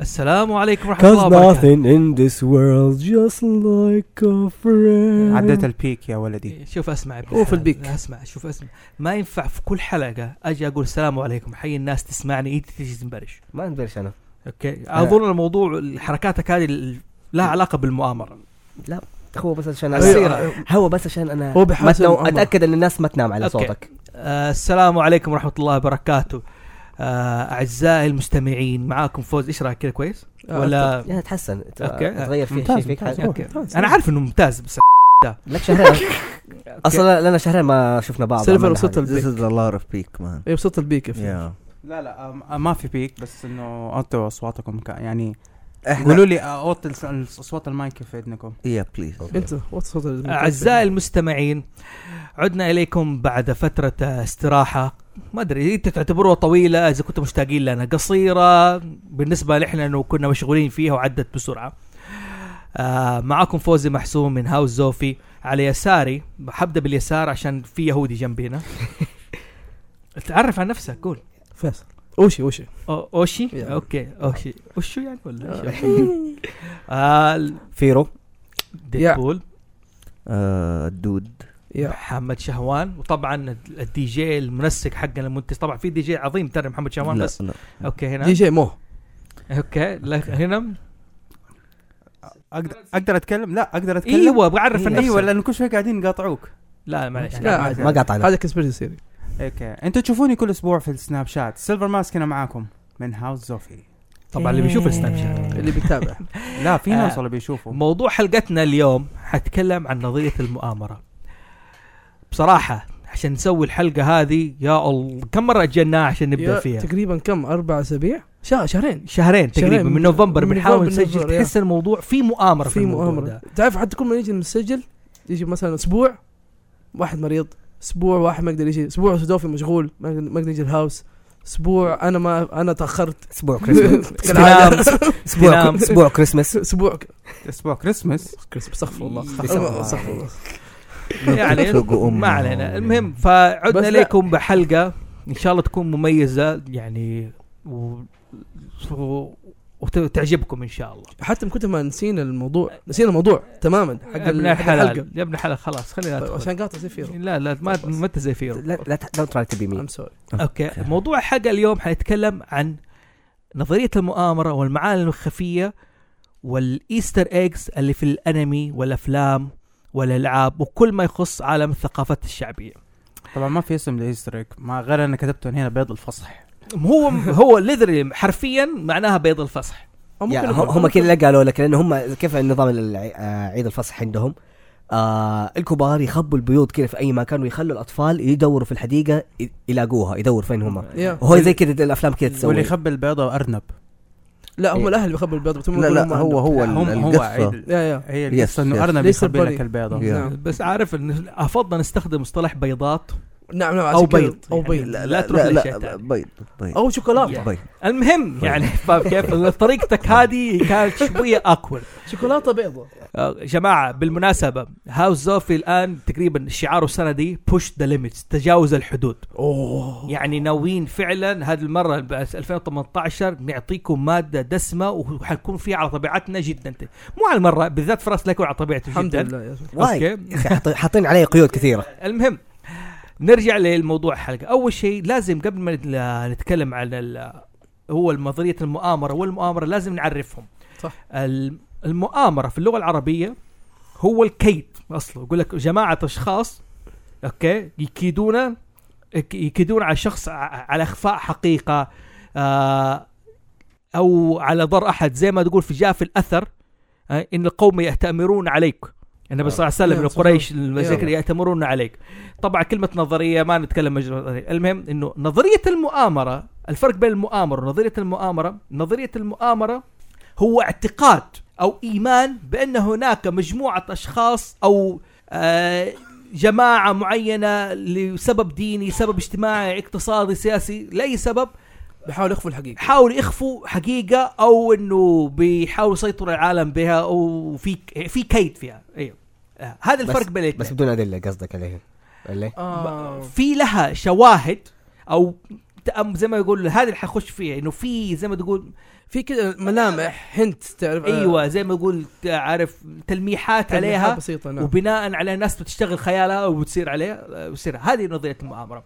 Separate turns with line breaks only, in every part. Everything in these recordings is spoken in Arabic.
السلام عليكم ورحمه
Cause
الله وبركاته
nothing in this world just like a friend
عديت البيك يا ولدي
شوف اسمع يا ابن
أوف
الحلال.
البيك.
اسمع شوف اسمع ما ينفع في كل حلقه اجي اقول السلام عليكم حي الناس تسمعني انت تجي تنبرش
ما ندرش انا
اوكي اظن الموضوع حركاتك هذه ال- لها علاقه بالمؤامره
هو بس عشان
السيرة.
انا هو بس عشان انا
هو بحسن
ما تنام-
أمر.
اتاكد ان الناس ما تنام على
أوكي.
صوتك
آه السلام عليكم ورحمه الله وبركاته آه اعزائي المستمعين معاكم فوز ايش رايك كذا كويس
آه،
ولا
يا تحسن ت-
أوكي.
تغير فيه شيء
ممتاز،
فيك
ممتاز.
حاجة.
اوكي
ممتاز.
انا عارف انه ممتاز بس
لك شهرين اصلا لنا شهرين ما نعم. شفنا بعض
سيلفر
عملنا
وصوت
حاجة.
البيك
This is a lot of peak man
اي وصوت البيك yeah.
yeah.
لا لا آم- ما في بيك بس انه اعطوا اصواتكم ك- يعني
احنا
قولوا لي اوطي الس- اصوات المايك في اذنكم
yeah please
انت وات صوت البيك
اعزائي المستمعين عدنا اليكم بعد فتره استراحه ما ادري انت تعتبروها طويله اذا كنتم مشتاقين لنا قصيره بالنسبه لإحنا انه كنا مشغولين فيها وعدت بسرعه آه معاكم فوزي محسوم من هاوس زوفي على يساري حبدا باليسار عشان في يهودي جنبي هنا تعرف عن نفسك قول
فيصل اوشي اوشي
أو اوشي
Yeah.
اوكي اوشي اوشو يعني ولا إيش؟ آه
فيرو
ديدبول
uh, dude
يا
محمد شهوان وطبعا الدي جي المنسق حقنا المنتج طبعا في دي جي عظيم ترى محمد شهوان
لا
بس
لا
اوكي
دي
هنا
جي مو
اوكي لا هنا
اقدر اقدر اتكلم لا اقدر اتكلم
ايوه بعرف
إيه،
النفس
ايوه لانه كل شوي قاعدين يقاطعوك يعني
لا معلش
لا،
لا.
عادي.
ما قاطعنا
هذا كسبيرسي سيري
اوكي انتوا تشوفوني كل اسبوع في السناب شات سيلفر ماسك هنا معاكم من هاوس زوفي
طبعا اللي بيشوف السناب شات
إيه. اللي بيتابع
لا في ناس
آه.
والله بيشوفوا
موضوع حلقتنا اليوم حتكلم عن نظريه المؤامره بصراحه عشان نسوي الحلقه هذه يا الله كم مره اجلناها عشان نبدا
يا
فيها
تقريبا كم اربع اسابيع شهر شهرين
شهرين تقريبا
شهرين
من
من-
نوفمبر
من
بنحاول
نوفمبر،
نسجل
يا.
تحس الموضوع في مؤامره في,
في
الموضوع
مؤامره
ده.
تعرف حتى كل ما نيجي نسجل يجي مثلا اسبوع واحد مريض اسبوع واحد ما يقدر يجي اسبوع سودوفي مشغول ما يقدر- ما يقدر يجي الهاوس اسبوع انا ما انا تاخرت
اسبوع كريسماس
كالعادة.
اسبوع
تنام.
اسبوع كريسماس
اسبوع ك-
اسبوع كريسمس
كريسماس استغفر الله
استغفر الله.
استغفر الله
يعني
تطلق أمه.
ما علينا المهم
بس
فعدنا
لا.
لكم بحلقه ان شاء الله تكون مميزه يعني و... و... وتعجبكم ان شاء الله
حتى من كتر ما نسينا الموضوع نسينا الموضوع تماما حق
يا ابن
ال- حق الحلقه
الحلال يا ابن الحلال خلاص خلينا
طيب،
ندخل.
عشان قاطع زي فيرو
لا لا ما
خلاص.
ما انت زي فيرو
لا لا لا تراي تبي مين
ام سوري
اوكي موضوع الحلقه اليوم حنتكلم عن نظريه المؤامره والمعالم الخفيه والايستر ايجز اللي في الانمي والافلام والالعاب وكل ما يخص عالم الثقافات الشعبيه
طبعا ما في اسم لايستريك ما غير انا كتبته هنا بيض الفصح
هو هو ليذري حرفيا معناها بيض الفصح
يا يعني هم هم كذا لا قالوا لك لان هم كيف النظام الع- آه، عيد الفصح عندهم آه الكبار يخبوا البيوت كذا في اي مكان ويخلوا الاطفال يدوروا في الحديقه ي- يلاقوها يدوروا فين هم وهو زي كذا الافلام كذا
واللي
تسوي
يخبي البيضه ارنب
لا هم
إيه.
الاهل بيخبوا البيض بس هم
لا
يقولوا هم
لا هو
عندهم.
هو
هم
ال-
هو
القصه
عيد-
يا يا
هي
Yes,
القصه انه
yes.
ارنب
ليس
يخبي
البني.
لك البيضه
Yeah.
نعم
بس عارف ان افضل نستخدم مصطلح بيضات
نعم نعم
او
عشان كذا.
بيض
او
يعني
بيض
لا, لا تروح لشيء
لا
ثاني
بيض بيض
او شوكولاته
بيض
المهم يعني فاهم كيف طريقتك هذه كانت آه، شويه اكورد
شوكولاته بيضة
جماعه بالمناسبه هاوس زوفي الان تقريبا شعاره السنه دي بوش ذا ليميتس تجاوز الحدود
اوه
يعني ناويين فعلا هذه المره ب 2018 نعطيكم ماده دسمه وحنكون فيها على طبيعتنا جدا مو على المره بالذات فراس لا يكون على طبيعته
الحمد
جدا
لله يا زلمة.
واي
اوكي
حاط- حاطين عليه قيود كثيره
المهم نرجع للموضوع الحلقه اول شيء لازم قبل ما نت- نتكلم عن ال- هو نظريه المؤامره والمؤامره لازم نعرفهم
صح.
ال- المؤامره في اللغه العربيه هو الكيد اصله يقول لك جماعه اشخاص اوكي يكيدون يك- يكيدون على شخص ع- على اخفاء حقيقه آه، او على ضر احد زي ما تقول في جاء في الاثر آه، ان القوم ياتمرون عليك النبي صلى الله عليه وسلم
نعم،
من
صلى الله
قريش المذاكر
يلا.
ياتمرون عليك طبعا كلمه نظريه ما نتكلم مجرد نظرية. المهم انه نظريه المؤامره الفرق بين المؤامره ونظريه المؤامره نظريه المؤامره هو اعتقاد او ايمان بان هناك مجموعه اشخاص او آه، جماعه معينه لسبب ديني سبب اجتماعي اقتصادي سياسي لاي سبب
بحاول يخفوا الحقيقة
حاولوا يخفوا حقيقه او انه بيحاولوا يسيطروا العالم بها او في في كيد فيها ايوه آه، هذا
بس-
الفرق بين الاثنين.
بس بدون ادله قصدك عليه ولا إيه؟
آه.
في لها شواهد او تأم- زي ما يقول هذا اللي حخش فيه انه في زي ما تقول
في كذا ملامح هنت تعرف آه.
ايوه زي ما يقول عارف تلميحات عليها
عليها بسيطه نعم
وبناء على ناس بتشتغل خيالها وبتصير عليه بتصير هذه نظريه المؤامره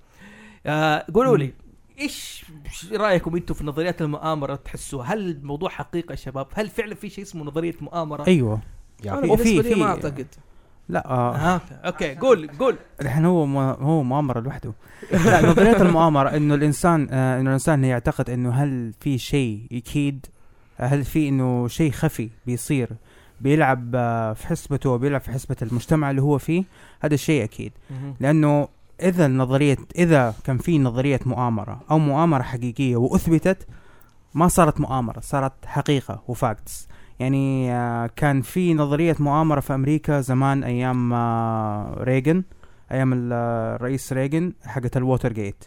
آه قولوا لي ايش إيش رايكم انتم في نظريات المؤامره تحسوا هل الموضوع حقيقه يا شباب هل فعلا في شيء اسمه نظريه مؤامره
ايوه
انا
وفي-
بالنسبه لي
في-
ما اعتقد
لا آه،
آه. اوكي قول قول
الحين هو مو- هو مؤامره لوحده لا نظريه المؤامره انه الانسان آه، انه الانسان يعتقد انه هل في شيء يكيد هل في انه شيء خفي بيصير بيلعب آه، في حسبته وبيلعب في حسبه المجتمع اللي هو فيه هذا الشيء اكيد لانه اذا النظريه اذا كان في نظريه مؤامره او مؤامره حقيقيه واثبتت ما صارت مؤامره صارت حقيقه وفاكتس يعني آه، كان في نظريه مؤامره في امريكا زمان ايام آه، ريغن ايام ال- آه، الرئيس ريغن حقت الووتر جيت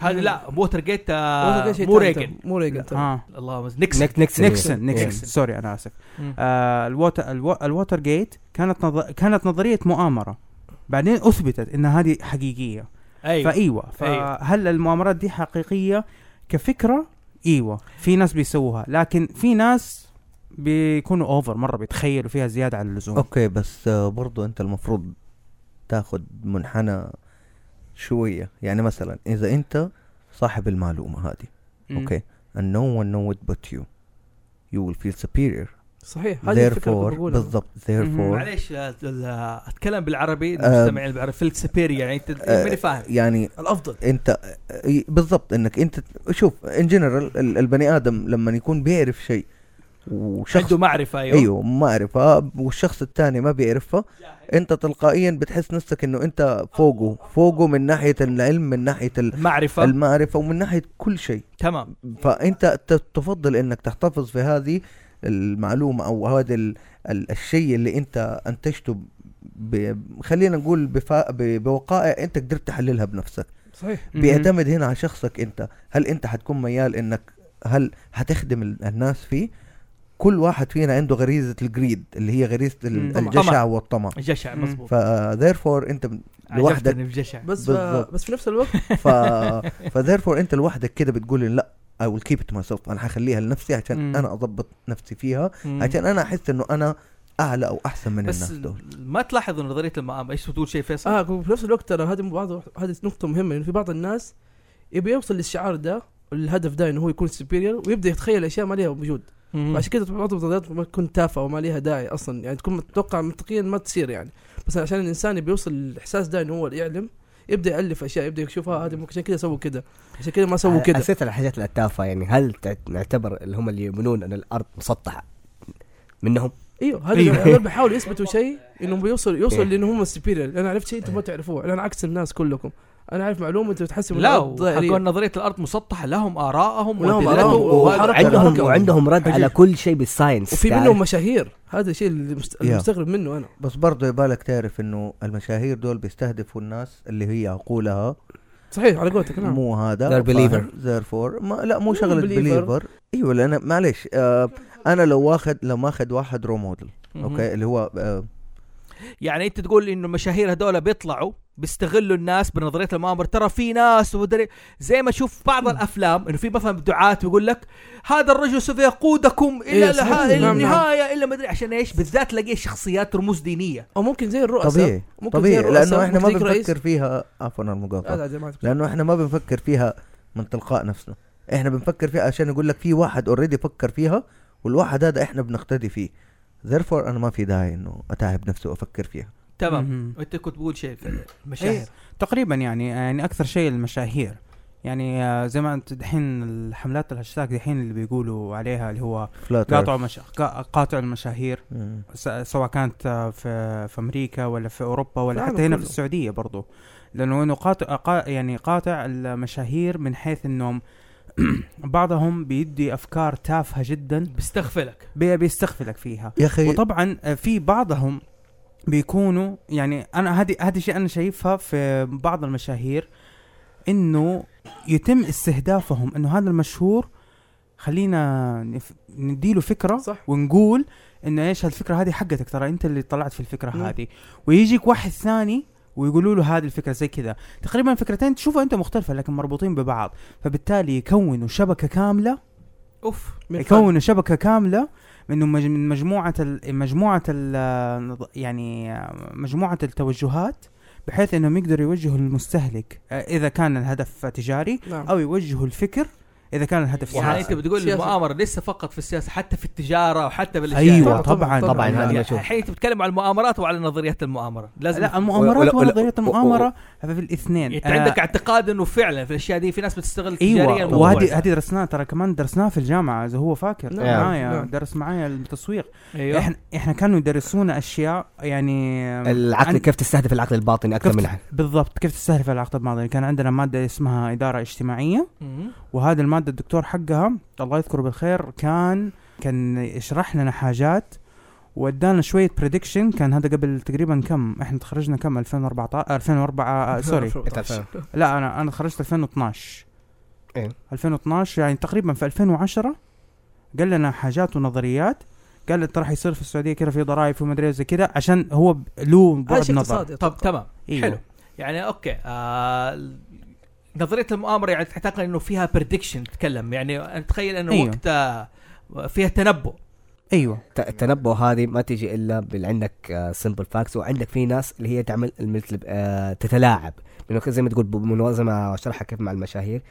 هذا لا ووتر جيت
وهذا
آه
كل شيء
مو
تاني
ريجن
ترى. مو ريجن ترى.
آه.
الله مز- نيكسون
نيك- نيكسون
نيكسون نيكسون
نيكسون.
سوري انا اسف
مم.
آه الووتر الو الووتر جيت كانت نظ... كانت نظريه مؤامره بعدين اثبتت ان هذه حقيقيه
ايوه
فايوه
أيوة.
فهل المؤامرات دي حقيقيه كفكره ايوه في ناس بيسووها لكن في ناس بيكونوا اوفر مره بيتخيلوا فيها زياده عن اللزوم
اوكي بس آه، برضو انت المفروض تاخذ منحنى شويه يعني مثلا اذا انت صاحب المعلومه هذه اوكي and no one know it but you you will feel superior
صحيح هذه الفكره اللي
therefore
كنت بقولها
بالضبط therefore
معليش آه، ال- آه، اتكلم بالعربي
آه.
المستمعين بالعربي فيلك سبيريا يعني انت
آه.
ماني فاهم
يعني
الافضل
انت إي- بالضبط انك انت شوف ان جنرال البني ادم لما يكون بيعرف شيء وشخص
عنده معرفه ايوه,
ايوه ما اعرفها والشخص الثاني ما بيعرفها انت تلقائيا بتحس نفسك انه انت فوقه فوقه من ناحيه العلم من ناحيه ال-
معرفه
المعرفه ومن ناحيه كل شيء
تمام
فانت ت- تفضل انك تحتفظ في هذه المعلومه او هذا ال- ال- الشيء اللي انت انتجته ب... خلينا نقول بفا... ب... بوقائع انت قدرت تحللها بنفسك
صحيح
بيعتمد هنا على شخصك انت هل انت حتكون ميال انك هل هتخدم ال- الناس فيه كل واحد فينا عنده غريزه الجريد اللي هي غريزه
مم.
ال-
طمع.
الجشع والطمع
جشع
مم.
مزبوط
فذيرفور انت ب- لوحدك
عجبتني بجشع
بس
بالضبط.
ف... بس في نفس الوقت
ف... فذيرفور انت لوحدك كده بتقول لا I will keep it myself انا حخليها لنفسي عشان
مم.
انا اضبط نفسي فيها
مم.
عشان انا احس انه انا اعلى او احسن من
بس
الناس دول
ما تلاحظ إن نظريه المؤامره ايش بتقول شيء فيصل؟
اه وفي نفس الوقت ترى هذه بعض هذه نقطة مهمة انه في بعض الناس يبي يوصل للشعار ده الهدف ده انه هو يكون سوبيريور ويبدا يتخيل اشياء ما لها وجود
مم.
عشان كذا بعض النظريات ما تكون تافهه وما لها داعي اصلا يعني تكون متوقع منطقيا ما تصير يعني بس عشان الانسان يبي يوصل للاحساس ده انه هو يعلم يبدا يالف اشياء يبدا يشوف ها هذه ممكن عشان كذا سووا كذا عشان كذا ما سووا كذا
حسيت على الحاجات التافهه يعني هل تعت- نعتبر اللي هم اللي يؤمنون ان الارض مسطحه منهم؟
ايوه هذا
أيوه.
هذول بيحاولوا يثبتوا شيء انهم بيوصل يوصل
إيه.
لان هم السوبيريور انا عرفت شيء انتم ما تعرفوه انا عكس الناس كلكم انا عارف معلومه انتم تحسبوا إن
لا
الأرض دائرية.
حقون نظريه الارض مسطحه لهم ارائهم
ولهم
ودلالهم
آرائهم
وهذا-
وحركة.
عندهم
حركة.
وعندهم رد على كل شيء بالساينس يعني
وفي
تعرف؟
منهم مشاهير هذا الشيء اللي مست- اللي
يا.
مستغرب منه انا
بس برضه يبالك تعرف انه المشاهير دول بيستهدفوا الناس اللي هي عقولها
صحيح على قولتك نعم
مو هذا
They're believer.
ذيرفور ما لا مو
مو
شغله
believer.
بليفر ايوه لان معلش آه انا لو واخد لو ماخذ واحد رو موديل
مم.
اوكي اللي هو آه
يعني انت تقول انه المشاهير هذول بيطلعوا بيستغلوا الناس بنظريه المؤامره ترى في ناس ودري زي ما تشوف بعض الافلام انه في مثلا دعاة يقول لك هذا الرجل سوف يقودكم الى
إيه، صحيح.
لها-
نعم،
الى
نعم.
النهايه الا ما ادري عشان ايش بالذات تلاقي شخصيات رموز دينيه
او ممكن زي الرؤساء
طبيعي
ممكن زي
طبيعي
الرؤساء،
لانه احنا ما
ممكن زي الرئيس.
بنفكر فيها عفوا على
لا
المقاطعه
لا يا جماعه
لانه احنا ما بنفكر فيها من تلقاء نفسنا احنا بنفكر فيها عشان يقول لك في واحد اوريدي فكر فيها والواحد هذا احنا بنقتدي فيه ذيرفور انا ما في داعي انه اتعب نفسي وافكر فيها
تمام
مهم.
انت كنت بقول شيء في المشاهير
إيه.
تقريبا يعني يعني اكثر شيء المشاهير يعني آه، زي ما انت دحين الحملات الهاشتاج دحين اللي بيقولوا عليها اللي هو
فلاتر
قاطعوا مشا... قا- قاطعوا المشاهير س- سواء كانت آه، في في امريكا ولا في اوروبا
في
ولا
العالم
حتى هنا في
كله.
السعوديه برضو لانه انه قاطع قا- يعني قاطع المشاهير من حيث انهم بعضهم بيدي افكار تافهه جدا
بيستغفلك
بي- بيستغفلك فيها
يا اخي
وطبعا آه، في بعضهم بيكونوا يعني انا هذه هذه شيء انا شايفها في بعض المشاهير انه يتم استهدافهم انه هذا المشهور خلينا نف- نديله فكره
صح.
ونقول انه ايش الفكره هذه حقتك ترى انت اللي طلعت في الفكره
مم.
هذه ويجيك واحد ثاني ويقولوا له هذه الفكره زي كذا تقريبا فكرتين تشوفها انت مختلفه لكن مربوطين ببعض فبالتالي يكونوا شبكه كامله
اوف
من
إيه،
فن.
يكونوا شبكه كامله من مج- من مجموعه ال مجموعه ال يعني مجموعه التوجهات بحيث انهم يقدروا يوجهوا المستهلك آه، اذا كان الهدف تجاري
نعم
او يوجهوا الفكر اذا كان الهدف
يعني انت
سياسي
بتقول لي
سياسة.
المؤامره ليس فقط في السياسه حتى في التجاره وحتى بالاشياء
ايوه
طبعاً- طبعاً-
طبعا
طبعاً
طبعا هذا
يعني
ما اشوف
الحين انت بتتكلم عن المؤامرات وعلى نظريات المؤامره لازم
لا المؤامرات
ولا- ولا-
ونظريه المؤامره هذا في الاثنين
انت
آه،
يعني عندك اعتقاد انه فعلا في الاشياء دي في ناس بتستغل تجاريا
ايوه
الموضوع
وهذه
ده.
هذه درسناها ترى كمان درسناها في الجامعه اذا هو فاكر
نعم.
معايا
نعم.
درس معايا التسويق
ايوه
احنا احنا كانوا يدرسونا اشياء يعني
العقل
عن-
كيف تستهدف العقل الباطني اكثر
كيف
من العقل
بالضبط كيف تستهدف العقد الماضي كان عندنا ماده اسمها اداره اجتماعيه
مم.
وهذه الماده الدكتور حقها الله يذكره بالخير كان كان يشرح لنا حاجات وادانا شويه بريدكشن كان هذا قبل تقريبا كم احنا تخرجنا كم 2014 2004 آه، سوري لا انا انا تخرجت 2012
إيه.
2012 يعني تقريبا في 2010 قال لنا حاجات ونظريات قال انت راح يصير في السعوديه كذا في ضرائب في مدري زي كذا عشان هو ب- له
هذا
بعد
شيء
نظر
اقتصادي
طب تمام
ايوه
حلو. يعني اوكي آه نظريه المؤامره يعني تعتقد انه فيها بريدكشن تتكلم يعني تخيل انه
أيوه.
أيوه. وقت آه، فيها تنبؤ
ايوه
الت- التنبؤ هذه ما تجي الا بال- عندك سمبل فاكس وعندك في ناس اللي هي تعمل مثل آه، تتلاعب لانه زي ما تقول بمنظمه شرحها كيف مع المشاهير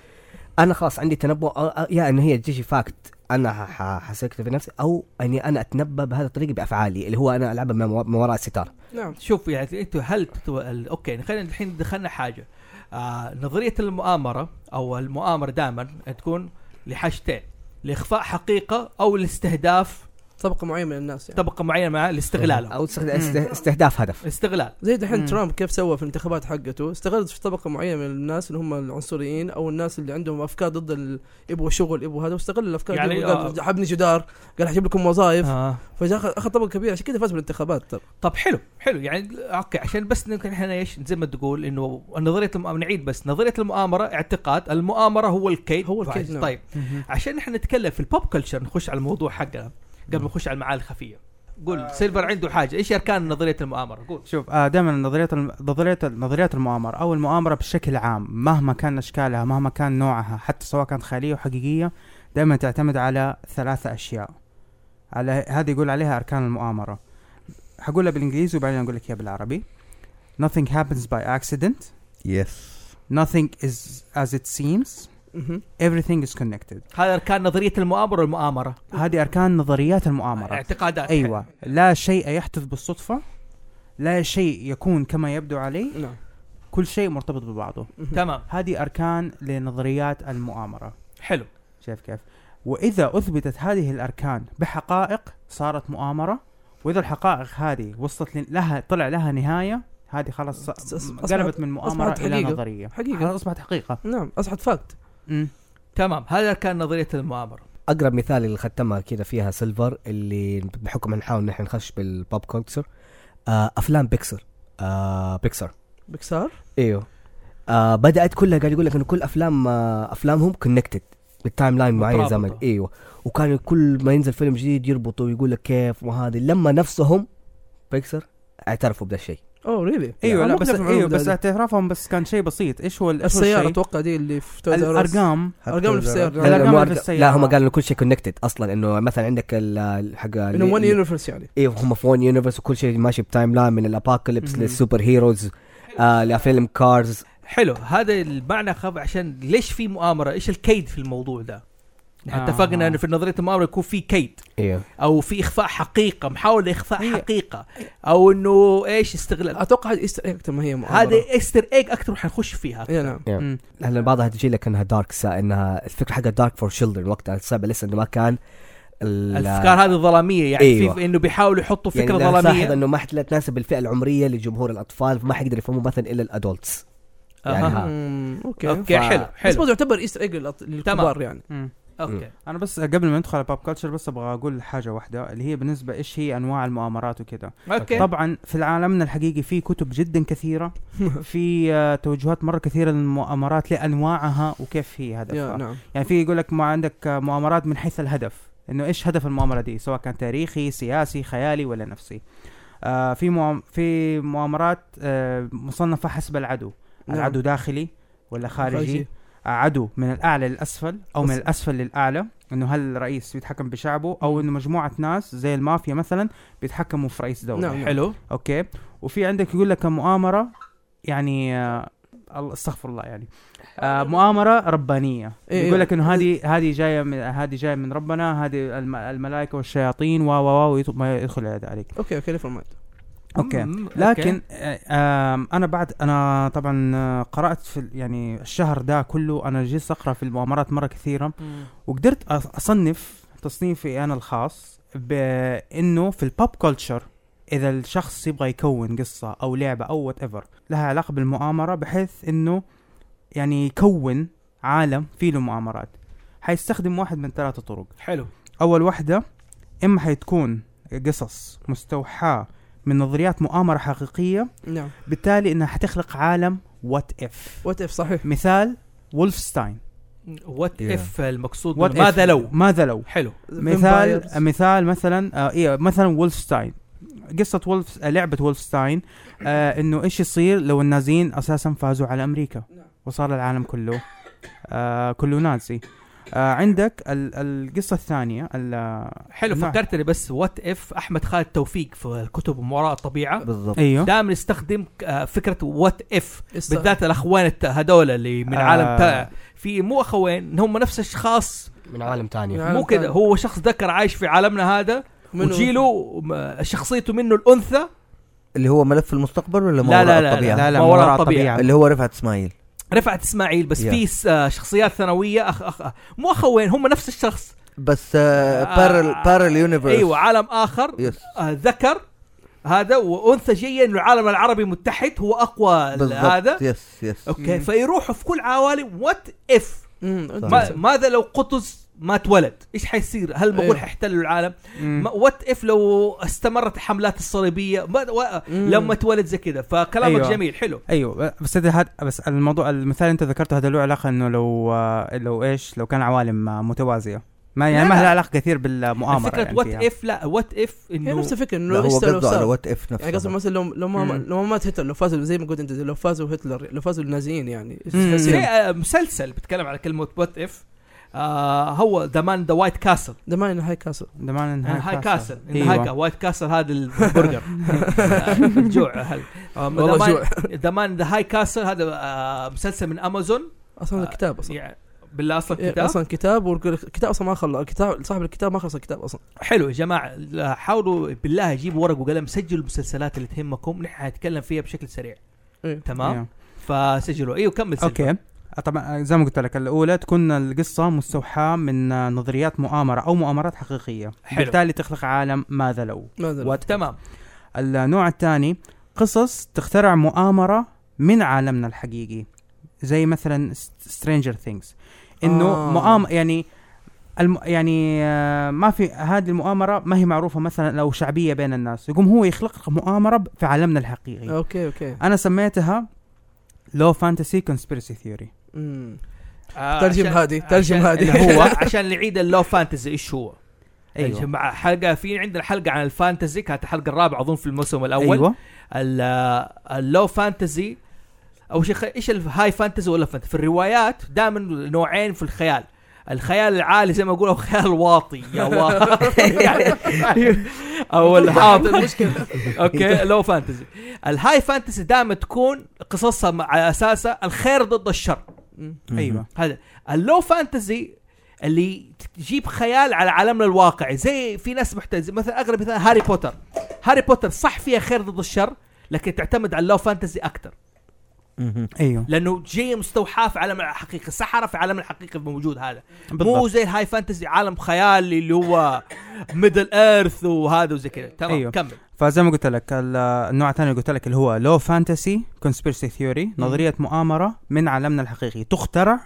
انا خلاص عندي تنبؤ أو- أو- يا انه هي تجي فاكت انا ح- ح- حسكت في نفسي او اني انا اتنبا بهذا الطريقه بافعالي اللي هو انا العبها من من وراء الستار
نعم
شوف يعني انتوا هل تتو... ال- اوكي خلينا الحين دخلنا حاجه آه نظريه المؤامره او المؤامره دائما تكون لحاجتين لاخفاء حقيقه او لاستهداف
طبقه معينه من الناس يعني.
طبقه معينه مع لاستغلالهم
إيوه.
او استخد- است- استهداف هدف
استغلال
زي دحين
مم.
ترامب كيف سوى في الانتخابات حقته استغل في طبقه معينه من الناس اللي هم العنصريين او الناس اللي عندهم افكار ضد ال... يبغوا شغل يبغوا هذا واستغل الافكار
يعني
يعني
آه.
قال حبني جدار قال حجيب لكم وظائف
آه.
فجاء أخذ- اخذ طبقه كبيره عشان كذا فاز بالانتخابات ترى
طب حلو حلو يعني اوكي عشان بس نمكن احنا ايش زي ما تقول انه نظريه المؤامره نعيد بس نظريه المؤامره اعتقاد المؤامره هو الكيد
هو الكيد، نعم.
طيب عشان احنا نتكلم في البوب كلتشر نخش على الموضوع حقنا
نعم.
قبل ما نخش على المعالي الخفيه قول آه سيلفر عنده حاجه ايش اركان نظريه المؤامره قول
شوف آه دائما نظريات الم- نظريات نظريات المؤامره او المؤامره بشكل عام مهما كان اشكالها مهما كان نوعها حتى سواء كانت خياليه وحقيقيه دائما تعتمد على ثلاثه اشياء على هذه يقول عليها اركان المؤامره حقولها بالانجليزي وبعدين اقول لك اياها بالعربي nothing happens by accident
يس
nothing is as it seems
مهم.
everything is connected
هذا اركان نظريه المؤامره والمؤامره
هذه اركان نظريات المؤامره
اعتقادات
ايوه لا شيء يحدث بالصدفه لا شيء يكون كما يبدو عليه
نعم
كل شيء مرتبط ببعضه
مهم.
تمام
هذه أركان لنظريات المؤامرة
حلو
شايف كيف وإذا أثبتت هذه الأركان بحقائق صارت مؤامرة وإذا الحقائق هذه وصلت ل- لها طلع لها نهاية هذه خلاص
أص- أص-
م- قلبت من مؤامرة
أصبحت
إلى
حقيقة.
نظرية
حقيقة.
خلاص أصبحت حقيقة
نعم اصعد فاكت
مم.
تمام هذا اركان نظريه المؤامره
اقرب مثال اللي ختمها كذا فيها سيلفر اللي بحكم نحاول نحن نخش بالبوب كلتشر آه افلام بيكسر آه بيكسر
بكسار
ايوه آه بدات كلها قاعد يقول لك انه كل افلام آه افلامهم كونكتد بالتايم لاين معين زمن
مترابطة.
ايوه وكان كل ما ينزل فيلم جديد يربطوا ويقول لك كيف وهذه لما نفسهم بيكسر اعترفوا بهذا الشيء
اوه ريلي
أيوه
يعني أنا
لا
ما
بس
كنت أعرف المعلومة
أيوه بس
هذه.
اعترافهم بس كان شيء بسيط إيش هو ال- إيش هو
السياره
الشيء؟
اتوقع دي اللي في تويز آر أس.
الأرقام
الارقام اللي في
لا،
السياره
لا،
مو
ما في
أرجع-
السيارة.
لا هم قالوا إنه كل شيء كونكتد اصلا انه مثلا عندك ال- الحق
انه ون يونيفرس يعني
ايوه هم في ون يونيفرس وكل شيء ماشي بتايم لاين من الابوكاليبس
مهم.
للسوبر هيروز آه لفيلم كارز
حلو هذا المعنى خف عشان ليش في مؤامره ايش الكيد في الموضوع ده نحن
آه.
اتفقنا انه في نظريه المؤامره يكون في كيد
ايوه
او في اخفاء حقيقه محاوله اخفاء
هي-
حقيقه او انه ايش استغلال
اتوقع هذه ايستر ايج ما هي مؤامرة.
هذا استر ايج اكثر حنخش فيها
اي نعم
مم.
لان بعضها تجي لك انها دارك سا انها الفكره حقها دارك فور شيلدرن وقتها السابع لسه انه ما كان ال-
الافكار هذه ظلاميه يعني
أيوة.
أيوة. في انه بيحاولوا يحطوا
يعني
فكره
لو تلاحظ
ظلاميه
انه ما حت- لا تناسب الفئه العمريه لجمهور الاطفال فما حيقدر يفهموا مثلا الا الادولتس يعني
أها.
ها.
مم، اوكي
اوكي
ف-
حلو
بس
حلو
برضه يعتبر ايستر ايج للكبار يعني
مم.
اوكي
انا بس قبل ما ندخل على باب كلتشر بس ابغى اقول حاجه واحده اللي هي بالنسبه ايش هي انواع المؤامرات وكذا
اوكي طب
طبعا في العالمنا الحقيقي في كتب جدا كثيره في آه، توجهات مره كثيره للمؤامرات لانواعها وكيف هي
يا
هدفها
نعم
يعني في يقول لك ما عندك آه، مؤامرات من حيث الهدف انه ايش هدف المؤامره دي سواء كان تاريخي سياسي خيالي ولا نفسي آه في مؤام في مؤامرات آه مصنفه حسب العدو
نعم.
العدو داخلي ولا خارجي, خارجي. عدو من الاعلى للاسفل او من
بس-
الاسفل للاعلى انه هل الرئيس بيتحكم بشعبه او انه مجموعه ناس زي المافيا مثلا بيتحكموا في رئيس دوله
نعم.
حلو
اوكي وفي عندك يقول لك مؤامره يعني آه، الله- استغفر الله يعني آه مؤامره ربانيه
إيه.
يقول لك انه هذه هذه جايه من هذه جايه من ربنا هذه الم- الملائكه والشياطين و و و يط- ما يدخل هذا عليك
اوكي اوكي نفهم معك
اوكي
مم،
لكن آه، آم، انا بعد انا طبعا آه، قرات في ال- يعني الشهر ده كله انا جلست اقرا في المؤامرات مره كثيره وقدرت أص- اصنف تصنيفي انا الخاص بانه في البوب كلتشر اذا الشخص يبغى يكون قصه او لعبه او وات ايفر لها علاقه بالمؤامره بحيث انه يعني يكون عالم فيه له مؤامرات حيستخدم واحد من ثلاثه طرق
حلو
اول واحده اما حتكون قصص مستوحاه من نظريات مؤامره حقيقيه
نعم
بالتالي انها حتخلق عالم وات اف
وات اف صحيح
مثال وولفستاين
وات
Yeah.
اف المقصود
What
منه. ماذا
if؟
لو
ماذا لو
حلو
مثال
Vampires.
مثال مثلا آه إيه مثلا وولفستاين قصة وولف آه، لعبة وولفستاين آه انه ايش يصير لو النازيين اساسا فازوا على امريكا وصار العالم كله آه كله نازي آه عندك ال- القصة الثانية ال-
حلو
نعم.
فكرتني بس وات اف احمد خالد توفيق في الكتب من وراء الطبيعه
نعم.
بالضبط
ايوه
دائما يستخدم آه، فكره وات اف
يس-
بالذات الاخوان الت- هذول اللي من
آه.
عالم تا في مو اخوين هم نفس الاشخاص
من عالم
من
آه،
تاني
عالم
مو كذا
طيب.
تاني.
هو شخص ذكر عايش في عالمنا هذا
منو-
وجيله م- شخصيته منه الانثى
اللي هو ملف المستقبل ولا ما
لا
وراء
لا لا,
الطبيعة؟
لا, لا
لا،
ما
ما
وراء
وراء
الطبيعه
الطبيعة.
اللي هو رفعت اسماعيل
رفعت اسماعيل بس
Yeah.
في س- آه، شخصيات ثانويه أخ أخ آه، مو اخوين هم نفس الشخص
بس آه،
آه،
بارل بارل يونيفرس
ايوه عالم اخر
يس
آه، ذكر هذا وانثى جايه انه العالم العربي متحد هو اقوى ال-
بالضبط
هذا
يس يس
اوكي
مم.
فيروحوا في كل عوالم وات اف
مم، أنت
ما-
صح.
ماذا لو قطز ما اتولد ايش حيصير هل بقول
أيوه.
حيحتلوا العالم
مم.
وات اف لو استمرت الحملات الصليبيه ما و...
مم.
لما اتولد زي كذا فكلامك
أيوه.
جميل حلو
ايوه بس هذا هاد- بس الموضوع المثال اللي انت ذكرته هذا له علاقه انه لو آه، لو ايش لو كان عوالم آه، متوازيه ما يعني
لا،
ما
لا.
لها علاقه كثير بالمؤامره
فكره
يعني
وات
فيها.
اف لا وات اف
هي
انه
نفس الفكره انه
لا
ايش
هو
لو
قصده على
صار؟
وات اف
يعني قصدي
نفسه
مثلا لو لو ما
مم.
لو ما مات هتلر لو فازوا زي ما قلت انت لو فازوا هتلر لو فازوا النازيين يعني إيش
مم.
تحس
زي
يعني؟
آه، مسلسل بتكلم على كلمه وات اف آه هو ذا مان ذا وايت كاسل
ده ما إنه هاي كاسل
ده معنى انها
هاي كاسل
أيوه.
هاي
ايوه
وايت كاسل هذا البرجر آه، الجوع هل- آه،
والله
The Man-
جوع
ذا مان ذا هاي كاسل هذا آه، مسلسل من امازون
اصلا
آه،
كتاب اصلا
يعني بالله اصلا
إيه،
كتاب
اصلا كتاب والكتاب اصلا ما خلص الكتاب صاحب الكتاب ما خلص الكتاب اصلا
حلو يا جماعه لا، حاولوا بالله جيبوا ورق وقلم سجلوا المسلسلات اللي تهمكم نحن حنتكلم فيها بشكل سريع
إيه.
أيوه.
تمام فسجلوا ايوه كمل سجل.
اوكي آه، طبعا آه، زي ما قلت لك الاولى تكون القصه مستوحاه من آه، نظريات مؤامره او مؤامرات حقيقيه
حلو.
بالتالي تخلق عالم ماذا لو
ماذا
وات
تمام
النوع الثاني قصص تخترع مؤامرة من عالمنا الحقيقي زي مثلا سترينجر ثينجز انه
آه.
آه. مؤام يعني الم يعني آه، ما في هذه المؤامرة ما هي معروفة مثلا او شعبية بين الناس يقوم هو يخلق مؤامرة ب- في عالمنا الحقيقي أوه.
اوكي اوكي
انا سميتها لو فانتسي كونسبيرسي ثيوري
مم.
آه،
ترجم
عشان-
هادي، ترجم
عشان-
هادي.
اللي هو عشان نعيد اللو فانتزي ايش هو أيوه.
أيوة.
أيوه.
يا جماعه حلقه في عندنا حلقه عن الفانتزي كانت الحلقه الرابعه اظن في الموسم الاول
ايوه
ال- اللو فانتزي او شيء ايش الهاي فانتزي ولا فانتزي في الروايات دائما نوعين في الخيال الخيال العالي زي ما اقول او خيال واطي يا واطي يعني او الهابط المشكله اوكي لو فانتزي الهاي فانتزي دائما تكون قصصها مع- على اساسها الخير ضد الشر
مم.
ايوه
هذا اللو فانتزي اللي تجيب خيال على عالمنا الواقعي زي في ناس محتاجه مثلا اغلب مثلا هاري بوتر هاري بوتر صح فيها خير ضد الشر لكن تعتمد على اللو فانتزي اكثر
مهم.
ايوه
لانه جايه مستوحاه في عالم الحقيقي السحره في عالم الحقيقي موجود هذا مو
بالضبط
زي الهاي فانتزي عالم خيالي اللي هو ميدل ايرث وهذا وزي كذا تمام أيوه.
أيوة.
أيوه.
كمل
فزي ما قلت لك ال- النوع الثاني اللي قلت لك اللي هو لو فانتسي كونسبيرسي ثيوري نظريه مؤامره من عالمنا الحقيقي تخترع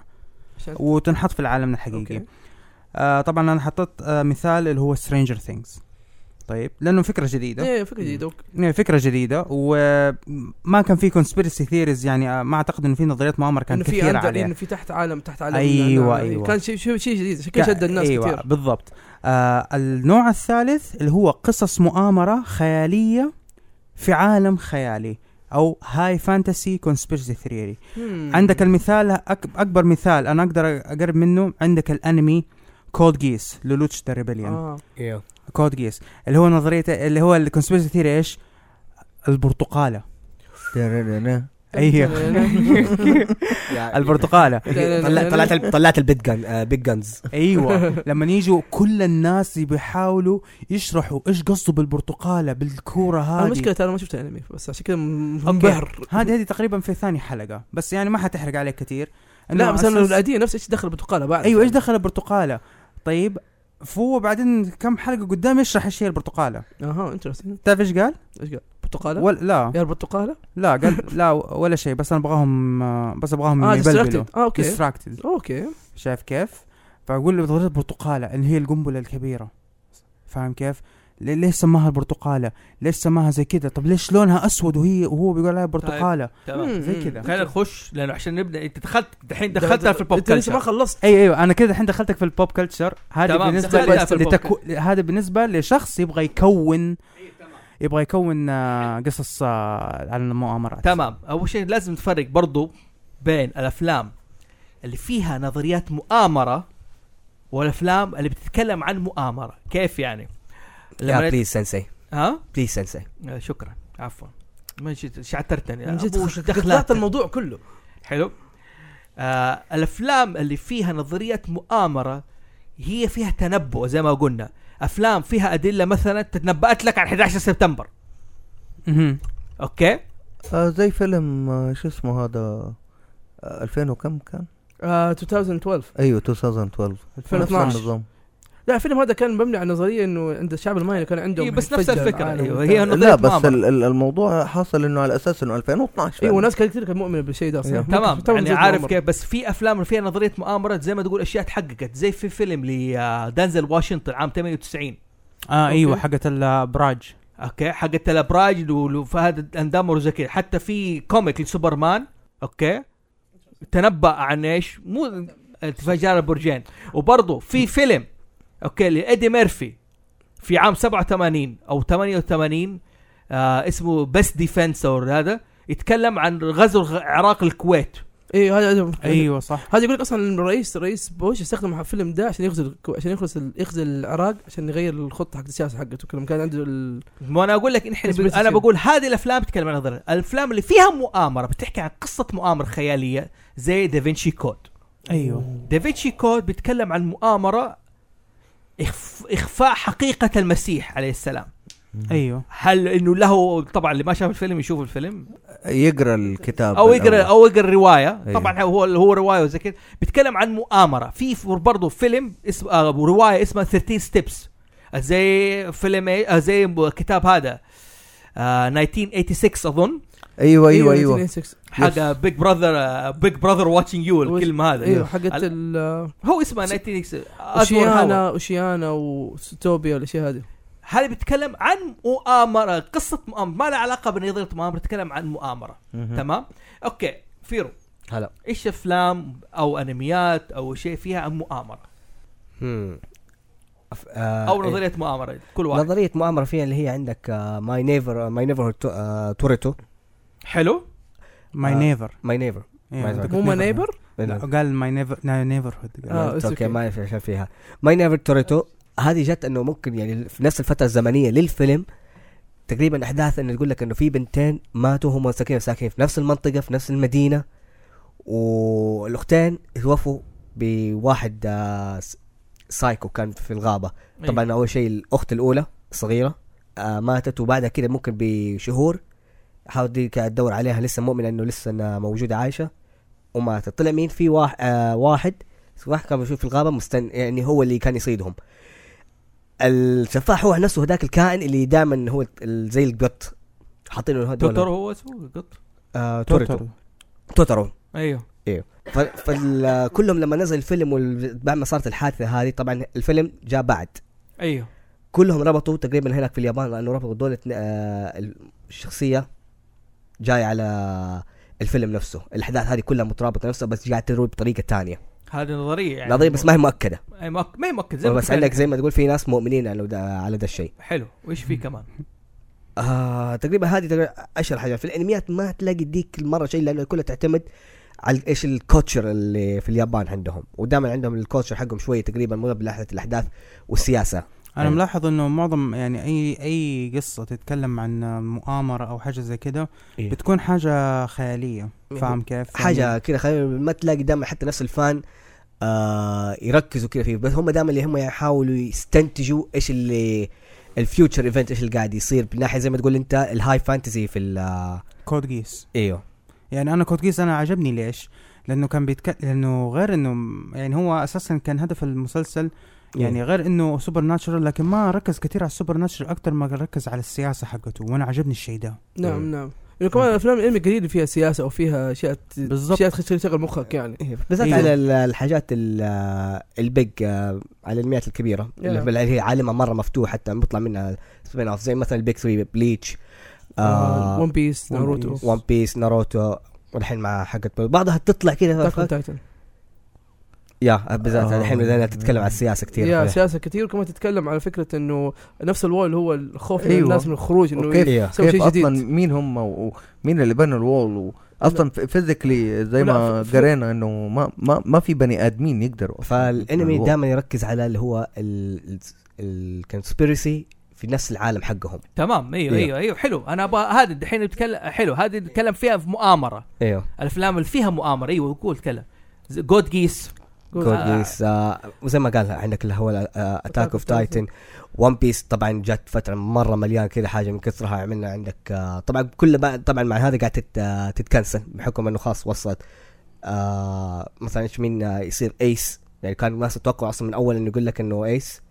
عشان-
وتنحط في العالم الحقيقي
اوكي
آه طبعا انا حطيت آه مثال اللي هو سترينجر ثينجز طيب لانه فكره جديده
ايه فكره جديده أوكي.
يعني فكره جديده وما كان في كونسبيرسي ثيريز يعني آه، ما اعتقد انه في نظريات مؤامره
انه
كانت
في
كثيره
عندك انه
عليها
في تحت عالم تحت عالم
أيوة،
إنه-
أيوة.
كان شيء شيء شيء جديد عشان كذا شد الناس
ايوه
كثير
بالضبط آه النوع الثالث اللي هو قصص مؤامره خياليه في عالم خيالي او هاي فانتسي كونسبيرسي ثيري عندك المثال أك- اكبر مثال انا اقدر اقرب منه عندك الانمي كود جيس لولوتش ذا ريبليون
آه.
ايوه
كود جيس اللي هو نظريه اللي هو الكونسبيرسي ثيري ايش؟ البرتقاله
ترررر.
أيوة. أيوه. ايوه البرتقاله
طلعت ال- طلعت البيت جن آه، بيج جنز
ايوه لما يجوا كل الناس بيحاولوا يشرحوا ايش قصده بالبرتقاله بالكوره
آه،
هذه
المشكلة انا ما شفت انمي بس عشان كذا
أوكي.
منبهر
هذه هذه تقريبا في ثاني حلقه بس يعني ما حتحرق عليك كثير إنه
لا بس انا
أساس-
العادية نفس ايش دخل البرتقالة بعد
ايوه ايش دخل البرتقاله طيب فهو بعدين كم حلقه قدام يشرح ايش هي البرتقاله
اها انترستنج
تعرف ايش قال؟
ايش قال برتقالة
ولا لا
يا البرتقالة
لا قال لا ولا شيء بس انا ابغاهم آه، بس ابغاهم
اه
يبلبلوا
distracted. اه اوكي
ديستراكتد
اوكي
شايف كيف؟ فاقول له نظريه البرتقاله اللي هي القنبله الكبيره فاهم كيف؟ ليه- ليش سماها البرتقاله؟ ليش سماها زي كذا؟ طب ليش لونها اسود وهي وهو بيقول عليها برتقاله؟
تمام
مم،
زي
مم.
كذا.
خلينا نخش لانه عشان نبدا انت دخلت دحين دخلتها في يعني. البوب
انت لسه ما
كلتشر
خلصت
اي ايوه انا كذا الحين دخلتك في البوب كلتشر هذا
تمام،
بالنسبه
دخلتها في البوب
لتكو... هذا بالنسبه لشخص يبغى يكون
إيه،
يبغى يكون آه، قصص آه، عن المؤامرات
تمام اول شيء لازم نفرق برضو بين الافلام اللي فيها نظريات مؤامره والافلام اللي بتتكلم عن مؤامره كيف يعني
يا
نت-
بليز سنسي
ها
بليز سنسي
آه، شكرا عفوا ما جيت شعترتني
من جد
أبو، وش
طلعت
دخلات
الموضوع كله
حلو آه الافلام اللي فيها نظريه مؤامره هي فيها تنبؤ زي ما قلنا افلام فيها ادله مثلا تتنبأت لك عن 11 سبتمبر
مهم.
اوكي
آه زي فيلم آه شو اسمه هذا آه 2000 وكم كان؟
آه 2012
ايوه 2012 نفس
2012
النظام
لا الفيلم هذا كان مبني على نظريه انه عند الشعب المايا كان عندهم
إيه، بس نفس
حفجة
الفكرة،
العالم
أيوة،
وبتاع.
هي نظ-
لا
نظرية
بس
مؤامرة.
ال- ال- الموضوع حاصل انه على اساس انه 2012
ايوه
أيوة،
فعلا.
ناس كثير كانت مؤمنه بالشيء ده اصلا
أيوة.
تمام
تعتبر
يعني
زي
عارف
المؤامرة.
كيف بس في افلام اللي فيها نظريه مؤامره زي ما تقول اشياء تحققت زي في فيلم لدانزل واشنطن عام 98
اه ايوه
أوكي.
حقت الابراج
اوكي حقت الابراج ول- وفهد الاندامر وزي كذا حتى في كوميك لسوبرمان اوكي تنبأ عن ايش؟ مو انفجار البرجين وبرضه في فيلم اوكي لايدي ميرفي في عام 87 او 88 آه اسمه بس ديفنس او هذا يتكلم عن غزو الغ- عراق الكويت
ايوه هذا
أيوه.
ايوه صح
هذا يقول لك اصلا الرئيس رئيس بوش استخدم الفيلم ده عشان يخزل عشان يخزل يخزل العراق عشان يغير الخطه حق السياسه حقته كلهم كان عنده ال...
ما انا اقول لك إن احنا
بس بس
انا
كده.
بقول هذه الافلام بتتكلم عن نظرية الافلام اللي فيها مؤامره بتحكي عن قصه مؤامره خياليه زي دافنشي كود
ايوه
دافنشي كود بيتكلم عن مؤامره إخف... اخفاء حقيقه المسيح عليه السلام
ايوه
هل انه له طبعا اللي ما شاف الفيلم يشوف الفيلم
يقرا يعني الكتاب
او يقرا
الأول.
او يقرا الروايه
أيوه.
طبعا هو هو روايه وزي كذا بيتكلم عن مؤامره في ف- برضه فيلم اسم آه روايه اسمها 13 ستيبس زي فيلم إيه- آه زي م- كتاب هذا آه 1986 اظن
ايوه
إيه،
أيوة،
ايوه ايوه
1986.
حاجه بيج براذر بيج براذر واتشنج يو الكلمه هذه
ايوه حقت
أيوه. ال-
ال
هو اسمها 1986 أزور هوا.
اوشيانا اوشيانا وستوبيا والاشياء هذه
هذا بيتكلم عن مؤامره قصه مؤامره ما لها علاقه بنظريه مؤامره بيتكلم عن مؤامره
مهم.
تمام اوكي فيرو
هلا
ايش افلام او انميات او شيء فيها مؤامره
مم. Hmm. أف- آه،
او
إيه.
نظريه مؤامره كل واحد
نظريه مؤامره فيها اللي هي عندك آه، ماي نيفر ماي نيفر توريتو
حلو
ماي
آه.
نيفر
ماي نيفر
أيوة.
مو ما نيبر
قال ماي نيفر نيفرهود
آه. it's
اوكي
okay.
ما في عشان فيها ماي نيفر توريتو هذه جت انه ممكن يعني في نفس الفتره الزمنيه للفيلم تقريبا احداث انه يقول لك انه في بنتين ماتوا هم ساكنين ساكنين في نفس المنطقه في نفس المدينه والاختين توفوا بواحد آه، س- سايكو كان في الغابه
أيوة.
طبعا اول شيء الاخت الاولى صغيره آه ماتت وبعدها كده ممكن بشهور حاولت دي كانت تدور عليها لسه مؤمنه انه لسه إنها موجوده عايشه وماتت طلع مين في واحد آه واحد واحد كان بيشوف في الغابه مستن يعني هو اللي كان يصيدهم السفاح هو نفسه هذاك الكائن اللي دائما هو ال- زي القط حاطينه هدول-
توتر هو اسمه القط
آه توريتو
توتر
توترو
ايوه
فكلهم لما نزل الفيلم وال- بعد ما صارت الحادثه هذه طبعا الفيلم جاء بعد
ايوه
كلهم ربطوا تقريبا هناك في اليابان لانه ربطوا دولة آه الشخصيه جاي على الفيلم نفسه الاحداث هذه كلها مترابطه نفسها بس جاي تروي بطريقه تانية
هذه نظريه يعني
نظريه بس ما هي مؤكده
أي مؤك- ما هي مؤكد زي ما
بس
قلت
عندك
لك.
زي ما تقول في ناس مؤمنين على ده, على ده الشيء
حلو وايش في كمان
آه تقريبا هذه تقريبا اشهر حاجه في الانميات ما تلاقي ديك المره شيء لانه كلها تعتمد على ايش الكوتشر اللي في اليابان عندهم ودائما عندهم الكوتشر حقهم شويه تقريبا مو بلحظه الاحداث والسياسه
انا
أيوة.
ملاحظ انه معظم يعني اي اي قصه تتكلم عن مؤامره او حاجه زي كده
إيه.
بتكون حاجه خياليه فاهم كيف؟
حاجه
يعني
كذا خلينا ما تلاقي دائما حتى نفس الفان آه يركزوا كذا فيه بس هم دائما اللي هم يحاولوا يستنتجوا ايش اللي الفيوتشر ايفنت ايش اللي قاعد يصير من ناحيه زي ما تقول انت الهاي فانتزي في ال آه،
كود جيس
ايوه
يعني انا كود جيس انا عجبني ليش؟ لانه كان بيتك لانه غير انه يعني هو اساسا كان هدف المسلسل يعني غير انه سوبر ناتشرال لكن ما ركز كثير على السوبر ناتشرال اكثر ما ركز على السياسه حقته وانا عجبني الشيء ده
نعم نعم يعني كمان الافلام الانمي قليل اللي فيها سياسه او فيها اشياء
بالضبط
اشياء تخش- تشغل مخك يعني
إيه، بالذات
إيه.
على ال- الحاجات ال- آه، البيج آه، على الانميات الكبيره اللي
Yeah.
بال- اللي هي عالمها مره مفتوح حتى بيطلع منها سبين اوف زي مثلا البيج 3 بليتش آه،
آه، ون بيس ناروتو
ون بيس ناروتو والحين مع حقت بعضها تطلع كذا
أتاك أون تايتن
يا بالذات
آه.
الحين بدأنا تتكلم عن السياسه كثير
يا
فيه.
سياسه كثير وكمان تتكلم على فكره انه نفس الوول اللي هو الخوف من
أيوة.
الناس من الخروج
وكيف-
انه
إيه.
سوي
كيف
شيء
اصلا
جديد.
مين هم ومين اللي بنى الوول و... اصلا فيزيكلي زي
لا،
ما
ف- ف-
قرينا انه ما ما ما في بني ادمين يقدروا أصلاً
فالانمي
يبنوا
دائما يركز على اللي هو الكونسبيرسي في نفس العالم حقهم
تمام ايوه
إيه.
ايوه ايوه حلو انا ابغى هذا الحين نتكلم حلو هذه نتكلم فيها في مؤامره
ايوه
الافلام اللي فيها مؤامره ايوه قول كلام جود جيس
قول.
جود
آه.
جيس وزي ما قال عندك اللي هو آه، اتاك اوف
of
تايتن ون بيس طبعا جت فتره مره مليان كذا حاجه من كثرها عملنا عندك آه، طبعا كل بقى- طبعا مع هذا قاعد تت- آه، تتكنسل بحكم انه خلاص وصلت آه، مثلا ايش مين آه، يصير ايس يعني كان الناس تتوقع اصلا من اول انه يقول لك آه، انه ايس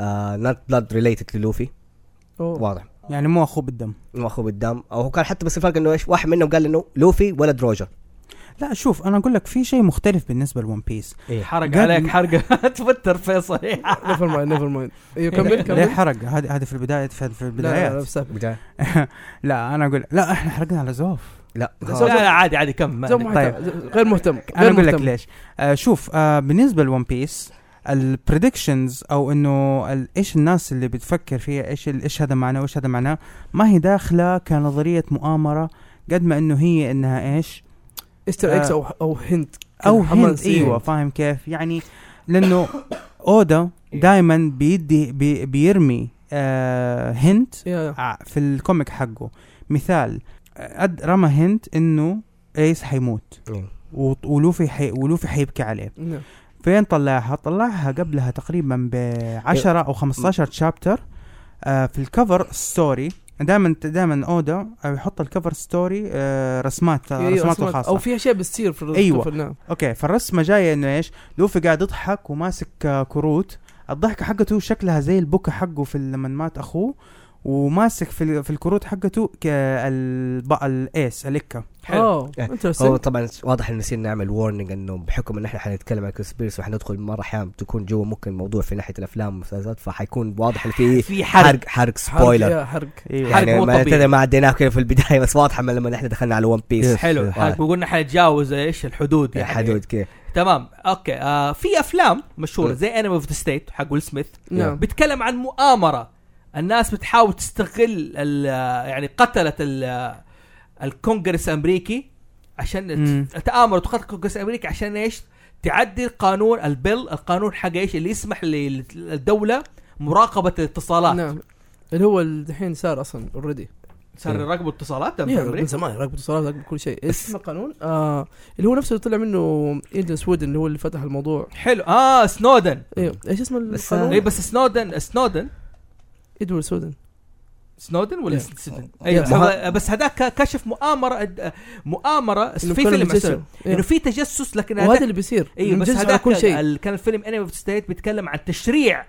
نوت بلاد ريليتد للوفي
أوه.
واضح
يعني مو اخوه بالدم
انه اخوه بالدم او هو كان حتى بس الفرق انه ايش واحد منهم قال انه لوفي ولد روجر
لا شوف انا اقول لك في شيء مختلف بالنسبه لون بيس
حرق
قد-
عليك حرقه توتر فيصل
نيفر مايند نيفر مايند ايوه كمل
ليه
كمل
حرق هذا هذا في البدايه في في
لا، لا، لا،
إيه. البدايات
بس-
بدايه
لا انا اقول لا احنا حرقنا على زوف
لا
زوج-
لا لا عادي عادي كم ما
زي
عليك.
ما حتى- طيب. غير مهتم
انا
غير
اقول لك
مهتم.
ليش آه شوف آه بالنسبه لون بيس البريدكشنز او انه ال- ايش الناس اللي بتفكر فيها ايش ال- ايش هذا معناه وايش هذا معناه ما هي داخله كنظريه مؤامره قد ما انه هي انها ايش
استر اكس او او هند
او هند
حماس، إيه.
ايوه فاهم كيف يعني لانه اودا دائما بيدي بي بيرمي آه هنت
يا
ع- آه، في الكوميك حقه مثال أد رمى هنت انه ايس حيموت
مم.
وط- ولوفي حي ولوفي حيبكي عليه
نعم.
فين طلعها؟ طلعها قبلها تقريبا ب 10 او 15 شابتر آه في الكفر ستوري دائما دائما اودا آه، يحط الكفر ستوري آه رسمات
إيه، إيه،
رسماته
رسمات.
الخاصه
او في اشياء بتصير في نعم. الرسم
أيوة.
في النعم.
اوكي فالرسمه جايه انه ايش؟ لوفي قاعد يضحك وماسك آه، كروت، الضحكه حقته شكلها زي البكا حقه في لما مات اخوه وماسك في ال- في الكروت حقته ك- الب- الايس الكه
اه
يعني هو
انترستنج
طبعا واضح انه نسينا نعمل وورنينج انه بحكم ان احنا حنتكلم عن كونسبيرسي وحندخل مره احيانا تكون جوا ممكن الموضوع في ناحيه الافلام والمسلسلات فحيكون واضح ان في
في حرق
حرق حرق سبويلر
حرق
حرق
يعني
مو
ما
طبيعي.
تدري ما عديناه كذا في البدايه بس واضحه من لما احنا دخلنا على ون بيس
حلو
آه.
حرق وقلنا حنتجاوز ايش الحدود يعني
حدود كذا
تمام اوكي آه في افلام مشهوره
مم.
زي انمي اوف ذا ستيت حق ويل سميث
نعم
بيتكلم عن مؤامره الناس بتحاول تستغل ال- آه، يعني قتلت ال- آه، الكونغرس الامريكي عشان
مم.
ت- تامروا تقتل الكونغرس الامريكي عشان ايش؟ تعدل قانون البيل القانون حق ايش اللي يسمح لل- للدوله مراقبه الاتصالات
نعم اللي هو الحين صار اصلا اوريدي
صار يراقبوا الاتصالات ده في
من
أمريكا؟
زمان راقب اتصالات راقب كل شيء ايش اسمه قانون آه اللي هو نفسه اللي طلع منه ايدن سويدن اللي هو اللي فتح الموضوع
حلو اه سنودن
ايوه ايش اسمه
بس- آه،
اي
القانون؟
بس سنودن سنودن
ادوارد سويدن
سنودن ولا
Yeah.
سنودن ايوه
ما
هو- بس هذاك كشف مؤامره مؤامره في
إنه كان
فيلم
مجسم.
أساساً.
إيه.
انه في تجسس لكن هذاك-
وهذا اللي بيصير
ايوه بس
مجسم على
هذاك
كل شيء
ال- كان الفيلم انمي اوف ستيت بيتكلم عن تشريع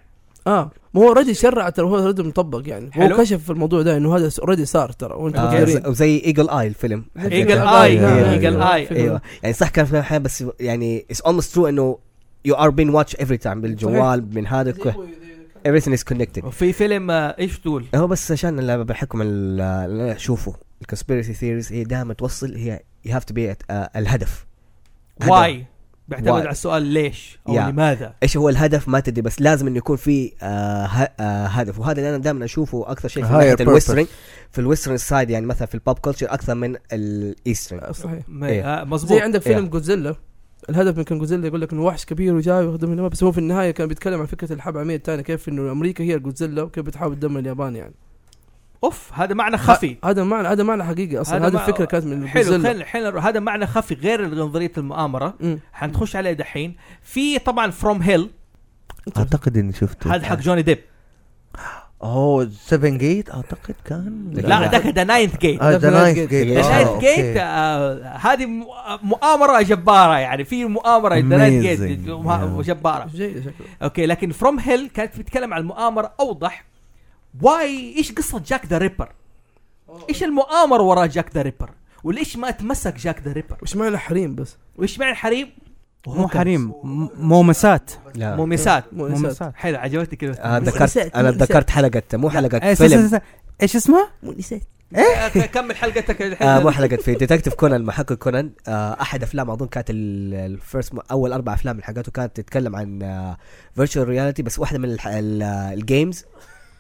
اه ما هو اوريدي شرع ترى هو اوريدي مطبق يعني
حلو.
هو كشف في الموضوع ده انه هذا اوريدي صار ترى وانتم
آه،
مقدرين
ز- وزي ايجل اي الفيلم
ايجل
آه،
اي
آه، آه،
ايجل
آه،
اي
فكرة.
ايوه يعني صح كان في احيانا بس يعني اتس اولموست ترو انه يو ار بين واتش افري تايم بالجوال من هذا everything از كونكتد
وفي فيلم آه، ايش تقول؟
هو بس عشان اللي بحكم ال- اللي انا اشوفه آه، الكونسبيرسي ثيريز هي دائما توصل هي يو هاف تو بي الهدف هدف.
واي بيعتمد
Why؟
على السؤال ليش او
Yeah.
لماذا
ايش هو الهدف ما تدري بس لازم انه يكون في آه ه- آه هدف وهذا اللي انا دائما اشوفه اكثر شيء في
Higher
ناحيه
purpose.
الويسترن في الويسترن سايد يعني مثلا في البوب كلتشر اكثر من الايسترن
صحيح
ما-
إيه.
آه، مظبوط
زي عندك فيلم جودزيلا الهدف من كان جودزيلا يقول لك انه وحش كبير وجاي ويخدم اليابان بس هو في النهايه كان بيتكلم عن فكره الحرب العالميه الثانيه كيف انه امريكا هي جودزيلا وكيف بتحاول تدمر اليابان يعني
اوف هذا معنى خفي
هذا معنى هذا معنى حقيقي اصلا هذه
ما-
الفكره كانت من
حلو
جودزيلا
خلينا خلينا نروح. هذا معنى خفي غير نظريه المؤامره
مم.
حنخش عليه دحين في طبعا فروم هيل
اعتقد اني شفته
هذا حق جوني ديب
اوه 7 جيت اعتقد كان
لا ده كده ناينث جيت
اه ذا
Knight
نايف
Gate.
جيت
ذا نايت جيت آه، هذه م- آه، مؤامره جباره يعني في مؤامره ذا نايت جيت
Amazing.
مه-
Yeah.
جباره
جيد شكله
اوكي لكن فروم هيل كانت بتتكلم عن المؤامره اوضح واي ايش قصه جاك ذا ريبر ايش المؤامره وراء جاك ذا ريبر وليش ما تمسك جاك ذا ريبر
وش معنى حريم بس؟
وايش معنى الحريم
مو حريم م- مومسات
لا
مومسات
مؤنسات
مومسات
حلو عجبتني كذا
آه ذكرت
نسيت-
انا
نسيت.
ذكرت حلقه مو حلقه
إيه، س-
آه، فيلم
س- س- ايش اسمه؟
آه، كمل حلقتك الحين
آه مو حلقه في ديتكتيف كونان محقق كونان آه احد افلام اظن كانت الفيرست اول اربع افلام من حقته كانت تتكلم عن فيرتشوال رياليتي بس واحده من الح- ال- آه، الجيمز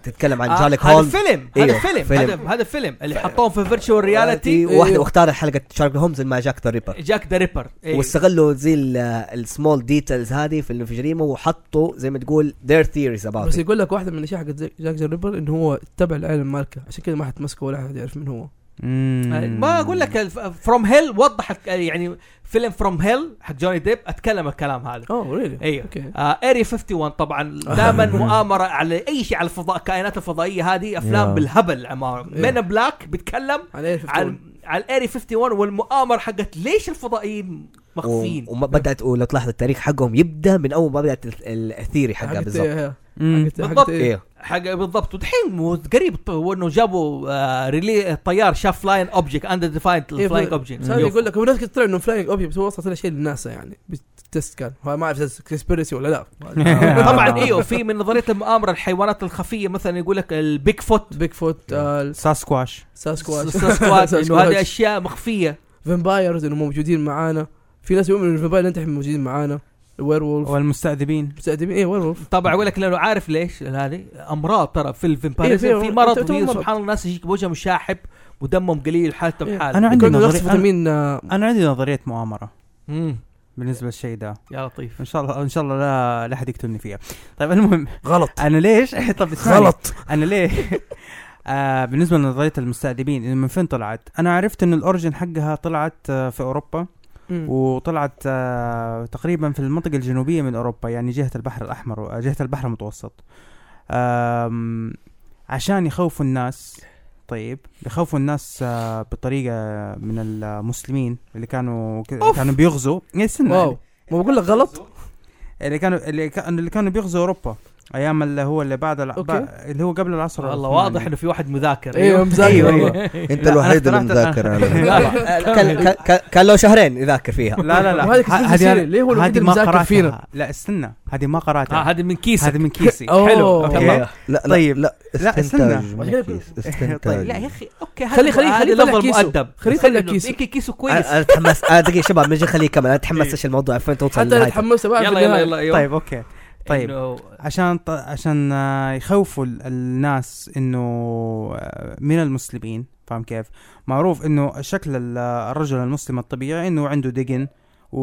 تتكلم عن جارليك
آه، هذا
هولمز
فيلم هذا
أيوه،
فيلم
فيلم.
هذا هذا فيلم اللي حطوه في فيرتشوال رياليتي
واحده واختار حلقه شارك هومز مع جاك ذا ريبر
جاك ذا ريبر إيه.
واستغلوا زي ال- السمول ديتيلز هذه في ال- في الجريمه وحطوا زي ما تقول their theories about
بس
it.
يقول لك واحده من الاشياء حقت زي- جاك ذا ريبر انه هو تبع العالم ماركه عشان كذا ما حد مسكه ولا حد يعرف من هو
مم.
يعني ما اقول لك فروم هيل وضحت يعني فيلم فروم هيل حق جوني ديب اتكلم الكلام هذا
اوه ريلي
ايوه
اوكي
آه اري 51 طبعا دائما مؤامره على اي شيء على الفضاء الكائنات الفضائيه هذه افلام
Yeah.
بالهبل من
Yeah.
بلاك بيتكلم
على ايه
على على الاري 51 والمؤامره حقت ليش الفضائيين مخفين
و- وما بدات ولو تلاحظ التاريخ حقهم يبدا من اول ما بدات ال- ال- الثيري حقها
يعني إيه.
بالضبط
مم.
بالضبط.
ايوه
حق بالضبط ودحين مو- قريب ط- وانه جابوا آه ريلي طيار شاف فلاين اوبجكت اندر ديفايند فلاينج اوبجكت
صار يقول لك هو ناس كتير طلع انه فلاينج اوبجكت بس هو اصلا طلع شيء للناسا يعني بالتست كان هو ما اعرف كريسبيرسي ولا لا
طبعا ايوه في من نظريه المؤامره الحيوانات الخفيه مثلا يقول لك البيك فوت
بيج فوت آه،
ساسكواش
ساسكواتش
ساسكوات انه هذه
ساسكواتش.
اشياء مخفيه
فامبايرز انه موجودين معانا في ناس يؤمنوا ان الفامباير اللي انت الحين موجودين معانا الوير وولف
والمستعذبين
مستخدمين ايه وير وولف
طبعا اقول لك لانه عارف ليش هذه امراض ترى في الفامباير
إيه، في-
في مرض
تعتبر
في
مرض.
سبحان الله الناس يجيك وجههم شاحب ودمهم قليل حالته
إيه.
بحاله
انا عندي
يقولوا نفس
نظريه أنا-
فيتامين آه،
انا عندي نظريه مؤامره
مم.
بالنسبه للشيء ده
يا لطيف
ان شاء الله ان شاء الله لا لا احد يقتلني فيها طيب المهم
غلط
انا ليش طب اسمعني.
غلط
انا ليه آه بالنسبه لنظريه المستأدبين إنه من فين طلعت انا عرفت ان الاوريجن حقها طلعت آه في اوروبا
مم.
وطلعت آه تقريبا في المنطقه الجنوبيه من اوروبا يعني جهه البحر الاحمر آه، جهه البحر المتوسط آم، عشان يخوفوا الناس طيب يخوفوا الناس آه بطريقه من المسلمين اللي كانوا
أوف.
كانوا بيغزوا إيه، استنى
واو ما بقول لك غلط
اللي كانوا اللي كانوا اللي كانوا بيغزوا اوروبا ايام اللي هو اللي بعد الع...
أوكي.
بع- اللي هو قبل العصر
والله
العثماني.
واضح انه في واحد مذاكر أيوه.
ايوه
أيوة،
ايوه
مزايد
والله. انت
لا،
الوحيد
أنا
اللي
اخترعت-
مذاكر على فكرة.
لا، لا.
كان كان- كان- كان له شهرين يذاكر فيها
لا لا لا
وهذه كتير
ه-
كثيرة.
أنا-
ليه هو الوحيد
هذه
اللي
ما
مذاكر
قراتها
فينا؟
لا استنى هذه ما
آه،
قراتها
هذه من كيسك
هذه من كيسي
أوه.
حلو
أوكي.
إيه.
تمام
لا لا
طيب.
لا
لا،
استنتاج
استنى.
ما كيس، استنتاج
لا يا اخي اوكي
خلي- خلي- خلي
هذا
يطلع
لفظ
كيسه.
مؤدب
خلي آه، يطلع كيسه.
يمكن كيسه
انا
كويس
أنا اتحمس انا دقيقه شباب من جد خليه يكمل انا اتحمس ايش الموضوع فين توصل
حتى انا
للنهاية.
تحمست بقى آه، في
يلا يلا يلا
النهاية.
يلا.
طيب اوكي طيب
إنه-
عشان ط... عشان آه، يخوفوا ال- الناس انه آه، من المسلمين فاهم كيف؟ معروف انه شكل ال- الرجل المسلم الطبيعي انه عنده دقن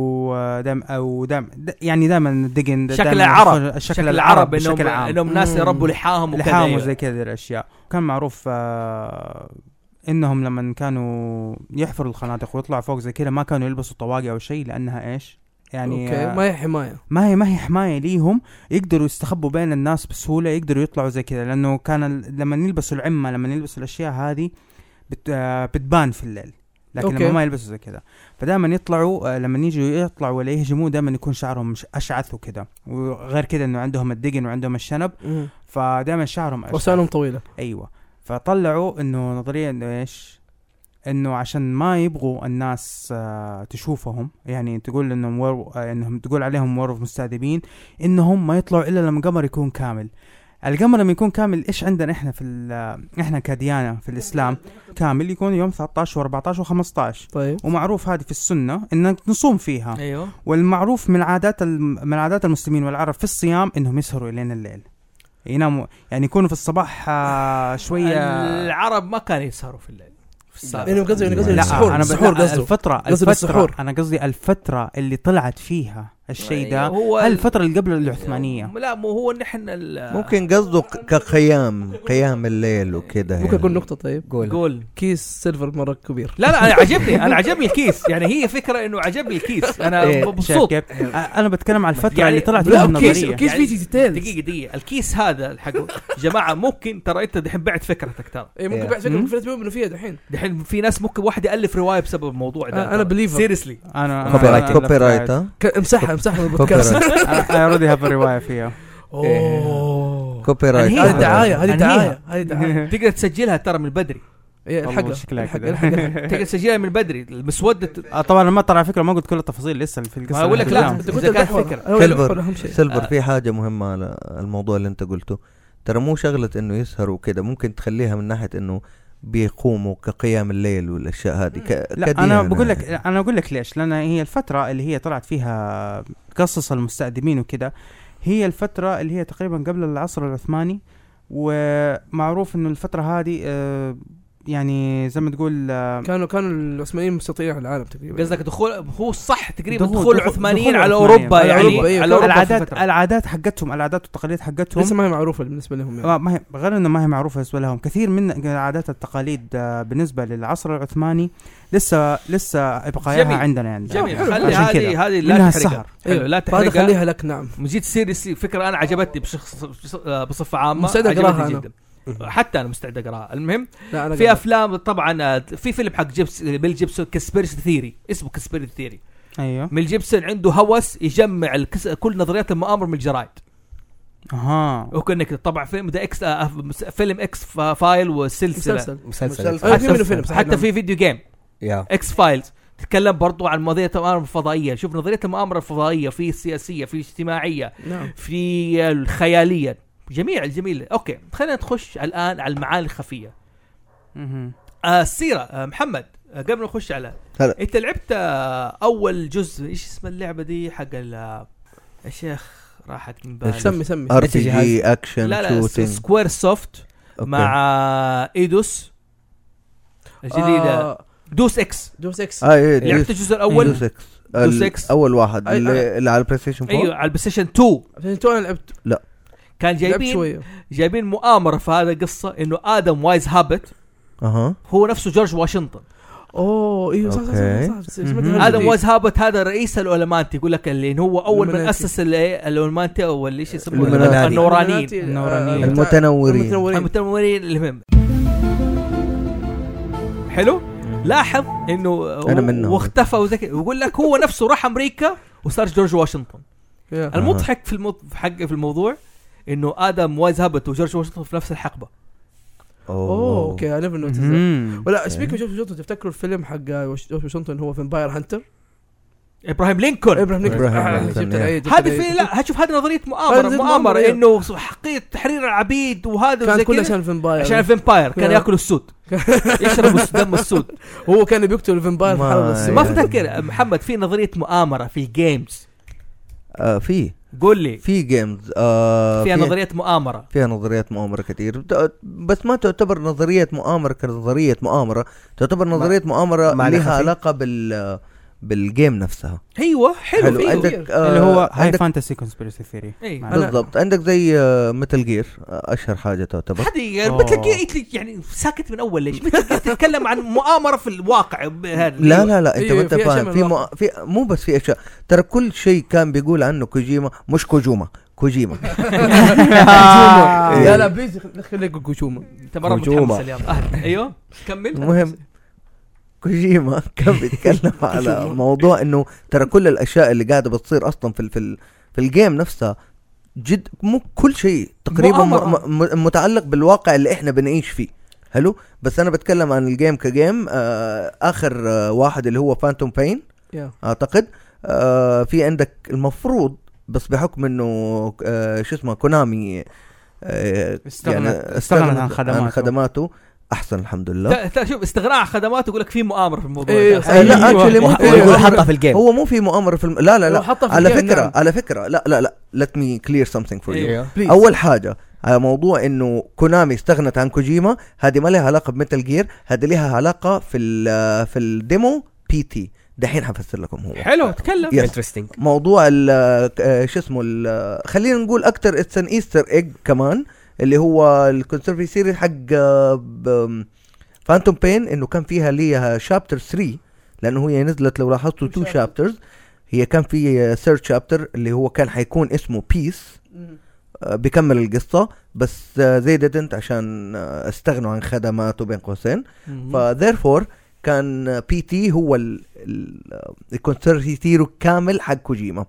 ودم او دم د- يعني دائما دقن
شكل
دايماً
العرب.
شكل العرب بشكل
انهم
عام
انهم ناس
مم.
يربوا لحاهم وكذا
لحام
أيوة.
وزي كذا الاشياء وكان معروف آه انهم لما كانوا يحفروا الخنادق ويطلعوا فوق زي كذا ما كانوا يلبسوا طواقي او شيء لانها ايش يعني
اوكي
آه،
ما هي حمايه
ما هي ما هي حمايه ليهم يقدروا يستخبوا بين الناس بسهوله يقدروا يطلعوا زي كذا لانه كان ال- لما يلبسوا العمه لما يلبسوا الاشياء هذه بت آه، بتبان في الليل لكن
أوكي.
لما ما يلبسوا زي كذا فدائما يطلعوا آه، لما يجوا يطلعوا ولا يهجموا دائما يكون شعرهم مش- اشعث وكذا وغير كذا انه عندهم الدقن وعندهم الشنب فدائما شعرهم أشعر.
وسانهم طويله
ايوه فطلعوا انه نظريه انه ايش؟ انه عشان ما يبغوا الناس آه تشوفهم يعني تقول انهم ور... آه انهم تقول عليهم ورف مستهدفين انهم ما يطلعوا الا لما القمر يكون كامل القمر لما يكون كامل ايش عندنا احنا في ال- احنا كديانه في الاسلام كامل يكون يوم 13 و14 و15
طيب
ومعروف هذه في السنه انك نصوم فيها
ايوه
والمعروف من عادات الم- من عادات المسلمين والعرب في الصيام انهم يسهروا الين الليل يناموا يعني يكونوا في الصباح آه، شويه
العرب ما كانوا يسهروا في الليل في السابق
يعني قصدي يعني قصدي
لا،
السحور
انا
السحور
لا،
قصده
الفتره
قصده
الفتره
بالسحور.
انا قصدي الفتره اللي طلعت فيها الشيء ده
هو ال-
الفتره اللي قبل العثمانيه
لا مو هو نحن ال-
ممكن قصده ك- كقيام قيام الليل وكده
ممكن اقول
يعني.
نقطه طيب
قول
قول
كيس سيلفر مره كبير
لا لا انا عجبني انا عجبني الكيس يعني هي فكره انه عجبني الكيس انا
إيه، شايف
مبسوط
كيف؟ آه، انا بتكلم على الفتره
يعني-
اللي طلعت
لا،
فيها
وكيس-
النظريه
وكيس-
كيس
يعني-
فيه ديتيلز
دقيقه دقيقه الكيس هذا حق جماعه ممكن ترى انت دحين بعت فكرتك ترى
اي ممكن
إيه.
بعد فكره
مم.
ممكن يؤمنوا فيها دحين
دحين في ناس ممكن واحد يالف روايه بسبب الموضوع ده
أنا believer.
سيريسلي
انا
كوبي رايت كوبي رايت ها
ك- امسحها امسحها من
كوبي
البودكاست
رايت
اي اوريدي هاف روايه فيها
اوه
كوبي رايت
أنهيها.
هذه دعايه هذه
أنهيها.
دعايه هذه دعايه
تقدر تسجلها ترى من بدري
إيه،
والله
الحق
شكلها
الحق
كده.
الحق
تقدر تسجلها من بدري المسوده ت-
آه، طبعا ما طلع فكره ما قلت كل التفاصيل لسه في القصه
أقول لك لا.
نعم.
انت قلت
إذا كانت
الدحور.
فكرة.
أنا قلت
سيلفر.
الدحور اهم شيء
سيلفر في حاجه مهمه على الموضوع اللي انت قلته ترى مو شغله انه يسهروا كده ممكن تخليها من ناحيه انه بيقوموا كقيام الليل والاشياء هذه ك... يعني.
لا
يعني.
انا بقول لك انا بقول لك ليش لان هي الفتره اللي هي طلعت فيها قصص المستأدمين وكده هي الفتره اللي هي تقريبا قبل العصر العثماني ومعروف انه الفتره هذه آه، يعني زي ما تقول آه،
كانوا كانوا العثمانيين مستطيعين على العالم تقريبا
قصدك دخول هو الصح تقريبا
دخول-
دخول
دخول-
العثمانيين
دخول
على
العثمانيين.
اوروبا
على
يعني
أوروبا، أيوة.
على اوروبا
العادات
في
العادات حقتهم العادات والتقاليد حقتهم
لسه ما هي معروفه بالنسبه لهم يعني
آه، ما هي غير انه ما هي معروفه بالنسبه لهم كثير من عادات التقاليد آه، بالنسبه للعصر العثماني لسه لسه ابقائها
جميل.
عندنا عندنا
جميل
حلو.
يعني خلي
عشان كذا.
هذه هذه
منها
لا تحرقها
السهر.
حلو لا
هذا
تحرقها
إيه. خليها لك نعم
مجيد سيريسلي فكره انا عجبتني بشخص بص- آه، بصفه عامه
مستعد أقراها
عجبتني
أنا.
جدا حتى انا مستعد اقراها المهم
لا انا
في
قاعد-
افلام طبعا آه، في فيلم حق جيبس بيل جيبسون كسبيرسي ثيري اسمه كسبيرسي ثيري
ايوه
ميل جيبسون عنده هوس يجمع الكس... كل نظريات المؤامره من الجرايد
اها
وكنا كده طبعا فيلم ده اكس آه، آه، فيلم اكس فا- فايل وسلسله
مسلسل
مسلسل
مسلسل.
أيوة، في
حتى,
منه
في
فيلم صحيح.
حتى في فيديو جيم
يا
اكس فايلز تتكلم برضو عن نظريه المؤامره الفضائيه شوف نظريه المؤامره الفضائيه في سياسيه في اجتماعيه
نعم
في الخياليه جميع الجميل اوكي خلينا نخش الان على المعاني الخفيه
مهم.
آه السيره آه محمد آه قبل ما نخش على
هلا.
انت لعبت آه اول جزء ايش اسم اللعبه دي حق ال آه، يا شيخ راحت من بالي
سمي سمي
ار
إيش
بي
الجهاز؟
جي اكشن
لا لا س- سكوير سوفت مع آه، ايدوس الجديده
آه،
دوس اكس
دوس اكس
آه، إيه،
لعبت الجزء الاول
دوس اكس
دوس
ال-
إكس.
اول واحد
أي- أيوة.
اللي اللي على البلاي ستيشن 4
ايوه على البلاي ستيشن 2
عشان تو انا لعبت
كان
لعبت
جايبين
شويه
جايبين مؤامره في هذا القصه انه ادم وايز هابت
اها
هو نفسه جورج واشنطن
اوه ايوه صح صح
أوكي.
صح, صح, صح,
مهم.
سمعت
ادم
إيه.
هذه.
وايز هابت هذا رئيس الالمانتي يقول لك اللي هو اول من
الألمانتي.
اسس ال- الالمانتي او اللي ايش يسموه
الإلمناتي.
النورانيين
النورانيين.
المتنورين
آه، المتنورين
المتنورين المهم حلو لاحظ انه
أنا منهم.
واختفى وزي كده ويقول لك هو نفسه راح امريكا وصار جورج واشنطن
يا.
المضحك في المو... في حق في الموضوع انه ادم وايز هابت وجورج واشنطن في نفس الحقبه
اوه اوكي اي نيفر نوتس
مهم.
ولا سبيك جورج واشنطن تفتكروا الفيلم حق جورج واشنطن هو فامباير هانتر
ابراهيم لينكولن
ابراهيم لينكولن
إبراهيم إيه.
آه،
لينكولن،
جبت
يا.
العيد، جبت
هذه
العيد.
في لا هشوف هذه نظريه
هذه
مؤامره
نظرية
مؤامره
مؤامرة.
انه حقيقه تحرير العبيد وهذا
كان
وزي
كله
كده
عشان فامباير
عشان الفامباير كان
يا.
ياكل السود يشرب الس- دم السود
هو كان بيقتل الفامباير في
ما-
حلقه السينما.
ما
أيوة.
افتكر محمد في نظريه مؤامره في الجيمز
آه في
قول لي
في جيمز آه
فيها
في-
نظريه مؤامره
فيها نظريات مؤامرة كتير ت- بس ما تعتبر نظرية مؤامرة كنظرية مؤامرة تعتبر نظرية مؤامرة
معنى
لها
خفي؟
علاقة بال بالجيم نفسها
ايوه حلو, حلو.
أيوة.
عندك آه
اللي هو هاي
عندك
فانتسي كونسبيرسي ثيري
إيه.
بالضبط عندك زي آه، متل جير اشهر حاجه آه، تعتبر
هذه
أوه.
مثل جير يعني ساكت من اول ليش؟ مثل جير تتكلم عن مؤامره في الواقع ب- هذا
لا لا لا انت
أيوة،
ما انت
في أشياء
فاهم
من
في, مو...
الواقع.
في مو بس في اشياء ترى كل شيء كان بيقول عنه كوجيما مش كوجوما كوجيما
لا
آه.
آه،
إيه.
لا بليز خليك يقول كوشوما
انت مره
هجومة.
متحمس اليوم آه، ايوه كمل
المهم كوجيما كان بيتكلم على موضوع انه ترى كل الاشياء اللي قاعده بتصير اصلا في ال- في ال- في الجيم نفسها جد مو كل شيء تقريبا م-
مؤامرة.
م- متعلق بالواقع اللي احنا بنعيش فيه حلو بس انا بتكلم عن الجيم كجيم آه اخر آه واحد اللي هو فانتوم بين
يا.
اعتقد آه في عندك المفروض بس بحكم انه آه شو اسمه كونامي آه،
استغنت- استغنت عن خدماته.
عن خدماته احسن الحمد لله
لا. شوف استغناء عن خدمات يقول لك في مؤامره في الموضوع
إيه،
ده.
صحيح.
آه، لا
أيوة.
اكشلي مو
وح- ويقول حطها في الجيم
هو مو في مؤامره في الم... لا لا
لو
لا
إيه. حطها في
على
الجيم،
فكره
نعم.
على فكره لا لا لا let me clear something for you
أيوة.
إيه. Please.
اول حاجه على موضوع انه كونامي استغنت عن كوجيما هذه ما لها علاقه بميتال جير هذه لها علاقه في ال في الديمو بي تي دحين حفسر لكم هو
حلو تكلم
يس.
انترستنج
موضوع ال آه، شو اسمه ال- خلينا نقول اكثر اتس ان ايستر ايج كمان اللي هو الكونسرفي سيريز حق آه، فانتوم بين انه كان فيها ليها شابتر 3 لانه هي نزلت لو لاحظتوا تو
Chapter.
شابترز هي كان في ثيرد شابتر اللي هو كان حيكون اسمه بيس
مم.
بيكمل القصه بس آه، زي ديدنت عشان آه، استغنوا عن خدماته بين قوسين فذيرفور كان بي تي هو الكونسرتيرو كامل حق كوجيما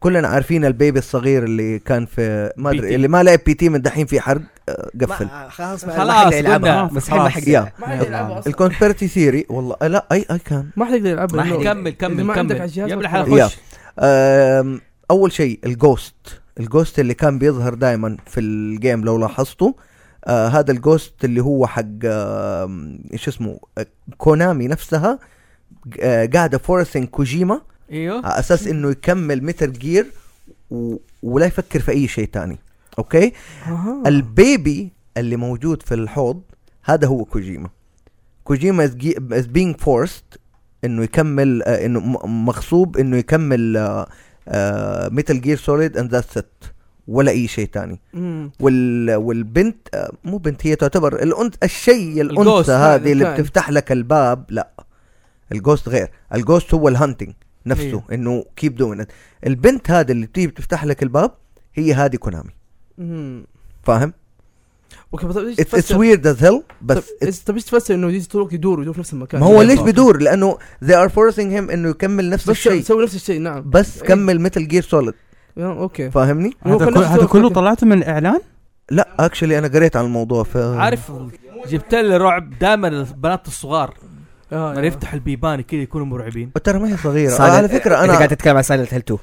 كلنا عارفين البيبي الصغير اللي كان في ما
PT.
ادري اللي ما لعب بي تي من دحين في حرق آه،
خلاص
قفل
ما-
خلاص،
ما حد يلعبها
قلنا.
بس الحين ما
خلاص.
حد
يا.
ما حد يلعبها أصلاً.
الكونسبيرتي ثيري والله آه، لا اي اي كان
ما حد يقدر يلعبها
ما حد
لأنه
كمل
إذا
كمل
ما عندك على
كمل
الجهاز
يا ابن
ما
الحلال
يا.
خش
آم، اول شيء الجوست الجوست اللي كان بيظهر دائما في الجيم لو لاحظتوا آه هذا الجوست اللي هو حق آم، ايش اسمه آه، كونامي نفسها آه قاعده فورسين كوجيما
ايوه
على اساس انه يكمل متل جير و... ولا يفكر في اي شيء تاني اوكي
أها.
البيبي اللي موجود في الحوض هذا هو كوجيما كوجيما is, gi- is being forced انه يكمل آه، انه م- مغصوب انه يكمل آه، ميتال جير سوليد اند ذاتس ات ولا اي شيء تاني
مم.
وال والبنت آه، مو بنت هي تعتبر الأنت الشيء
الجوست
الانثى هذه اللي
كان.
بتفتح لك الباب لا الجوست غير الجوست هو الهانتنج نفسه
إيه.
انه كيب دوينت البنت هذه اللي بتيجي بتفتح لك الباب هي هذه كونامي
مم.
فاهم؟
اوكي بس إيش
اتس
تفسر؟
ويرد از هيل
طب إيه
بس it's-
إيش- طب ايش تفسر انه يجي طرق يدور يدور في نفس المكان يعني
ما هو ليش
بالضبط.
بيدور؟ لانه they are forcing him انه يكمل نفس
بس
الشيء
سوي نفس الشيء نعم
بس
إيه.
كمل مثل جير سوليد
يا، اوكي
فاهمني؟
هو
إيه. هذا
كان
كل-
نفسه
هذا كله
وقت.
طلعته من الاعلان
لا اكشلي انا قريت عن الموضوع ف
عارف جبت لي رعب دائما البنات الصغار
آه،
لما
يا.
يفتحوا البيبان كذا يكونوا مرعبين
ترى ما هي صغيره
Silent-
على فكره
انت
انا
قاعد تتكلم عن سايلنت هيل 2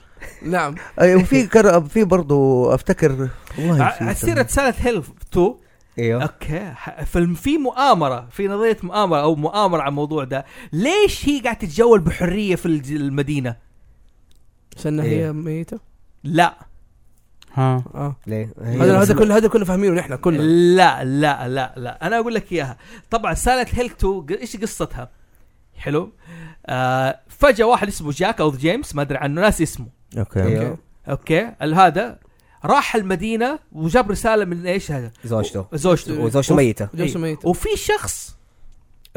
نعم
أي وفي كر... في برضو افتكر والله
ع-
نسيت.
على سيره سالت هيل 2
ايوه
اوكي ح- فالم- في مؤامره في نظريه مؤامره او مؤامره على الموضوع ده ليش هي قاعده تتجول بحريه في الج- المدينه
عشان
إيه.
هي ميته
لا
ها
اه
ليه
هذا هذا كله هذا كله فاهمينه نحن كلنا
لا لا لا لا انا اقول لك اياها طبعا سالت هيل 2 ق- ايش قصتها حلو آه فجاه واحد اسمه جاك او جيمس ما ادري عنه ناس اسمه
اوكي
أيوه.
اوكي ال- هذا راح المدينه وجاب رساله من ايش هذا
زوجته
زوجته
وزوجته
وف-
ميته
زوجته
إيه.
ميته
وفي شخص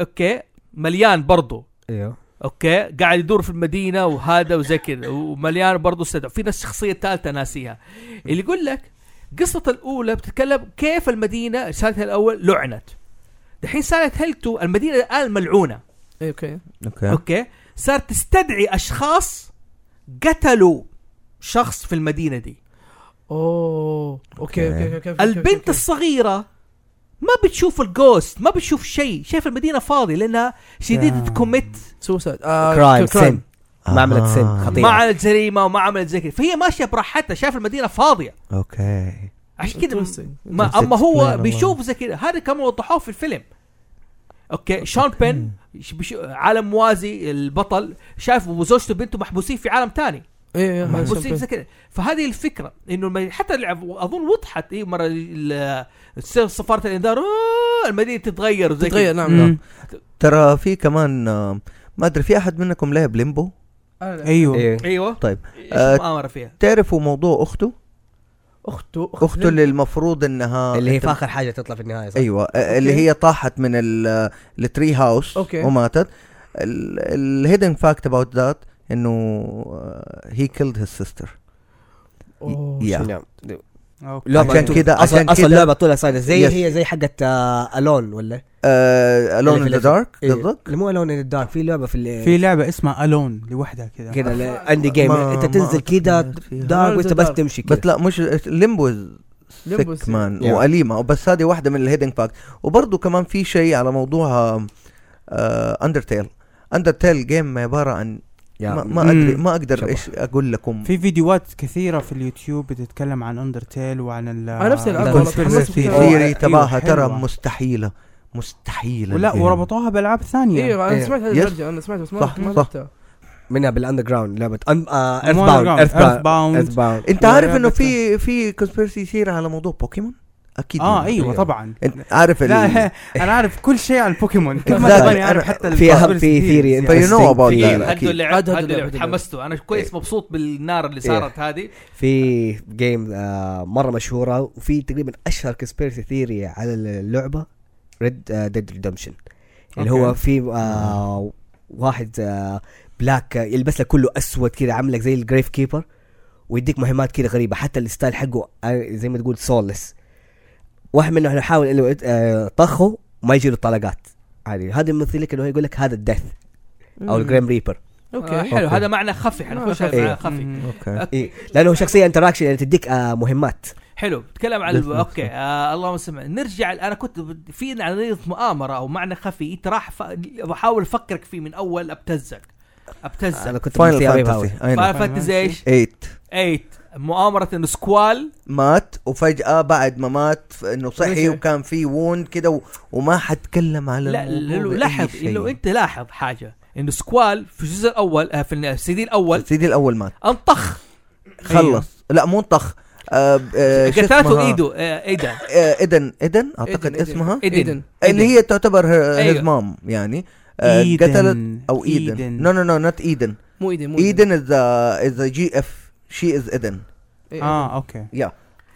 اوكي مليان برضه
ايوه
اوكي قاعد يدور في المدينه وهذا وزي كذا ومليان برضه استدعى في ناس شخصيه ثالثه ناسيها اللي يقول لك قصة الأولى بتتكلم كيف المدينة رسالتها الأول لعنت. دحين صارت هلتو المدينة الآن ملعونة،
إيه، اوكي
اوكي
أوكي؟ صارت تستدعي أشخاص قتلوا شخص في المدينة دي.
اوه اوكي اوكي أوكي، اوكي
البنت الصغيرة ما بتشوف الجوست، ما بتشوف شيء، شايف المدينة فاضية لأنها شديدة
Yeah.
كوميت
سوسايد
كرايم سن ما عملت سن
ما
خطيئه
عملت جريمه وما عملت زي كذا فهي ماشيه براحتها شايف المدينه فاضيه
اوكي
عشان كذا
Interesting.
ما
Interesting.
اما هو
والله.
بيشوف زي كذا هذا كمان وضحوه في الفيلم اوكي شون بين ش- بيش- عالم موازي البطل شايف وزوجته وبنته محبوسين في عالم تاني
ايه
محبوسين زي
ايه
كذا فهذه الفكره انه الم- حتى اللعب اظن وضحت اي مره ال- الس- سفاره الانذار آه، المدينه تتغير وزي
تتغير
كذا
نعم نعم
مم.
ترى في كمان آه، ما ادري في احد منكم لعب ليمبو
إيه.
أمم.
ايوه
ايوه
ايوه
طيب.
ايش
آه،
المؤامره فيها
تعرفوا موضوع اخته
اخته
اخته اللي المفروض انها
اللي هي
أنت-
في اخر حاجه تطلع في النهايه صح؟
ايوه آه، اللي
أوكي.
هي طاحت من ال- التري هاوس
أوكي.
وماتت الهيدن فاكت اباوت ذات انه هي كيلد هيز سيستر
أوه.
يا
نعم
أوكي.
لعبة
عشان كده-
أصلاً-
عشان
اصلا
كده-
لعبه طولها سايلنت زي
Yes.
هي زي حقت آه، الون ولا
الون ان
اللي
ذا
في
دارك
إيه.
قصدك؟
اللي مو الون ان الدارك في لعبه في ال-
في لعبه اسمها الون لوحدها كذا
كده ال- اندي جيم
ما-
انت
ما
تنزل كده
أعتقد فيها.
دارك وانت بس تمشي
بس
كده
لا مش ليمبو
Limbo is
سيك مان
sick. Yeah.
واليمه بس هذه واحده من الهيدنج فاكت وبرضه كمان في آه، شيء على موضوع اندرتيل اندرتيل جيم عباره عن
يا
ما, ما ادري
مم.
ما اقدر
شبه.
ايش اقول لكم
في فيديوهات كثيره في اليوتيوب بتتكلم عن اندرتيل وعن ال
أنا نفسي ألعبها
ال
والله،
conspiracy
تحمست
theory.
لها.
ثيري
أيوة،
تبعها ترى
حلوة.
مستحيله مستحيله
ولا
الفيلم.
وربطوها بالعاب ثانيه
ايوه انا
إيه.
سمعت هذه
يس.
الدرجه انا سمعت بس ما
صح،
ما
صح.
لعبتها.
منها بالاندر جراوند لعبه ان ايرث
مو
باوند
Underground،
ايرث
Earthbound.
باوند
انت
ولا
عارف انه
لعبتها.
في في كونسبيرسي يصير على موضوع بوكيمون اكيد
اه
إنه-
ايوه طبعا
انت عارف
لا
ال-
انا عارف كل شيء عن بوكيمون كل ما
Exactly.
تبغاني اعرف حتى ال
في
conspiracy
اهم في
theories
ثيري
يعني.
But you know about that.
هدوا
إيه، أكيد.
اللي
عاد
لعبت هدوا اللي
هدوا
لعبت
اللعبة، هدوا اللعبة.
حمسته انا كويس مبسوط بالنار اللي
إيه.
صارت هذه
في جيم آه مره مشهوره وفي تقريبا اشهر كسبيرسي ثيري على اللعبه ريد ديد ريدمشن اللي هو
أوكي.
في آه واحد آه بلاك آه، يلبس لك كله اسود كذا عاملك زي الجريف كيبر ويديك مهمات كذا غريبه حتى الستايل حقه آه، زي ما تقول سولس واحد منهم يحاول انه يت- آه، طخه وما يجي له طلقات عادي هذا يمثل لك انه هو يقول لك هذا الدث او
مم.
الجريم ريبر
آه،
اوكي
حلو
أوكي.
هذا معنى خفي حنخش
معنى
على
خفي.
معنى خفي
مم.
اوكي
أوكي.
إيه. لانه شخصيه انتراكشن يعني تديك آه مهمات
حلو تكلم على
بس- بس-
اوكي آه اللهم سمع نرجع انا كنت ب- في نظريه مؤامره او معنى خفي انت راح ف- بحاول افكرك فيه من اول ابتزك
انا
ابتزك
كنت
فاينل
بنسي أبي بهاوي.
فانتسي اي
فاينل فانتزي ايش؟
8
8 مؤامره انه سكوال
مات وفجأة بعد ما مات ف- انه صحي
ماشي.
وكان في ووند كده و- وما حتكلم على
لا
الموضوع
لو
بأي
لاحظ
شيء.
لو انت لاحظ حاجه انه سكوال في الجزء الاول آه، في السي دي الاول
سيدي الاول مات
انطخ
خلص لا مو انطخ آه ب- آه، شو
أيوه. قتلته
اسمها؟
ايده آه، ايده
آه، ايدن ايدن اعتقد
إيدن.
اسمها
إيدن.
ايدن
اللي هي تعتبر هيز
أيوة.
مام يعني آه،
إيدن.
قتلت او ايدن
إيدن.
آه،
نو نو نو نوت ايدن
مو ايدن مو
ايدن از از جي اف شي از ايدن
إيه.
آه،
اه اوكي
يا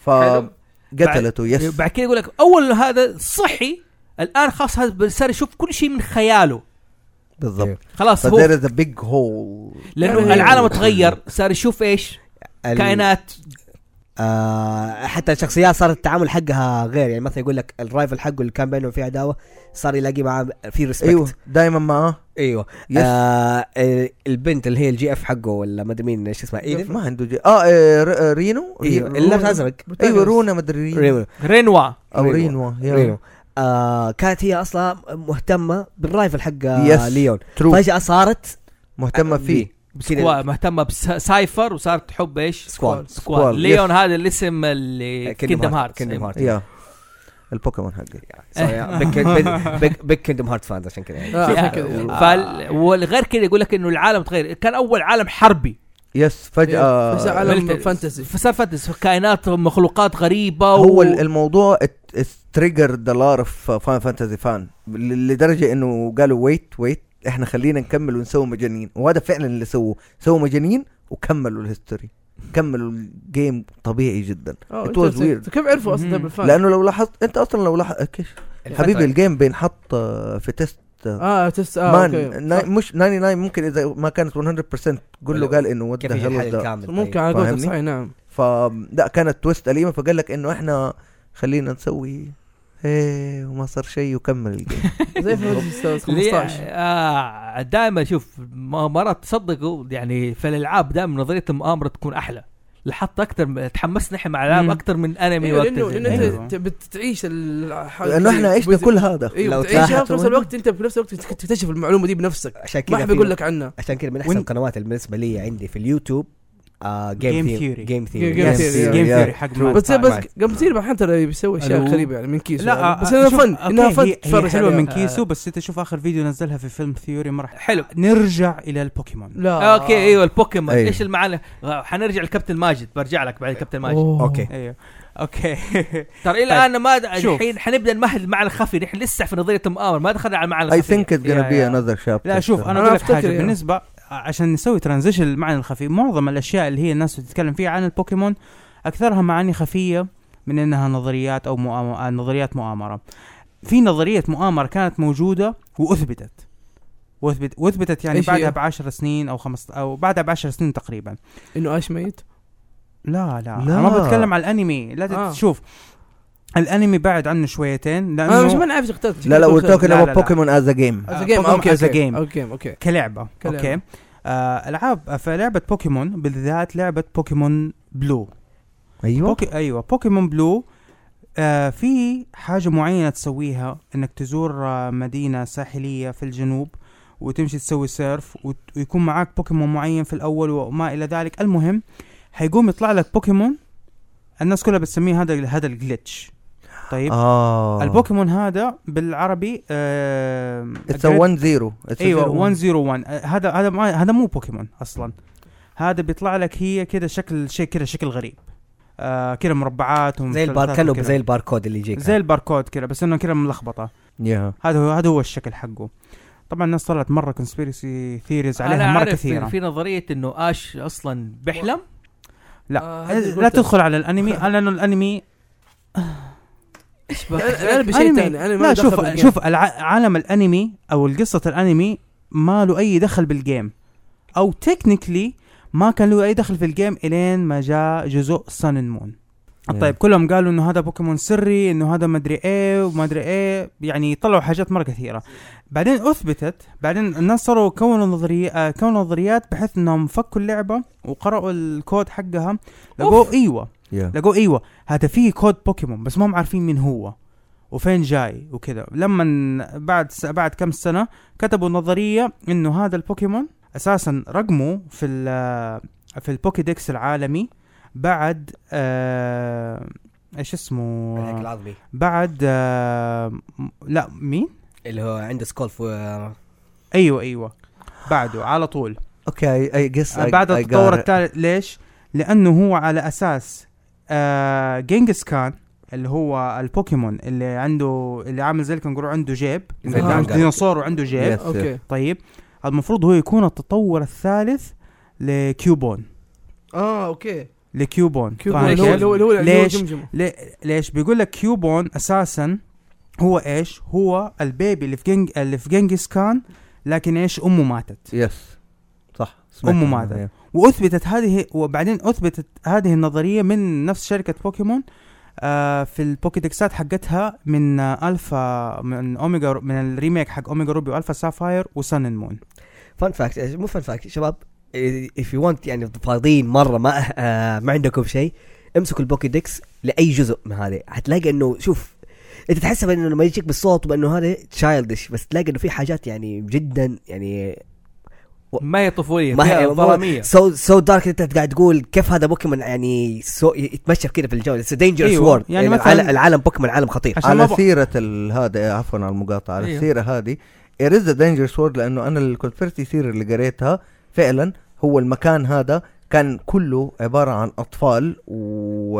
حلو.
فقتلته يس
بعد كده يقول لك اول هذا صحي الان خلاص هذا صار يشوف كل شيء من خياله
بالضبط
خلاص هو
فذير از ا بيج هول
لانه العالم تغير صار يشوف ايش؟
ال-
كائنات
آه حتى الشخصيات صار التعامل حقها غير يعني مثلا يقول لك الرايفل حقه اللي كان بينهم في عداوه صار يلاقي معاه في ريسبكت
ايوه
ايوه
دائما معاه
ايوه
يس.
آه ال- البنت اللي هي الجي اف حقه ولا ما ادري مين ايش اسمها ايدن
ما عنده جي اه آه، ر- آه، رينو
ايوه
رينو؟
اللي لابس ازرق
ايوه رونا مدري رينو
ريمو
رينوا
او
رينو.
رينو
ريمو آه كانت هي اصلا مهتمه بالرايفل حق
يس.
آه ليون
ترو
فجاه صارت
مهتمه فيه
كده.
سكوا مهتمه بسايفر وصارت تحب ايش؟
سكوال
سكوال
سكوال.
ليون هذا الاسم اللي كيندم هارت
كيندم هارت
يا البوكيمون حقك
بيج كيندم هارت فانز عشان كذا يعني
آه، عشان كده.
فال... والغير كده يقول لك انه العالم تغير كان اول عالم حربي
يس
إيه. بس
فجاه
عالم
ملك-
فانتسي
فصار فانتسي كائنات مخلوقات غريبه
هو ال- الموضوع تريجر ذا لار اوف فان فانتزي فان لدرجه انه قالوا ويت ويت احنا خلينا نكمل ونسوي مجانين وهذا فعلا اللي سووه سووا مجانين وكملوا الهيستوري كملوا الجيم طبيعي جدا
آه،
It was
interesting.
weird. أمم.
كيف عرفوا اصلا ده
مم.
بالفان؟
لانه لو لاحظت انت اصلا لو لاحظت إيش؟ حبيبي الجيم بينحط آه، في تيست
اه تس
آه،
اه
مان
اوكي
ناي- مش 99 ممكن اذا ما كانت 100% قول
ولو-
له قال انه وات
كيف
ذا
يجي الحل
هيل ذا
الكامل
ممكن
طيب.
على قولتك
فاهمني؟
صحيح نعم
فلا كانت تويست اليمه فقال لك انه احنا خلينا نسوي ايه وما صار شيء وكمل الجيم
زي في
اللي-
15
آه دائما شوف م- مرات تصدقوا يعني في الالعاب دائما نظريه المؤامره تكون احلى لاحظت اكثر م- تحمسنا احنا مع العاب
مم.
اكثر من انمي
ايوه لانه
وقت
لانه
زي-
أيوه.
انت ت- بتعيش الحاجه
لانه احنا عشنا كل هذا
لو
إيه،
ايوه بتعيشها
تلاحظ
في نفس
وين-
الوقت انت في نفس الوقت تكتشف المعلومه دي بنفسك
عشان كذا
ما حد
في-
بيقول لك عنها
عشان كده من احسن
وإن-
القنوات بالنسبه لي عندي في اليوتيوب آه
Game
جيم ثيوري
Theory.
جيم
Game
ثيوري
Theory.
يس
Theory.
جيم
Yeah.
ثيوري حق
True.
Mad
بس
Time.
بس قام تصير احيانا ترى بيسوي اشياء
ألو.
غريبه يعني من كيسه
لا
يعني.
آه،
بس انها
شوف،
فن
أوكي،
انها فن
هي- هي
تتفرج
حلوه من
عليها.
كيسو بس انت شوف اخر فيديو نزلها في فيلم ثيوري ما راح
حلو
نرجع الى البوكيمون
لا
اوكي ايوه البوكيمون
أيوه.
ايش المعنى آه، حنرجع لكابتن ماجد برجع لك بعد كابتن ماجد
أوه.
اوكي
ايوه اوكي
ترى الى
طيب.
الان ما د-
شوف.
الحين حنبدا نمهد المعنى الخفي نحن لسه في نظريه المؤامره ما دخلنا على المعنى
اي
الخفي
ثينك اتس gonna
Yeah,
بي
yeah.
انذر شابتر
لا شوف انا
أنا
اقول لك
أفتكر
حاجه
يعني.
بالنسبه عشان نسوي ترانزيشن للمعنى الخفي معظم الاشياء اللي هي الناس بتتكلم فيها عن البوكيمون اكثرها معاني خفيه من انها نظريات او مؤامرة نظريات مؤامره في نظريه مؤامره كانت موجوده واثبتت واثبت واثبتت يعني
إيش هي؟
بعدها ب 10 سنين او خمس او بعدها ب 10 سنين تقريبا
انه اش ميت
لا لا,
لا.
انا ما بتكلم على الانمي لا
آه.
آه. تشوف الانمي بعد عنه شويتين لانه
انا مش ما عارف اخترت
لا لا وي
لا،
توكن
لا،
اباوت
لا.
بوكيمون از ا جيم
از
آه،
جيم
Pokemon
اوكي
as a
اوكي
game.
اوكي اوكي
كلعبه
كلعبة.
اوكي آه العاب فلعبه بوكيمون بالذات لعبه بوكيمون بلو
ايوه
بوكي ايوه بوكيمون بلو آه في حاجه معينه تسويها انك تزور آه مدينه ساحليه في الجنوب وتمشي تسوي سيرف وت- ويكون معاك بوكيمون معين في الاول وما الى ذلك المهم حيقوم يطلع لك بوكيمون الناس كلها بتسميه هذا هذا الجلتش طيب
اه
البوكيمون هذا بالعربي آه
اتس 1 0
ايوه 101 آه، هذا هذا ما- هذا مو بوكيمون اصلا هذا بيطلع لك هي كذا شكل شيء كذا شكل غريب آه كذا مربعات
زي البار
ومثلثات
كانه
وكذا.
زي الباركود اللي يجيك
زي الباركود كذا بس انه كذا ملخبطه
يا
هذا هو هذا هو الشكل حقه طبعا الناس طلعت مره كونسبيرسي ثيريز
إيه. أنا
عليها مره
عارف
كثيره
في نظريه انه اش اصلا بيحلم
لا
آه، هذا اللي
لا
قلته.
تدخل على الانمي لانه الانمي
ايش
أنا-
بك؟
انا بشيء
أنمي.
ثاني انا يعني ما
لا
دخل
شوف
بالجيم.
شوف الع- عالم الانمي او قصه الانمي ما له اي دخل بالجيم او تكنيكلي ما كان له اي دخل في الجيم الين ما جاء جزء سان مون طيب كلهم قالوا انه هذا بوكيمون سري انه هذا مدري ايه ومدري ايه يعني طلعوا حاجات مره كثيره بعدين اثبتت بعدين الناس صاروا كونوا نظري آه، كونوا نظريات بحيث انهم فكوا اللعبه وقرأوا الكود حقها لقوا ايوه
يا
لقوا ايوه هذا فيه كود بوكيمون بس ما هم عارفين مين هو وفين جاي وكذا لما بعد س- بعد كم سنه كتبوا نظريه انه هذا البوكيمون اساسا رقمه في ال- في البوكيدكس العالمي بعد آه ايش اسمه
هذاك العظمي
بعد آه م- لا مين
اللي هو عنده سكول في
ايوه ايوه بعده على طول
اوكي اي جس
آه، بعد التطور الثالث ليش؟ لانه هو على اساس آه جينجس كان اللي هو البوكيمون اللي عنده اللي عامل زي الكنغرو عنده جيب
زي
عنده
الكنغر.
ديناصور وعنده جيب
Yes.
اوكي
طيب المفروض هو يكون التطور الثالث لكيوبون
اه اوكي
لكيوبون
كيوبو
فاهم
اللي هو
كيف؟
اللي هو اللي هو
ليش؟
جمجمه
لي- ليش بيقول لك كيوبون اساسا هو ايش؟ هو البيبي اللي في جنج اللي في جنجس كان لكن ايش امه ماتت
يس صح
أمه ماتت. واثبتت هذه وبعدين اثبتت هذه النظريه من نفس شركه بوكيمون آه في البوكيدكسات حقتها من آه الفا من اوميجا رو- من الريميك حق اوميجا روبي والفا سافاير وسن اند مون
فان فاكت مو فان فاكت شباب اف يو ونت يعني فاضيين مره ما آه ما عندكم شيء امسكوا البوكي ديكس لاي جزء من هذه حتلاقي انه شوف انت تحسب انه لما يجيك بالصوت وانه هذا تشايلدش بس تلاقي انه في حاجات يعني جدا يعني
ما هي طفوليه
ما هي
ظلاميه
سو سو دارك انت قاعد تقول كيف هذا بوكيمون يعني سو يتمشى كذا في الجو اتس دينجرس
أيوة،
وورد
يعني
يعني
مثلاً-
العالم, العالم بوكيمون عالم خطير
عشان ما إيه.
على
ب...
سيرة ال- هذا عفوا على المقاطعة على
أيوه.
السيرة هذه إريز دينجرس وورد لأنه أنا الكونسبيرسي ثير اللي قريتها فعلا هو المكان هذا كان كله عبارة عن أطفال و-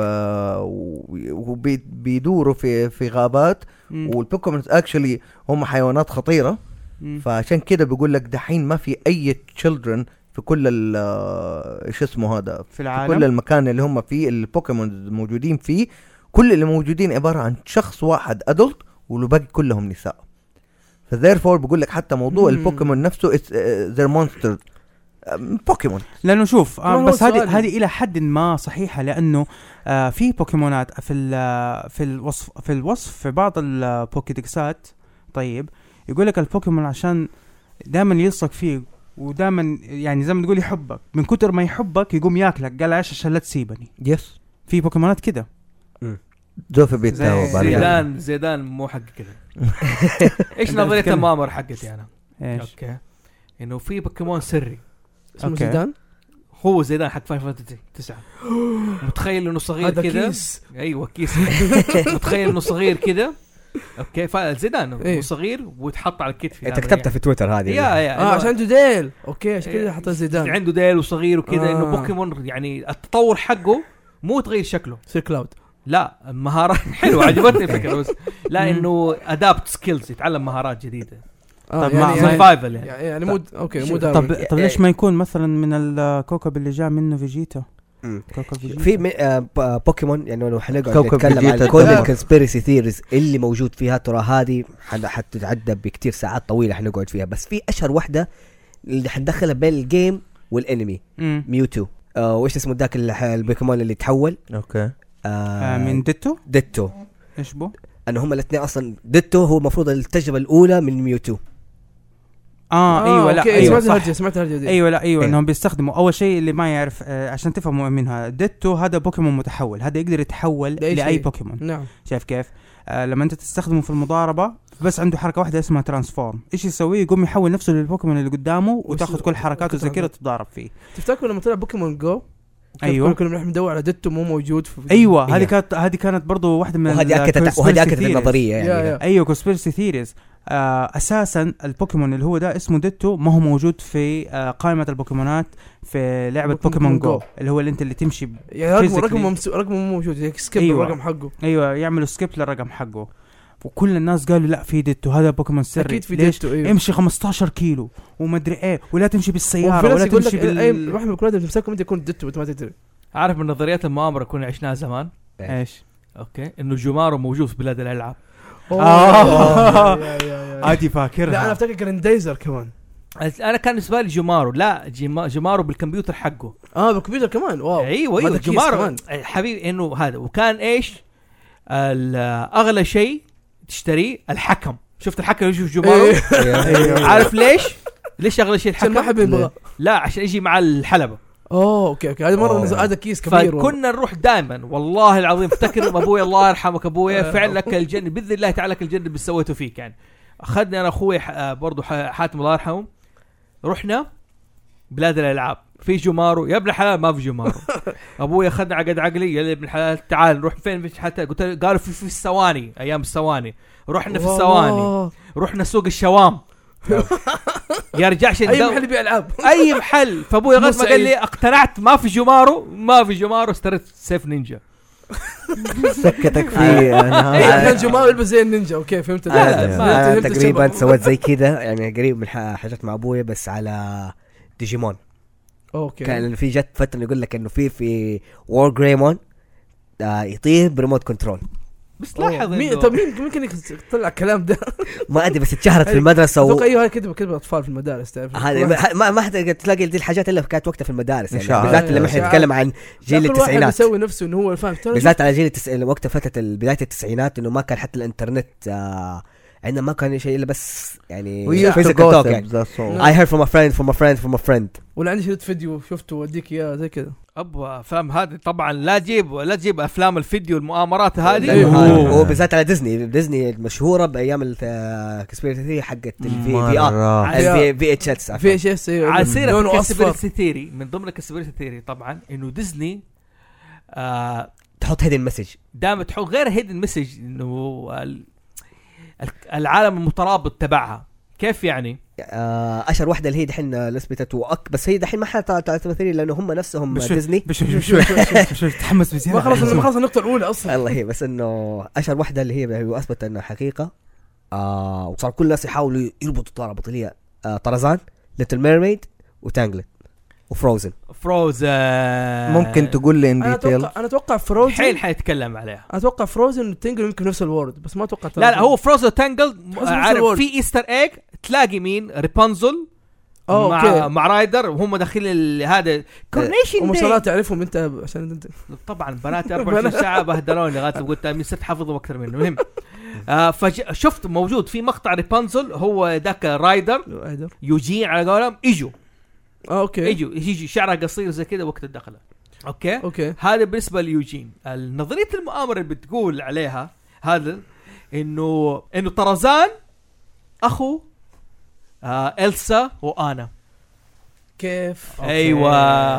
و- وبيدوروا في في غابات والبوكيمونز اكشلي هم حيوانات خطيرة فعشان كده بيقول لك دحين ما في أي تشيلدرن في كل ال ايش اسمه هذا
في
في كل
العالم
المكان اللي هم فيه البوكيمونز موجودين فيه كل اللي موجودين عباره عن شخص واحد ادلت والباقي كلهم نساء فذيرفور بقول لك حتى موضوع
مم.
البوكيمون نفسه uh, ذير مونستر بوكيمون
لانه شوف
ما
آه
هو
بس
السؤال؟
هذه هذه الى حد ما صحيحه لانه آه في بوكيمونات في ال- آه، في الوصف في الوصف في بعض البوكيدكسات طيب يقول لك البوكيمون عشان دائما يلصق فيه ودائما يعني زي ما تقول يحبك من كتر ما يحبك يقوم ياكلك قال عيش عشان لا تسيبني
يس
في بوكيمونات كده
جوفي
زي-
بيتاو
زيدان زيدان مو حق كذا ايش
أنت
نظريه
بتتكلم.
المامر حقتي انا
ايش
اوكي انه في بوكيمون سري
اسمه
أوكي.
زيدان
هو زيدان حق فاين فانتسي 9 متخيل انه صغير
هذا
كذا
كيس
ايوه كيس متخيل انه صغير كذا اوكي فزيدان
إيه.
هو صغير ويتحط على الكتف
انت
هذا
كتبتها في تويتر هذه
يعني. يا يا
اه عشان عنده ديل اوكي عشان
إيه.
كذا حطها
يعني-
زيدان
عنده ديل وصغير وكذا انه
آه.
بوكيمون يعني التطور حقه مو تغير شكله
سير كلاود
لا مهارة حلوة عجبتني الفكرة بس لا
مم.
انه ادابت سكيلز يتعلم مهارات جديدة
آه،
طب ما-
يعني- يعني-
سرفايفل يعني
يعني مو اوكي مو
شوف،
دارون
طب طب
إيه.
ليش ما يكون مثلا من الكوكب اللي جاء منه فيجيتا
مم.
كوكب فيجيتا
في م- آه، ب- آه، بوكيمون يعني لو حنقعد
كوكب
نتكلم
فيجيتا
عن كل
آه.
تدمر.
الكونسبيرسي ثيريز اللي موجود فيها ترى هذه حن- حتتعدى بكتير ساعات طويله حنقعد فيها بس في اشهر واحده اللي حندخلها بين الجيم والانمي
مم.
ميوتو آه وايش اسمه ذاك ال- البوكيمون اللي تحول
اوكي
آه
آه من ديتو
ديتو
ايش بو؟
انه هم الاثنين اصلا ديتو هو المفروض التجربه الاولى من ميوتو
اه, ايوه لا
آه، أوكي،
ايوه
سمعت
صح
الهرجه سمعت الهرجه دي
ايوه لا ايوه
إيه.
انهم بيستخدموا اول شيء اللي ما يعرف آه عشان تفهموا منها ديتو هذا بوكيمون متحول هذا يقدر يتحول
لأي
لاي
شيء.
بوكيمون
نعم
شايف كيف آه لما انت تستخدمه في المضاربه بس عنده حركه واحده اسمها ترانسفورم ايش يسوي يقوم يحول نفسه للبوكيمون اللي قدامه وتاخذ كل حركاته زي كذا تتضارب فيه
تفتكروا لما طلع بوكيمون جو
ايوه
كنا بنروح ندور على ديتو مو موجود في
ايوه هذه
إيه.
كانت هذه كانت برضو واحده من ال-
وهذه اكدت
conspiracy
وهذه اكدت
theories.
النظريه
يا
يعني
يا
ايوه كونسبيرسي ثيريز آه اساسا البوكيمون اللي هو ده اسمه ديتو ما هو موجود في آه قائمه البوكيمونات في لعبه بوكيمون
بوكيمون
جو
Go.
اللي هو اللي انت اللي تمشي ب-
يعني رقمه
Physically.
رقمه ممسو- رقمه مو موجود يعني سكيب
إيه. أيوة.
الرقم حقه
ايوه يعملوا سكيب للرقم حقه وكل الناس قالوا لا في ديتو هذا بوكيمون سري
اكيد في
ليش
ديتو ايوه
امشي 15 كيلو ومدري ايه ولا تمشي
وفي
بالسياره
ناس
ولا
يقول لك
تمشي بال
اي واحد من الكولات تمسكهم انت يكون ديتو وانت ما تدري
عارف من نظريات المؤامره كنا عشناها زمان
ايش
اوكي انه جومارو موجود في بلاد الالعاب
آه.
يا- يا- يا- يا.
عادي فاكرها
لا انا افتكر جراندايزر كمان
انا كان بالنسبه لي جومارو لا جيما- جومارو بالكمبيوتر حقه
اه بالكمبيوتر كمان واو
ايوه
هذا
ايوه
كيس
جمار
كمان.
حبيبي انه هذا وكان ايش؟ ال- اغلى شيء تشتريه الحكم شفت الحكم اللي يشوف جمارو
إيه.
عارف ليش؟ ليش اغلى شيء
عشان ما
الحكم؟
حد يبغى
لا عشان يجي مع الحلبه
اوه اوكي اوكي هذا مره
أوه.
نزل- هذا كيس كبير والله.
فكنا نروح دائما والله العظيم افتكر ابوي الله يرحمك ابويا
آه.
فعلك الجنه باذن الله تعالى لك الجنه باللي سويته فيك يعني اخذني انا اخوي ح- آه، برضو ح- حاتم الله يرحمه رحنا بلاد الالعاب في جمارو يا ابن الحلال ما في جمارو ابوي اخذنا عقد عقلي يا ابن الحلال تعال نروح فين في حتى قلت له قالوا في, في السواني ايام السواني رحنا في
واو.
السواني رحنا سوق الشوام يا رجال عشان
اي
ندور-
محل يبيع إيه، العاب
اي محل فابوي
مو
لغايه ما قال
سعيد.
لي اقتنعت ما في جمارو ما في جمارو اشتريت سيف نينجا
سكتك
في
آه،
احنا
انا
الجماعه يلبس زي النينجا اوكي فهمت
لا،
انا
لا،
فهمت-
أنا
فهمت
تقريبا
الشباب.
سويت آه، زي كذا يعني قريب من ح- حاجات مع ابويا بس على ديجيمون
اوكي
كان في جت فتره يقول لك انه في في وور جريمون آه يطير بريموت كنترول
بس
أوه.
لاحظ
مين
إنه-
طب مين مين كان يخ- طلع الكلام ده؟
ما ادري بس اتشهرت في
أي-
المدرسه و...
اتوقع ايوه هذا كذب كذب اطفال في المدارس تعرف
هذه ما- ما ما حد تلاقي دي الحاجات الا كانت وقتها في المدارس يعني
إشاعات.
بالذات لما احنا
إشاعات.
نتكلم عن جيل
كل واحد
التسعينات
يسوي نفسه انه هو فاهم ترى
بالذات على جيل التسعين وقت فتره ال- بدايه التسعينات انه ما كان حتى الانترنت آه عندنا ما كان شيء الا بس يعني physical talk يعني I heard from a friend from a friend from a friend
ولا عندي شريط فيديو شفته واديك اياه زي كذا
ابغى افلام هذه طبعا لا تجيب لا تجيب افلام الفيديو المؤامرات هذه
أيوه.
أوه.
Uh-huh. وبالذات على ديزني ديزني مشهوره بايام آه، الكسبيرتي حقت الفي في ار
مره
الفي في اتش اس
في اشياء سيئه
على
لونه
سيره
اصفر
الكسبيرسي ثيري من ضمن الكسبيرسي ثيري طبعا انه ديزني آه
تحط هيدن مسج
دائما تحط غير هيدن مسج انه ال- ال- العالم المترابط تبعها كيف يعني؟
آه، اشهر واحده اللي هي دحين اللي اثبتت وأك بس هي دحين ما حتعتبر ثري لانه هم نفسهم
بشوف-
ديزني
بشوف شوف شوف شوف- شوف تحمس بزياده
ما خلص ما خلص النقطه الاولى اصلا
الله هي بس انه اشهر واحده اللي هي هو اثبت انها حقيقه آه وصار كل الناس يحاولوا يربطوا ترابط اللي هي آه طرزان ليتل ميرميد وتانجلت وفروزن
فروزن Uh,
ممكن تقول لي ان
انا
ديتيل
اتوقع انا اتوقع
حين
فروزن
حنتكلم عليها
اتوقع فروزن وتنجل يمكن نفس الورد بس ما اتوقع
لا لا هو فروزن تانجل
نفس
عارف
الوورد.
في ايستر ايج تلاقي مين ريبانزل
اه
مع
اوكي
مع رايدر وهم داخلين ال- هذا كورنيشن
وما شاء الله
داي
تعرفهم انت عشان انت
طبعا بنات 24 ساعه بهدلوني لغايه ما قلت من ست حافظهم اكثر منه المهم آه فشفت موجود في مقطع ريبانزل هو ذاك رايدر
رايدر
يجي على قولهم اجوا
اه اوكي
اجوا يجي شعرها قصير زي كذا وقت الدخله اوكي
اوكي
هذا بالنسبه ليوجين نظريه المؤامره اللي بتقول عليها هذا انه انه طرزان اخو آه السا وانا
كيف
آه، أوكي.
ايوه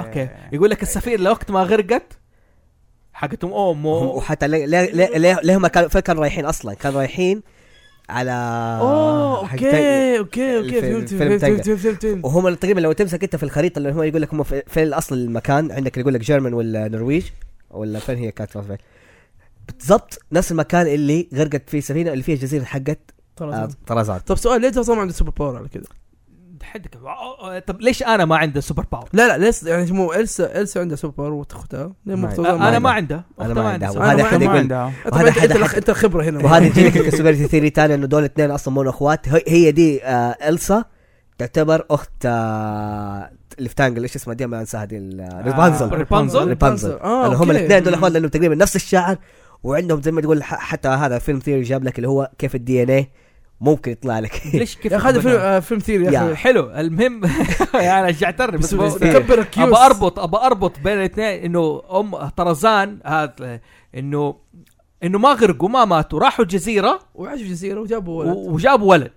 اوكي
آه،
يقول لك السفينه لوقت ما غرقت حقت ام امه
وحتى ليه ليه ليه- ليه ليه هم كانوا فين كانوا رايحين اصلا كانوا رايحين على
اوه
حق تانجلت.
اوكي اوكي اوكي
آه، الفيلم-
فهمت
فيلم
فهمت
تايجر.
فهمت فهمت فهمت
وهم تقريبا لو تمسك انت في الخريطه اللي هم يقول لك هم في- فين اصل المكان عندك اللي يقول لك جيرمان ولا نرويج ولا فين هي كانت راس بالضبط نفس المكان اللي غرقت فيه السفينه اللي فيها الجزيره حقت آه،
طرزان.
طرزان
طب سؤال ليه طرزان ما عنده سوبر باور على كذا؟
حدك آه، آه، طب ليش انا ما عندي سوبر باور؟
لا لا ليش يعني مو السا السا عندها سوبر باور واختها ليه
ما
ما
عندها.
آه،
اختها
انا ما
عندها.
عندها
أنا
أختها
ما
عندها
عندها.
سوبر باور.
حد يقول- وهذا
وهذا هذا
حد
انت
أحد.
الخ- انت الخبره هنا
وهذا يجيك الكسبيرتي ثيري تاني انه دول اثنين اصلا مو اخوات هي- هي دي آه السا تعتبر اخت آه اللي في تانجل ايش اسمها دي ما انساها دي ال- ريبانزل
ريبانزل.
ريبانزل
اه
اللي هم
أوكي.
الاثنين دول اخوات لانهم تقريبا نفس الشاعر وعندهم زي ما تقول ح- حتى هذا فيلم ثيري جاب لك اللي هو كيف الدي ان اي ممكن يطلع لك
ليش كيف
يا اخي هذا فيلم
تقبلنا؟
آه، فيلم ثيري يا
يا.
اخي
حلو المهم يعني شجعتني بس
بس بس
بقول-
كبر الكيوس
ابى اربط ابى اربط بين الاثنين انه ام طرزان هذا انه انه ما غرقوا ما ماتوا راحوا الجزيره
وعاش في جزيره وجابوا ولد
و- وجابوا ولد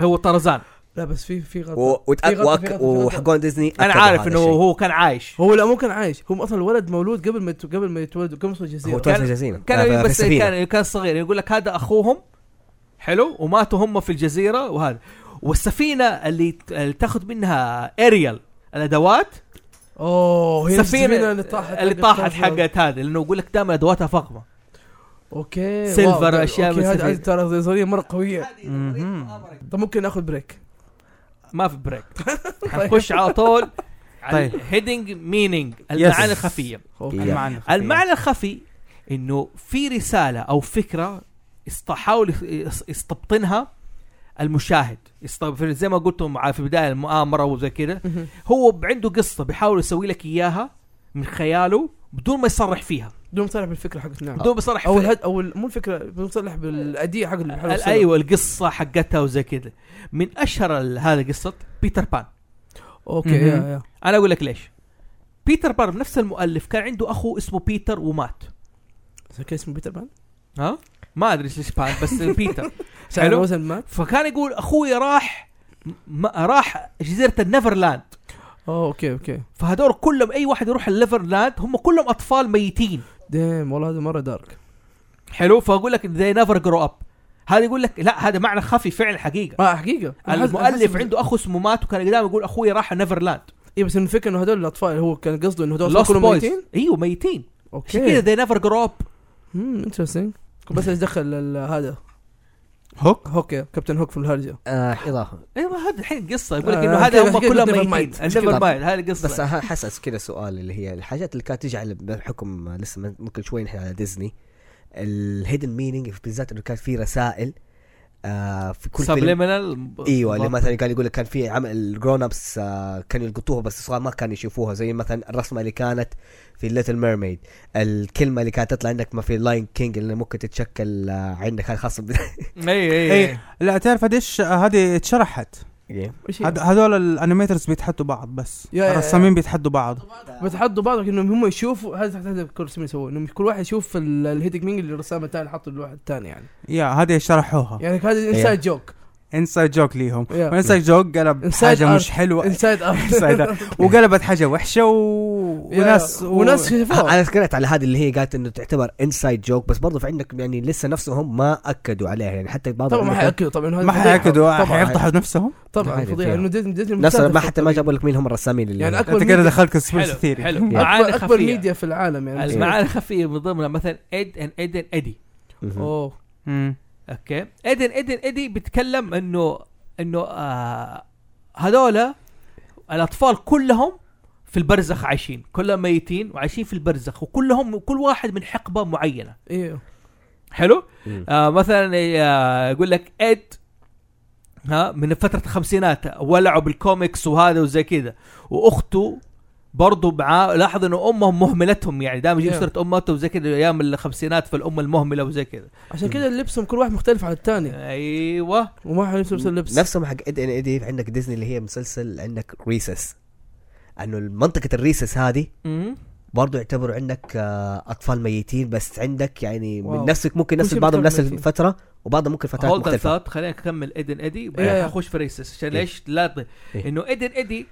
هو طرزان
لا بس في في غلطه
و- وتأ-
في غلطة- في
وأك-
غلطة- في غلطة.
وحقون ديزني
انا
أكدوا
عارف
هذا
انه
الشيء.
هو كان عايش
هو لا مو كان عايش هو اصلا الولد مولود قبل ما يت- قبل ما يتولد قبل ما يوصل
هو
الجزيره
توفى
كان-
جزيرة آه،
كان
في
بس
السفينة.
كان كان صغير يقول لك هذا اخوهم حلو وماتوا هم في الجزيره وهذا والسفينه اللي ت- اللي تاخذ منها اريال الادوات
اوه هي السفينه اللي طاحت
اللي طاحت حقت هذه لانه يقول لك دائما ادواتها فخمه
اوكي
سيلفر،
واو، ده-
أشياء
اوكي
من
هذه
السفينة.
هذه ترى نظريه مره قويه
مهم.
طب ممكن ناخذ بريك
ما في بريك طيب. حنخش على طول
طيب.
طيب هيدنج مينينج
Yes.
المعنى الخفيه
اوكي
المعنى الخفي.
المعنى الخفي انه في رساله او فكره است- حاول يس- يستبطنها المشاهد يست- في- زي ما قلتم ع- في بدايه المؤامره وزي كده
مهم.
هو عنده قصه بيحاول يسوي لك اياها من خياله بدون ما يصرح فيها
بدون صالح بالفكره حقت نعم
بدون ما يصرح
او
فيها.
الهد او ال- مو الفكره بدون صالح بالاديه حق اللي بيحاول
ال-
يوصلها.
ايوه القصه حقتها وزي كده من اشهر ال- هذه قصه بيتر بان
اوكي
مهم.
يا يا
انا اقول لك ليش بيتر بان بنفس المؤلف كان عنده اخو اسمه بيتر ومات
عشان كذا اسمه بيتر بان
ها ما ادري ليش بان بس بيتر
عشان
حلو.
وزن مات
فكان يقول اخوي راح ما راح جزيره النيفرلاند
اوه اوكي اوكي
فهدول كلهم اي واحد يروح النيفرلاند هم كلهم اطفال ميتين
ديم والله هذا مره دارك
حلو فاقول لك they never grow up هذا يقول لك لا هذا معنى خفي فعلا حقيقه
اه حقيقه أنا حاسس-
آه، المؤلف
حاسس-
عنده اخو اسمه مات وكان دائما يقول اخوي راح نيفرلاند
اي بس الفكره انه هذول الاطفال هو كان قصده انه هذول
Lost
كلهم
Boys.
ميتين
ايوه ميتين
اوكي
عشان كذا they never grow up
امم انترستنج بس ايش دخل ال- هذا
هوك
هوك يا كابتن هوك في الهرجه
آه، إضافة
ايوه هذا الحين قصه يقول لك
آه،
انه
أوكي،
هذا هم
أوكي،
كلهم
never
ميتين
mind.
نيفر
طب.
مايند هذه
بس
القصه
ه- حسأس كذا سؤال اللي هي الحاجات اللي كانت تجي على بحكم لسه من- ممكن شوي نحن على ديزني الهيدن مينينج بالذات انه كان في رسائل آه في كل فيلم
سبليمينال
إيوه،
ايوه اللي مثلا كان يقول لك كان في عمل الجرون ابس آه كانوا يلقطوها بس الصغار ما كانوا يشوفوها زي مثلا الرسمه اللي كانت في ليتل ميرميد الكلمه اللي كانت تطلع عندك ما في لاين كينج اللي ممكن تتشكل آه عندك هذا خاصه ب...
اي اي
إيه،
لا تعرف هذيش هذه اتشرحت
ايش
هد- هذول الانيميترز بيتحدوا بعض بس
يا- يا- يا.
الرسامين بيتحدوا بعض
بتحطوا بعض انهم هم يشوفوا هذا تحت هذا كل سمي يسووه انهم كل واحد يشوف ال- الهيدك مينج اللي الرسام الثاني حطه للواحد الثاني يعني
يا هذه شرحوها
يعني هذا
إيه.
انسايد جوك
انسايد جوك ليهم
Yeah.
وانسايد جوك قلب
Inside
حاجه مش
art.
حلوه
انسايد
Inside
ارت
art. وقلبت حاجه وحشه و... وناس و...
وناس
آه،
شافوها
انا سكرت على هذه اللي هي قالت انه تعتبر انسايد جوك بس برضو في عندك يعني لسه نفسهم ما اكدوا عليها يعني حتى بعض
طبعا ما
الأمريكان-
حياكدوا طبعا هذا
ما
فضيحة.
حياكدوا
طبعا
حيفضحوا نفسهم
طبعا
عادي
فضيحه
فيها.
انه ديزني ديزني
نفس
مستهدفة
ما حتى ما
الطبيعة.
جابوا لك مين هم الرسامين اللي
يعني
انت
أكبر
كده
media-
دخلت كونسبيرسي
حلو
ثيري
حلو
يعني.
معاني
اكبر أكبر
خفيه
ميديا في العالم يعني
المعاني الخفيه من ضمنها مثلا اد ان اد ان ادي
مهم.
اوه
اوكي اد ان اد ان ادي بيتكلم انه انه آه هذولا الاطفال كلهم في البرزخ عايشين كلهم ميتين وعايشين في البرزخ وكلهم كل واحد من حقبه معينه
ايوه
حلو
مم.
آه مثلا آه يقول لك اد ها من فترة الخمسينات ولعوا بالكوميكس وهذا وزي كذا واخته برضو معاه لاحظ انه امهم مهملتهم يعني دائما يجيب
Yeah.
سيره امته وزي كذا ايام الخمسينات فالام المهمله وزي كذا
عشان كذا لبسهم كل واحد مختلف عن الثاني
ايوه
وما حد نفس اللبس
نفسهم حق اد ان ادي عندك ديزني اللي هي مسلسل عندك ريسس انه منطقه الريسس هذه
مم.
برضو يعتبروا عندك آه، اطفال ميتين بس عندك يعني
واو.
من نفسك ممكن
كل
نفس
شيء يعني.
بعضهم نفس
بيعتبر ميتين.
الفتره وبعضهم ممكن فترات
هولد
مختلفه
ثوت خلينا نكمل ايدن ايدي
إيه.
بعدين اخش في ريسس عشان
إيه.
ليش لا ت-
إيه.
انه ايدن ايدي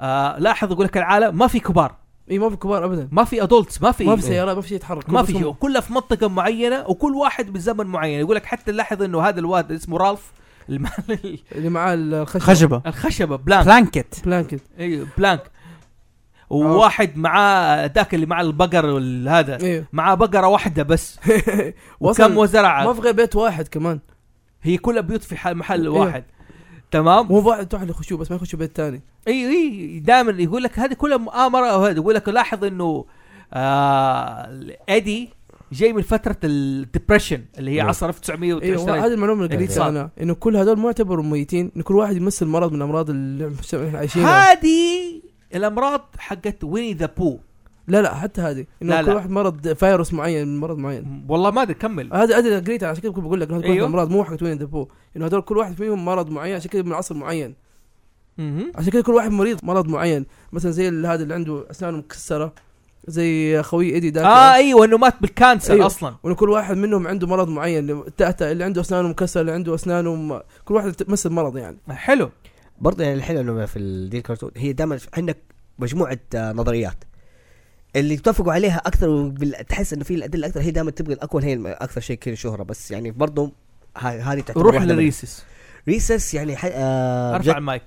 آه لاحظ يقول لك العالم ما في كبار
اي إيه، ما في كبار ابدا
ما في ادولتس ما في إيه.
ما في سيارات ما في شيء يتحرك
ما
بس
في
هم-
شيء كلها في منطقه معينه وكل واحد بزمن معين يقول لك حتى لاحظ انه هذا الواد اسمه رالف الم-
اللي معاه الخشب
خشبه
الخشبه
آه.
بلانك
بلانكت
بلانكت
ايوه
آه.
بلانك وواحد معاه ذاك اللي معاه البقر وال- هذا
ايوه
معاه بقره واحده بس
وأصلاً
وكم وزرعه
ما في غير بيت واحد كمان
هي كلها بيوت في ح- محل
إيوه.
واحد تمام
مو واحد واحد يخشوه بس ما يخشوا بيت ثاني
اي اي دائما يقول لك هذه كلها مؤامره او هذا يقول لك لاحظ انه آه ادي جاي من فتره الدبريشن اللي
إيه.
هي
نعم.
عصر 1930
ايوه هذه المعلومه اللي قريتها
اقتصاد.
انا انه كل هذول ما يعتبروا ميتين انه كل واحد يمثل مرض من امراض اللي احنا عايشينها
هذه الامراض حقت ويني ذا بو
لا لا حتى هذه انه
لا،
كل
لا.
واحد مرض فيروس معين من مرض معين
والله ما ادري كمل
هذا هذا اللي قريتها عشان كذا كنت بقول لك انه كل واحد
أيوه.
امراض مو حقت وين دبو انه هذول كل واحد فيهم مرض معين عشان كذا من عصر معين
مهم.
عشان كذا كل واحد مريض مرض معين مثلا زي ال- هذا اللي عنده اسنانه مكسره زي خوي ايدي ذاك
اه ايوه انه مات بالكانسر
أيوه.
اصلا
وانه كل واحد منهم عنده مرض معين اللي- تأتأ اللي عنده اسنانه مكسره اللي عنده اسنانه م... كل واحد مثل مرض يعني
حلو
برضه يعني الحلو انه في ال- دي الكرتون هي دائما عندك مجموعه آه، نظريات اللي تتفقوا عليها اكثر وبال- تحس انه في الادله اكثر هي دائما تبغى الاقوى هي الم- اكثر شيء كذا شهره بس يعني برضه ه- هذه تعتبر
روح
واحدة من-
للريسس
ريسس يعني ح... آه
ارفع
بجد
المايك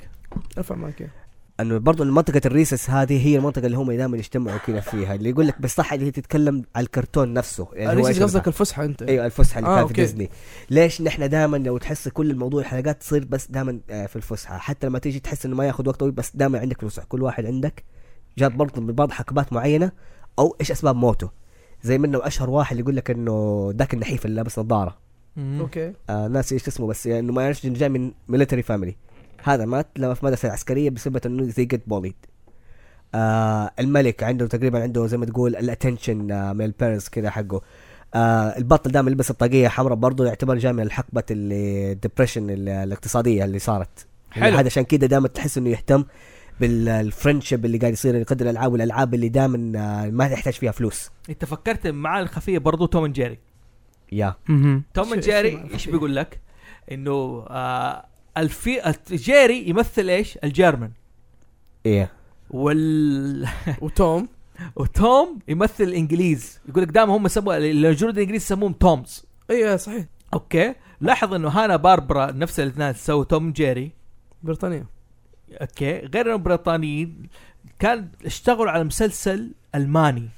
ارفع معك
يعني
إياه.
انه برضه منطقه الريسس هذه هي المنطقه اللي هم دائما يجتمعوا كذا فيها اللي يقول لك بس صح اللي هي تتكلم على الكرتون نفسه يعني هو
ريسس
إيش
قصدك
الفرق.
الفسحه انت
أيوة.
ايوه الفسحه اللي
آه،
كانت في
أوكي.
ديزني ليش نحن دائما لو تحس كل الموضوع الحلقات تصير بس دائما في الفسحه حتى لما تيجي تحس انه ما ياخذ وقت طويل بس دائما عندك فسحه كل واحد عندك جات برضه من بعض حقبات معينه او ايش اسباب موته زي منه اشهر واحد اللي يقول لك انه ذاك النحيف اللي لابس نظاره
اوكي
آه ناسي ايش اسمه بس انه ما يعرفش إنه جاي من ميلتري فاميلي هذا مات لما في مدرسه عسكريه بسبب انه زي قد بوليد آه الملك عنده تقريبا عنده زي ما تقول الاتنشن آه من البيرنتس كذا حقه آه البطل دائما يلبس الطاقيه حمراء برضه يعتبر جاي من الحقبه اللي الدبريشن اللي- الاقتصاديه اللي صارت يعني
حلو.
هذا عشان كذا دائما تحس انه يهتم بالفرنشب اللي قاعد يصير قدر الالعاب والالعاب اللي دائما آه ما تحتاج فيها فلوس
انت فكرت معاه الخفيه برضو توم اند جيري
يا
مهم.
توم اند
شو- شو
جيري
معنى
ايش
خفية؟
بيقول لك؟ انه آه الفي الت- جيري يمثل ايش؟ الجيرمن
ايه
وال
وتوم
وتوم يمثل الانجليز يقول لك دائما هم سموا الجنود الانجليز يسموهم تومز
ايوه صحيح
اوكي لاحظ انه هانا باربرا نفس الاثنين سووا توم جيري
بريطانيا
اوكي غير انهم بريطانيين كان اشتغلوا على مسلسل الماني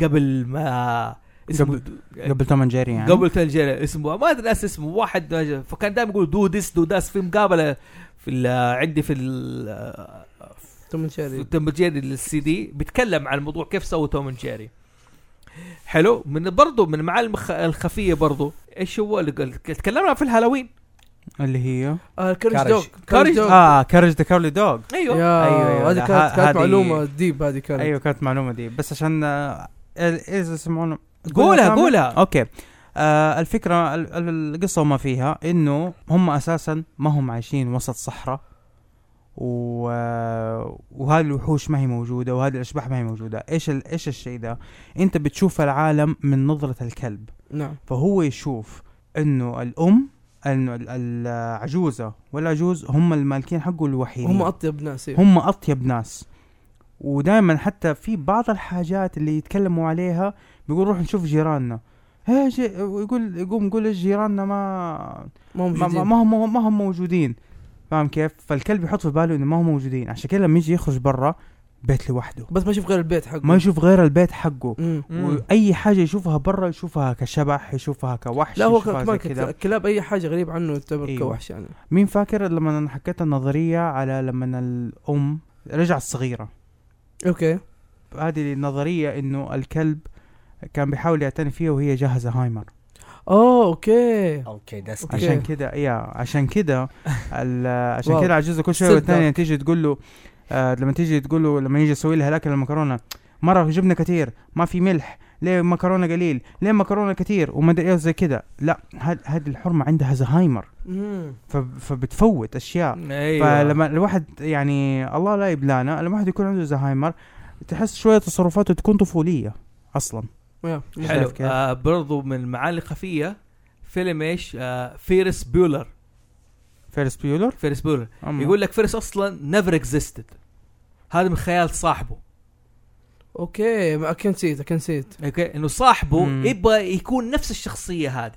قبل ما اسمه
قبل توم أند جيري يعني
قبل توم جيري اسمه ما ادري ناس اسمه واحد فكان دائما يقول دو ديس دو داس في مقابله في ال- عندي في ال-
توم
في
شيري
توم أند جيري للسي دي بيتكلم عن الموضوع كيف سووا توم أند جيري حلو من برضو من المعالم الخ- الخفيه برضو ايش هو اللي قال- تكلمنا في الهالوين
اللي هي
آه كارج
كارج.
دوغ
كارج.
دوغ
اه كارج ذا كارلي دوغ
ايوه
أيوة،
يا ايوه
أيوة،
هذه
لا،
كانت
ه-
كانت
هذه-
معلومه ديب هذه كانت
ايوه كانت معلومه دي بس عشان آه، ال- اذا يسمعون
قولها
كامل؟
قولها
اوكي آه الفكره ال- ال- القصه وما فيها انه هم اساسا ما هم عايشين وسط صحراء و... آه، وهذه الوحوش ما هي موجوده وهذه الاشباح ما هي موجوده ايش ال... ايش الشيء ده انت بتشوف العالم من نظره الكلب
نعم
فهو يشوف انه الام انه ال- العجوزه والعجوز هم المالكين حقه الوحيدين
هم اطيب ناس إيوه.
هم اطيب ناس ودائما حتى في بعض الحاجات اللي يتكلموا عليها بيقول روح نشوف جيراننا هي جي يقول يقوم يقول إيش جيراننا ما
ما هم
ما, ما,
موجودين.
ما هم ما هم موجودين فاهم كيف فالكلب يحط في باله انه ما هم موجودين عشان كده لما يجي يخرج برا بيت لوحده
بس ما يشوف غير البيت حقه
ما يشوف غير البيت حقه
مم.
واي حاجه يشوفها برا يشوفها كشبح يشوفها كوحش
لا هو
يشوفها
كمان
زي كده.
الكلاب اي حاجه غريب عنه يعتبر
أيوة.
أيوه. كوحش يعني
مين فاكر لما انا حكيت النظريه على لما الام رجعت صغيره
اوكي
هذه النظرية انه الكلب كان بيحاول يعتني فيها وهي جاهزة هايمر
اوه
أيوة.
اوكي
اوكي ده
أوكي.
عشان كده يا عشان كده ال- عشان
واو.
كده عجوزة كل شوية
صدق.
والثانية تيجي تقول له آه لما تيجي تقول له لما يجي يسوي لها الاكل المكرونة مرة جبنة كتير ما في ملح ليه مكرونة قليل ليه مكرونة كتير وما ادري ايه زي كده لا هاد- هذه الحرمة عندها زهايمر
مم.
فب- فبتفوت اشياء
أيوة.
ايوه
فلما الواحد يعني الله لا يبلانا لما الواحد يكون عنده زهايمر تحس شوية تصرفاته تكون طفولية اصلا
يا.
حلو
كيف؟
آه برضو من المعالي الخفيه فيلم ايش؟ آه فيرس بيولر
فيرس بيولر
فيرس بيولر
أما.
يقول لك فيرس اصلا نيفر اكزيستد هذا من خيال صاحبه
اوكي ما كان نسيت كان نسيت
اوكي انه صاحبه
مم.
يبغى يكون نفس الشخصيه هذه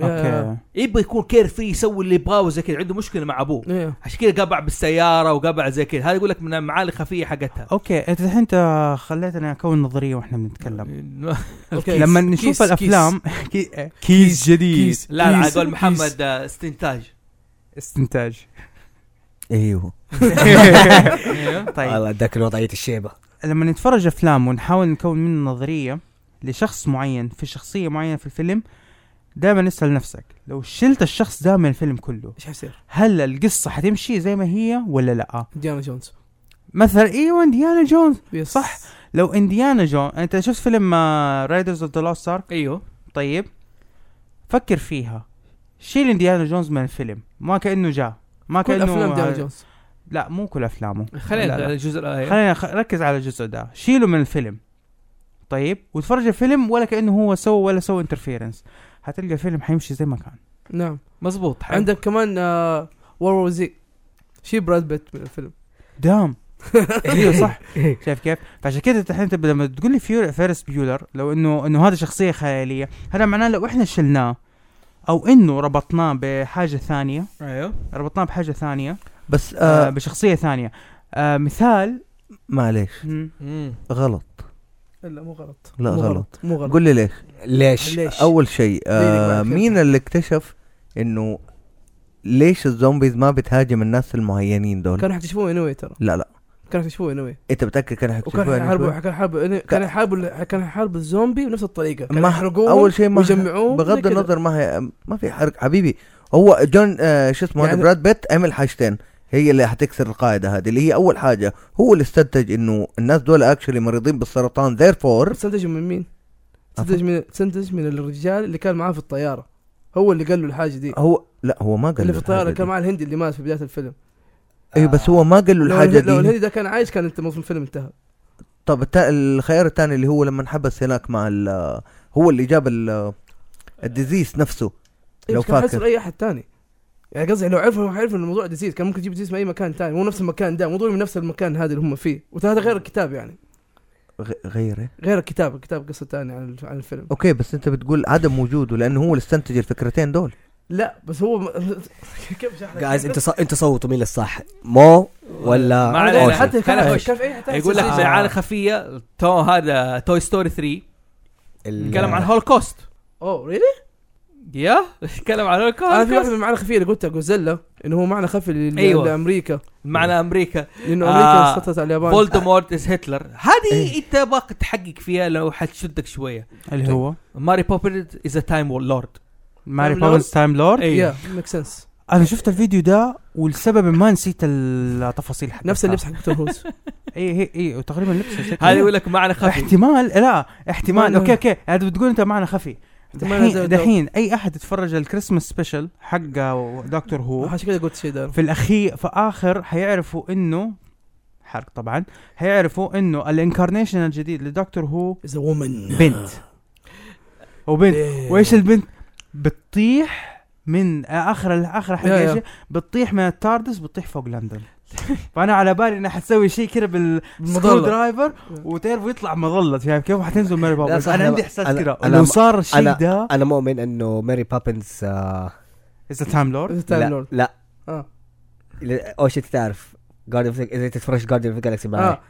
آه، اوكي
يبغى يكون كير فري يسوي اللي يبغاه وزي كذا عنده مشكله مع ابوه
ايه
عشان كذا قبع بالسياره وقبع زي كذا هذا يقول لك من المعالي الخفيه حقتها
اوكي انت الحين انت خليتني اكون نظريه واحنا بنتكلم
اوكي
لما
كيس-
نشوف
كيس-
الافلام كي- كيس جديد
كيس.
لا لا على
كيس-
قول
كيس.
محمد آه، استنتاج
استنتاج
ايوه
طيب
طيب.
والله ذاك وضعيه الشيبه
لما نتفرج افلام ونحاول نكون منه نظريه لشخص معين في شخصيه معينه في الفيلم دائما اسال نفسك لو شلت الشخص ده من الفيلم كله
ايش حيصير؟
هل القصه حتمشي زي ما هي ولا لا
ديانا جونز
مثلا ايوه انديانا جونز
يس.
صح. لو انديانا جونز انت شفت فيلم آه، رايدرز اوف ذا لوست ارك
أيوه.
ايوه
طيب فكر فيها شيل انديانا جونز من الفيلم ما كانه جاء ما
كل
كانه
افلام ديانا جونز أيوه.
لا مو كل افلامه لا،
خلينا
لا.
الجزء الاخير
خلينا خ- ركز على الجزء ده شيله من الفيلم طيب وتفرج الفيلم ولا كانه هو سوى ولا سوى انترفيرنس هتلقى الفيلم حيمشي زي ما كان
نعم
مزبوط حلو.
عندك كمان آه وور زي شي براد بيت من الفيلم
دام ايوه صح
إيه.
شايف كيف؟ فعشان كذا الحين انت لما تقول لي فيور فيرس بيولر لو انه انه هذا شخصيه خياليه هذا معناه لو احنا شلناه او انه ربطناه بحاجه ثانيه
ايوه
ربطناه بحاجه ثانيه
بس
آه
آه
بشخصيه ثانيه آه مثال
معليش
مم،
مم.
غلط
لا مو غلط
لا
مو
غلط
مو غلط
قول لي ليش
ليش؟
ليش؟
اول شيء آه
بعد كده.
مين اللي اكتشف انه ليش الزومبيز ما بتهاجم الناس المعينين دول
كانوا حيكتشفوه انوي ترى
لا لا
كانوا حيكتشفوه انوي
انت متاكد كان
وكان
حيكتشفوها
حيحاربوا
يعني
كان حاربوا كان حاربوا كان حاربوا الزومبي بنفس الطريقه كان
ما-
يحرقوه
اول شيء ما
ويجمعوه زي
بغض
كده.
النظر ما هي ما في حرق حبيبي هو جون آه شو اسمه
يعني-
يعني براد بيت عمل حاجتين هي اللي حتكسر القاعده هذه اللي هي اول حاجه هو اللي استنتج انه الناس دول اكشلي مريضين بالسرطان ذيرفور
تستنتج من مين؟ تستنتج من تستنتج من الرجال اللي كان معاه في الطياره هو اللي قال له الحاجه دي
هو لا هو ما قال
اللي
له
في الطياره
الحاجة
كان
دي.
معاه الهندي اللي مات في بدايه الفيلم
ايوه بس هو ما قال له
لو
الحاجه
الهندي- لو
دي
الهندي ده كان عايش كان انت المفروض الفيلم انتهى
طب التا- الخيار الثاني اللي هو لما انحبس هناك مع ال- هو اللي جاب ال- الديزيس نفسه
إيه،
لو
بس كان حيصير
فاكر.
اي احد تاني يعني قصدي لو عرفوا حيعرفوا ان الموضوع ديزيز كان ممكن يجيب ديزيز من اي مكان تاني مو نفس المكان ده مو ضروري من نفس المكان هذا اللي هم فيه وهذا غير الكتاب يعني
غ- غيره
غير الكتاب الكتاب قصه تانية عن عن الفيلم
اوكي بس انت بتقول عدم وجوده لانه هو اللي استنتج الفكرتين دول
لا بس هو كيف شرح لك؟
جايز انت ص... انت صوتوا مين الصح؟ مو ولا
ما علينا.
أوشن؟
حتى
كان
كان
هوش.
كان في اي حتى
يقول لك
حتى-
زي عاله خفيه تو هذا توي ستوري 3
ال-
يتكلم عن هولوكوست
اوه ريلي
يا يتكلم عن
انا آه، في واحد
هولوكوست
من معنى خفيه اللي قلتها جوزيلا انه هو معنى خفي لل-
أيوة.
لامريكا
معنى امريكا
لانه
آه،
امريكا سطت على اليابان
فولدمورت از هتلر هذه
إيه.
انت باقي تحقق فيها لو حتشدك شويه
اللي
طيب.
هو
ماري بوبرز از ا تايم لورد
ماري
تايم لورد؟
بوبنز تايم لورد
ايوه
يا ميك سنس
انا شفت الفيديو ده والسبب ما نسيت التفاصيل حقتها
نفس اللبس حق توم هوز
اي هي إيه، اي وتقريبا لبسه
هذا يقول لك معنى خفي
احتمال لا احتمال
معنى-
اوكي اوكي هذا بتقول انت معنى خفي
احتمال
دحين
هذا-
دحين اي احد يتفرج الكريسماس سبيشل حق دكتور هو
عشان كذا قلت شيء ده
في الاخير في اخر حيعرفوا انه حرق طبعا حيعرفوا انه الانكارنيشن الجديد لدكتور هو
از وومن
بنت وبنت وايش البنت بتطيح من اخر اخر
يا- يا.
حاجه إيش؟ بتطيح من التاردس بتطيح فوق لندن فانا على بالي انها حتسوي شيء كده بالسكرو
بالمظلة.
درايفر وتعرف يطلع مظله فاهم كيف وحتنزل ماري بابرز
صح،
انا
أنا-
عندي احساس
أنا-
كده
أنا-
لو صار الشيء
أنا-
ده
انا مؤمن انه ماري بابنز آه...
از تايم لورد
تايم
لا
لورد
لا
اه
لا، اول شيء تعرف جاردن اذا تتفرج جاردن اوف جالكسي معي
اه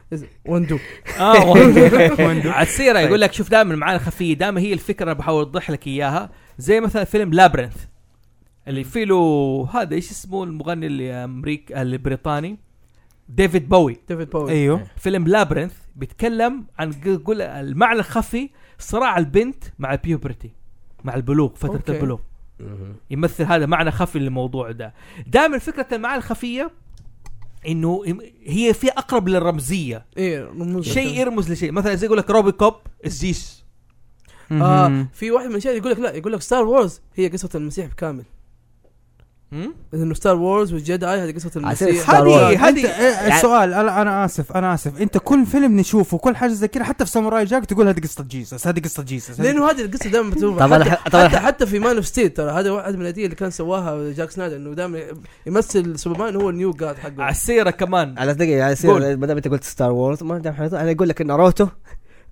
وندو
اه والله. على السيره يقول لك شوف دائما المعاني الخفيه دائما هي الفكره اللي بحاول اوضح لك اياها زي مثلا فيلم لابرنث اللي فيه له هذا ايش اسمه المغني اللي امريكي البريطاني ديفيد بوي
ديفيد باوي
ايوه
فيلم لابرنث بيتكلم عن قل المعنى الخفي صراع البنت مع البيوبرتي مع البلوغ فتره
أوكي.
أوكي. البلوغ يمثل هذا معنى خفي للموضوع ده دائما فكره المعاني الخفيه انه هي فيها اقرب للرمزيه
ايه رموز
شيء يرمز لشيء مثلا زي يقول لك روبي كوب الزيس
اه
Mm-hmm.
مهم.
في واحد من الاشياء يقول لك لا يقول لك ستار وورز هي قصه المسيح بكامل انه ستار وورز والجداي هذه قصه
عسير
المسيح
ستار وورز.
هذه
انت
هذه
آه، السؤال انا انا اسف انا اسف انت كل فيلم نشوفه كل حاجه زي كده حتى في ساموراي جاك تقول هذه قصه جيسس هذه قصه جيسس هذه-
لانه هذه القصه دائما بتروح
طبعا
حتى-
ح- طبعا
حتى
ح-
حتى في مان اوف ستيل ترى هذا واحد من الادله اللي كان سواها جاك سنايدر انه دائما يمثل سوبرمان هو النيو جاد
على
حقه
السيره كمان
على دقيقة على
قول.
سيرة ما دام انت قلت ستار وورز ما دام حيطلع، انا اقول لك ان ناروتو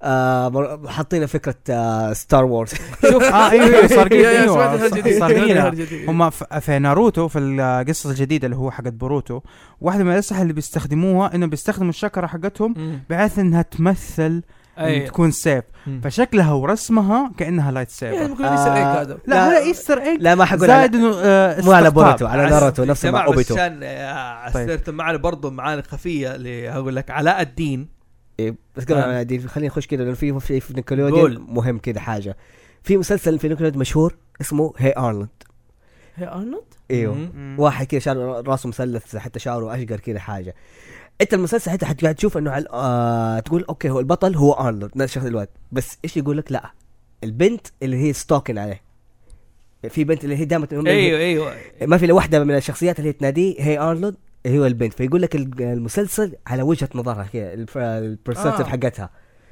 آه مر- حاطين فكرة آه ستار وورز
شوف اه ايوه ايوه سارقين
يا- يا، سمعت
ايوه
الهرجة دي.
ص- سارقينها
سمعت الهرجة دي.
هم ف- في ناروتو في القصه الجديده اللي هو حقت بوروتو واحده من الاسلحه اللي بيستخدموها انهم بيستخدموا الشكره حقتهم بحيث انها تمثل إن
أي.
تكون سيف
مم.
فشكلها ورسمها كانها لايت
يعني
سيفر
ممكن لسه هيك هذا
لا هذا ايستر ايج
لا ما حقول
زائد انه آه،
مو على
استقطاب.
بوروتو على ناروتو نفس ما
جماعة،
اوبيتو
بس عشان آه،
طيب.
سيرة المعنى برضه معاني خفيه اللي هقول لك علاء الدين
إيه، بس قبل
آه.
ما أدير، خليني اخش كده لانه في في في
قول.
نيكولوديان مهم كده حاجة في مسلسل في نيكولوديان مشهور اسمه هي ارنولد
هي ارنولد
ايوه
مم.
مم.
واحد كده شعره راسه مثلث حتى شعره اشقر كده حاجه انت المسلسل حتى حتقعد تشوف انه على آه تقول اوكي هو البطل هو ارنولد نفس شخص الواد بس ايش يقول لك لا البنت اللي هي ستوكن عليه في بنت اللي هي دائما
ايوه ايوه
ما في الا واحده من الشخصيات اللي هي تناديه هي ارنولد هي البنت فيقول لك الج- المسلسل على وجهه نظرها كده البرسبتيف
آه.
حقتها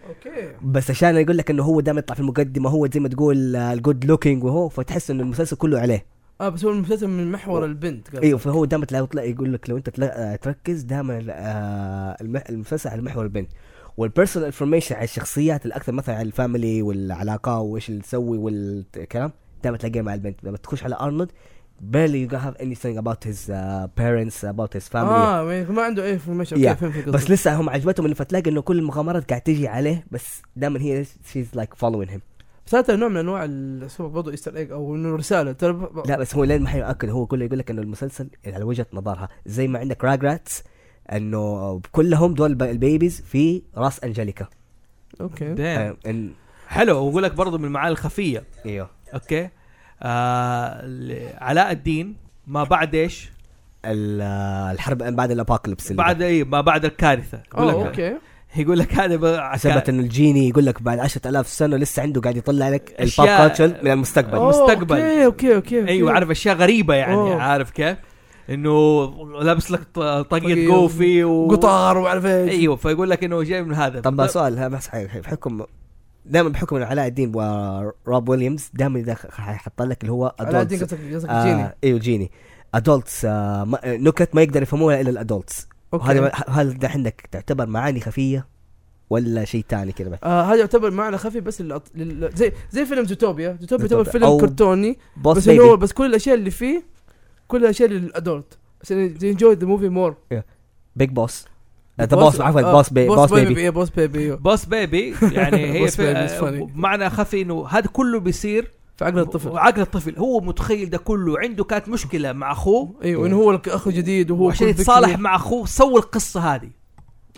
اوكي
بس عشان اقول لك انه هو دائما يطلع في المقدمه هو زي ما تقول الجود لوكينج وهو فتحس انه المسلسل كله عليه
اه بس هو المسلسل من محور البنت قبل.
ايوه فهو دائما تلاقي يطلع يقول لك لو انت تلا- آه، تركز دائما آه، الم- المسلسل على محور البنت والبيرسونال انفورميشن على الشخصيات الاكثر مثلا على الفاميلي والعلاقه وايش اللي تسوي والكلام دائما تلاقيه مع البنت لما تخش على ارنولد barely you have anything about his uh, parents about his family
اه ما- ما عنده اي انفورميشن اوكي
Yeah.
فهمت
بس
قصدك
لسه هم عجبتهم انه فتلاقي انه كل المغامرات قاعد تجي عليه بس دائما هي شيز لايك فولوينج هيم
بس هذا نوع من انواع السوبر برضه ايستر ايج او انه رساله ترى ب- ب-
لا بس هو لين ما حيأكد هو كله يقول لك انه المسلسل على وجهه نظرها زي ما عندك راجراتس انه كلهم دول الب- البيبيز في راس انجليكا
اوكي
دايم.
آه، إن-
حلو واقول لك برضه من المعاني الخفيه
ايوه
اوكي آه ل- علاء الدين ما بعد ايش؟
ال- آه، الحرب بعد الابوكاليبس اللي
بعد اي ما بعد الكارثه يقول
اه
لك
اوكي
يقول لك هذا
ده.
ب-
ثبت ان الجيني يقول لك بعد 10000 سنه لسه عنده قاعد يطلع لك البوب
أشياء-
كلتشر من المستقبل
أوه. المستقبل.
اوكي اوكي اوكي
ايوه عارف اشياء غريبه يعني
أوه.
عارف كيف؟ انه لابس لك ط- طاقيه
طاقية
جوفي و...
قطار وعارف ايش
أيوة،
ايوه فيقول لك انه جاي من هذا
طب سؤال ها بس حي- حي- بحكم دائما بحكم إنه علاء الدين وراب ويليامز دائما اذا حيحط لك اللي هو
على
adults.
دين قصدك قصدك جيني
آه ايوه جيني ادولتس آه ما- نكت ما يقدر يفهموها الا الادولتس
اوكي
هذا هل ده عندك تعتبر معاني خفيه ولا شيء ثاني كذا بس؟
آه هذا يعتبر معنى خفي بس للأط... لل... زي زي فيلم زوتوبيا زوتوبيا يعتبر
زوتوبيا.
فيلم
أو
كرتوني
بوس
بس انه هو
بيبي
بس كل الاشياء اللي فيه كل الاشياء للادولت عشان انجوي ذا موفي مور
بيج بوس ذا بوس عفوا
آه،
بوس بيبي بوس بيبي
ايه بوس بيبي ايوه
بوس بيبي يعني هي
بوس بيبي، it's
في...
funny.
معنى خفي انه هذا كله بيصير
في عقل الطفل
وعقل الطفل هو متخيل ده كله عنده كانت مشكله مع اخوه
ايوه
إيه.
انه هو اخ جديد وهو
وعشان
كل فكره-
يتصالح مع اخوه سوى القصه هذه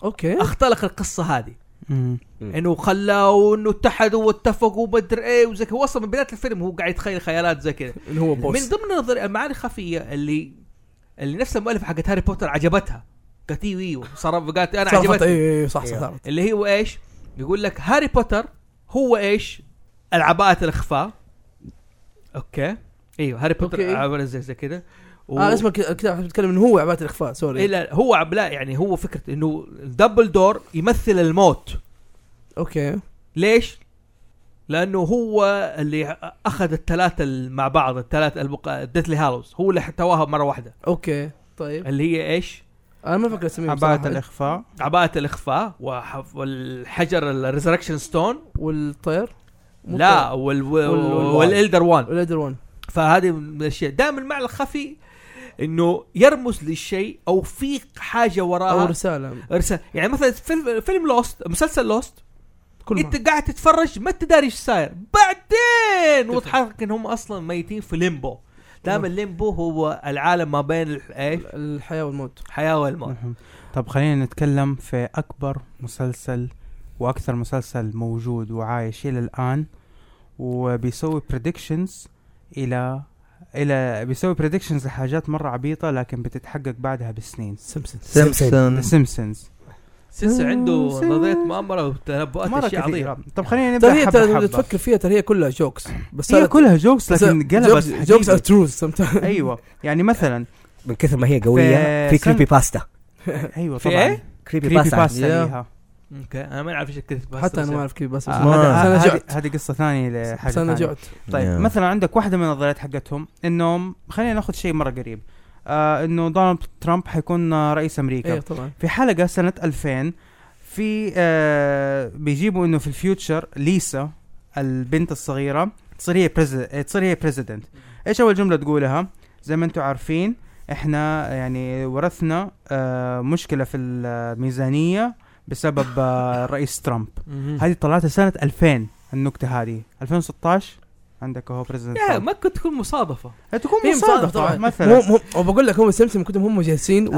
اوكي
اختلق القصه هذه
مم.
انه خلاه وانه اتحدوا واتفقوا ومدري ايه وزي كذا هو اصلا من بدايه الفيلم هو قاعد يتخيل خيالات زي كذا
انه هو
من
بوس
ضمن النظر- المعاني الخفيه اللي اللي نفس المؤلفه حقت هاري بوتر عجبتها قالت ايوه ايوه صار قالت انا
صارت
عجبتني
ايوه ايوه صح صح
إيه.
إيوه.
صارت
اللي هو ايش؟ يقول لك هاري بوتر هو ايش؟ العباءة الاخفاء اوكي ايوه هاري
أوكي.
بوتر عبارة زي زي كذا و...
اه اسمه كذا كذا بتكلم انه هو عباءة الاخفاء
إيه،
سوري
لا هو عب- لا يعني هو فكره انه دبل دور يمثل الموت
اوكي
ليش؟ لانه هو اللي اخذ الثلاثه ال- مع بعض الثلاثه البقاء ديثلي هالوز هو اللي توها مره واحده
اوكي طيب
اللي هي ايش؟
انا ما فاكر
أيوة،
اسمه
عباءة الاخفاء
عباءة الاخفاء وح- والحجر الريزركشن ستون
والطير مو
لا وال... وال...
وال-
والالدر وان
الطير، والادر ون
فهذه من الاشياء دائما المعنى الخفي انه يرمز للشيء او في حاجه
آه.
او
وراها
رساله
ارسال يعني مثلا فيلم, فيلم لوست مسلسل لوست
كل ما-
انت قاعد تتفرج ما انت داري ايش صاير بعدين وضحك ان هم اصلا ميتين في ليمبو دائما
نعم.
الليمبو هو العالم ما بين ال- ايش
الحياه والموت
الحياه والموت
نعم.
مهم. طب خلينا نتكلم في اكبر مسلسل واكثر مسلسل موجود وعايش الى الان وبيسوي predictions الى الى بيسوي predictions لحاجات مره عبيطه لكن بتتحقق بعدها بسنين
سمسم
ذا
سيمبسون
سيمبسونز
سلسة عنده
سلسة.
نظرية مؤامرة وتنبؤات
مره
اشياء عظيمة
كثيره طب خلينا
ترى هي
نبدا
ترى
حبه
لو
حبه
تفكر فيها ترى هي كلها جوكس بس
هي كلها جوكس لكن قلبت
جوكس ار
حقيقة.
تروز
ايوه يعني مثلا
من كثر ما هي قويه في
في سن-
كريبي باستا
ايوه
في
طبعا
إيه؟
كريبي
كريبي
باستا
باستا ليها
اوكي انا ما اعرف ايش كتبت
حتى انا ما اعرف كيف بس
آه،
بس
ما-
هذا-
انا
هذه-
جعت
هذه قصه ثانيه لحاجه
بس انا
ثانية.
جعت
طيب
Yeah.
مثلا عندك واحده من النظريات حقتهم انهم خلينا ناخذ شيء مره قريب آه انه دونالد ترامب حيكون آه، رئيس امريكا
ايوه طبعا
في حلقه سنه 2000 في آه بيجيبوا انه في الفيوتشر ليسا البنت الصغيره تصير هي بريزيدنت تصير هي بريزيدنت ايش اول جمله تقولها زي ما انتم عارفين احنا يعني ورثنا آه مشكله في الميزانيه بسبب آه الرئيس ترامب هذه طلعتها سنه 2000 النكته هذه 2016 عندك هو بريزنت
يا ما إيه، كنت تكون مصادفة
تكون
هي
مصادفه
مصادفة طبعا.
مثلا
مو مو وبقول لك هم سمسم كنتم هم جالسين
آه،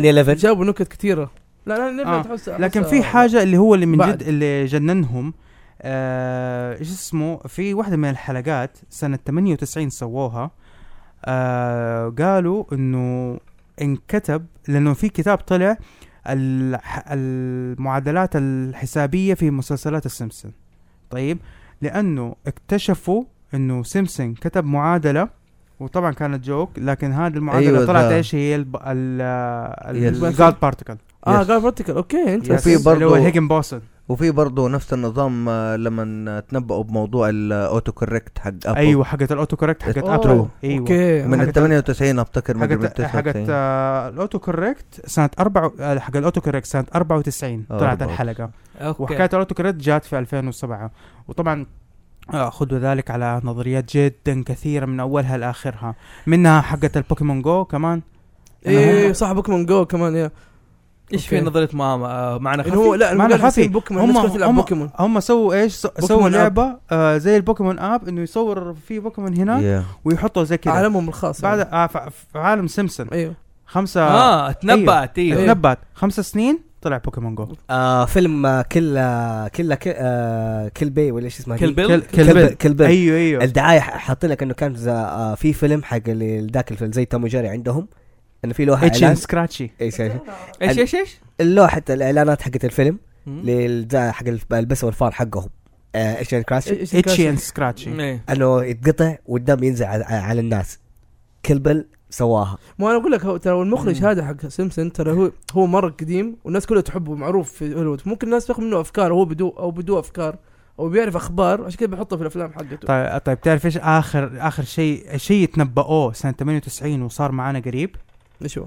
9/11
جابوا نكت كثيره لا لا نبدا
آه،
تحس
لكن
أحس-
في حاجه اللي هو اللي من
بعد.
جد اللي جننهم آه، ايش اسمه في واحده من الحلقات سنه 98 سووها آه، قالوا انه انكتب لانه في كتاب طلع الح- المعادلات الحسابيه في مسلسلات السيمبسون طيب لانه اكتشفوا انه سيمبسون كتب معادله وطبعا كانت جوك لكن هذه المعادله
أيوة
أيوة طلعت
ذا.
ايش هي الب... ال
Yes.
الجاد بارتيكل
اه
Yes.
آه، قال فيرتيكال اوكي انت
Yes. وفي
اللي هو
برضو-
هيجن بوسن
وفي برضه نفس النظام آه، لما تنبأوا بموضوع الاوتو كوركت حق ابل
ايوه حقت الاوتو كوركت حقت
أوه،
ابل ايوه
اوكي
من ال
حقت-
98 افتكر ما ادري من
حقت حقت
99
آه، الاوتو كوركت سنه 4 حق الاوتو كوركت سنه 94
آه،
طلعت
94.
الحلقه
اوكي
وحكايه الاوتو كوركت جات في 2007 وطبعا آه، خذوا ذلك على نظريات جدا كثيره من اولها لاخرها منها حقت البوكيمون جو كمان
ايه صح بوكيمون جو كمان يا
ايش في آه،
أوكي.
نظريه ماما معنى
إن هو
خفي
لا
ما أنا
المقال
خفي.
يصير بوكيمون
هم
الناس كلها تلعب
هم
بوكيمون
هم سووا ايش سو- سووا
بوكيمون آب.
لعبه آه، زي البوكيمون اب انه يصور في بوكيمون هنا
Yeah.
ويحطه زي كذا
عالمهم الخاص
بعد
يعني.
آه، ف- في عالم سيمسون
ايوه
خمسه
اه تنبأت
إيه.
ايوه
تنبأت خمس سنين طلع بوكيمون جو
آه فيلم آه، كل آه، كل كل- آه كل بي ولا ايش اسمها
كل
هي؟
بيل
كل- كل
كل
بيل.
بيل. كل بيل.
أيوه.
ايوه ايوه
الدعايه ح- حاطين لك انه كان زا- آه في فيلم حق اللي- ذاك الفيلم زي توم وجيري عندهم انه في إيه، لوحه
اتش
اعلان
ان سكراتشي
ايش ايش
ايش ايش ايش؟
اللوحه الاعلانات حقت الفيلم
مم.
للدا- حق الف- البس والفار حقهم آه، ايش يعني كراش
إيش- إيش
اتش
الكلاسيك؟
ان سكراتشي
إيه.
انه يتقطع والدم ينزل على, على الناس كلبل سواها
ما انا اقول لك هو ترى هو المخرج
مم.
هذا حق سيمسون ترى هو هو مره قديم والناس كلها تحبه معروف في هوليوود ممكن الناس تاخذ منه افكار هو بدو او بدو افكار او بيعرف اخبار عشان كذا بيحطها في الافلام حقته
طيب طيب تعرف ايش اخر اخر شيء شيء تنبأوه سنه 98 وصار معانا قريب
ايش هو؟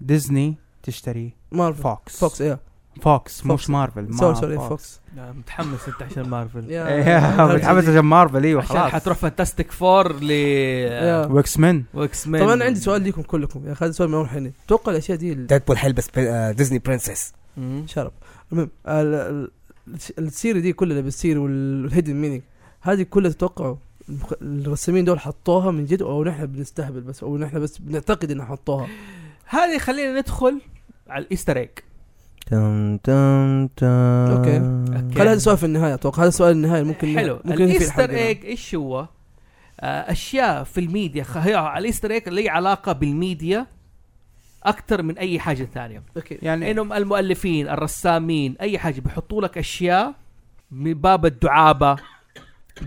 ديزني تشتري
مارفل
فوكس
فوكس ايه
فوكس مش
فوكس.
مارفل ما
سوري سوري
فوكس.
فوكس
لا، متحمس انت عشان مارفل
يا-
إيه، متحمس عشان مارفل ايوه
عشان
خلاص
حتروح فانتاستيك فور ل
يا.
واكس مان
واكس مان
طبعا انا عندي سؤال ليكم كلكم يا اخي هذا سؤال من اول حين توقع الاشياء دي ال-
ديدبول حيلبس بي- آه، ديزني برنسس
مم.
شرب المهم ال- ال- الس- السيري دي كلها اللي بالسيري والهيدن مينينج هذه كلها تتوقعوا المخ- الرسامين دول حطوها من جد او نحن بنستهبل بس او نحن بس بنعتقد انها حطوها
هذه خلينا ندخل على الايستر ايج
تم تم تم
أوكي.
أوكي.
خلي هذا سؤال في النهايه اتوقع هذا سؤال النهايه ممكن
حلو
ممكن نقفل
الايستر
الحلقة هنا.
ايج ايش هو؟ آه، اشياء في الميديا خ- هي الايستر ايج ليه علاقه بالميديا اكثر من اي حاجه ثانيه
اوكي
يعني
انهم المؤلفين الرسامين اي حاجه بيحطوا لك اشياء من باب الدعابه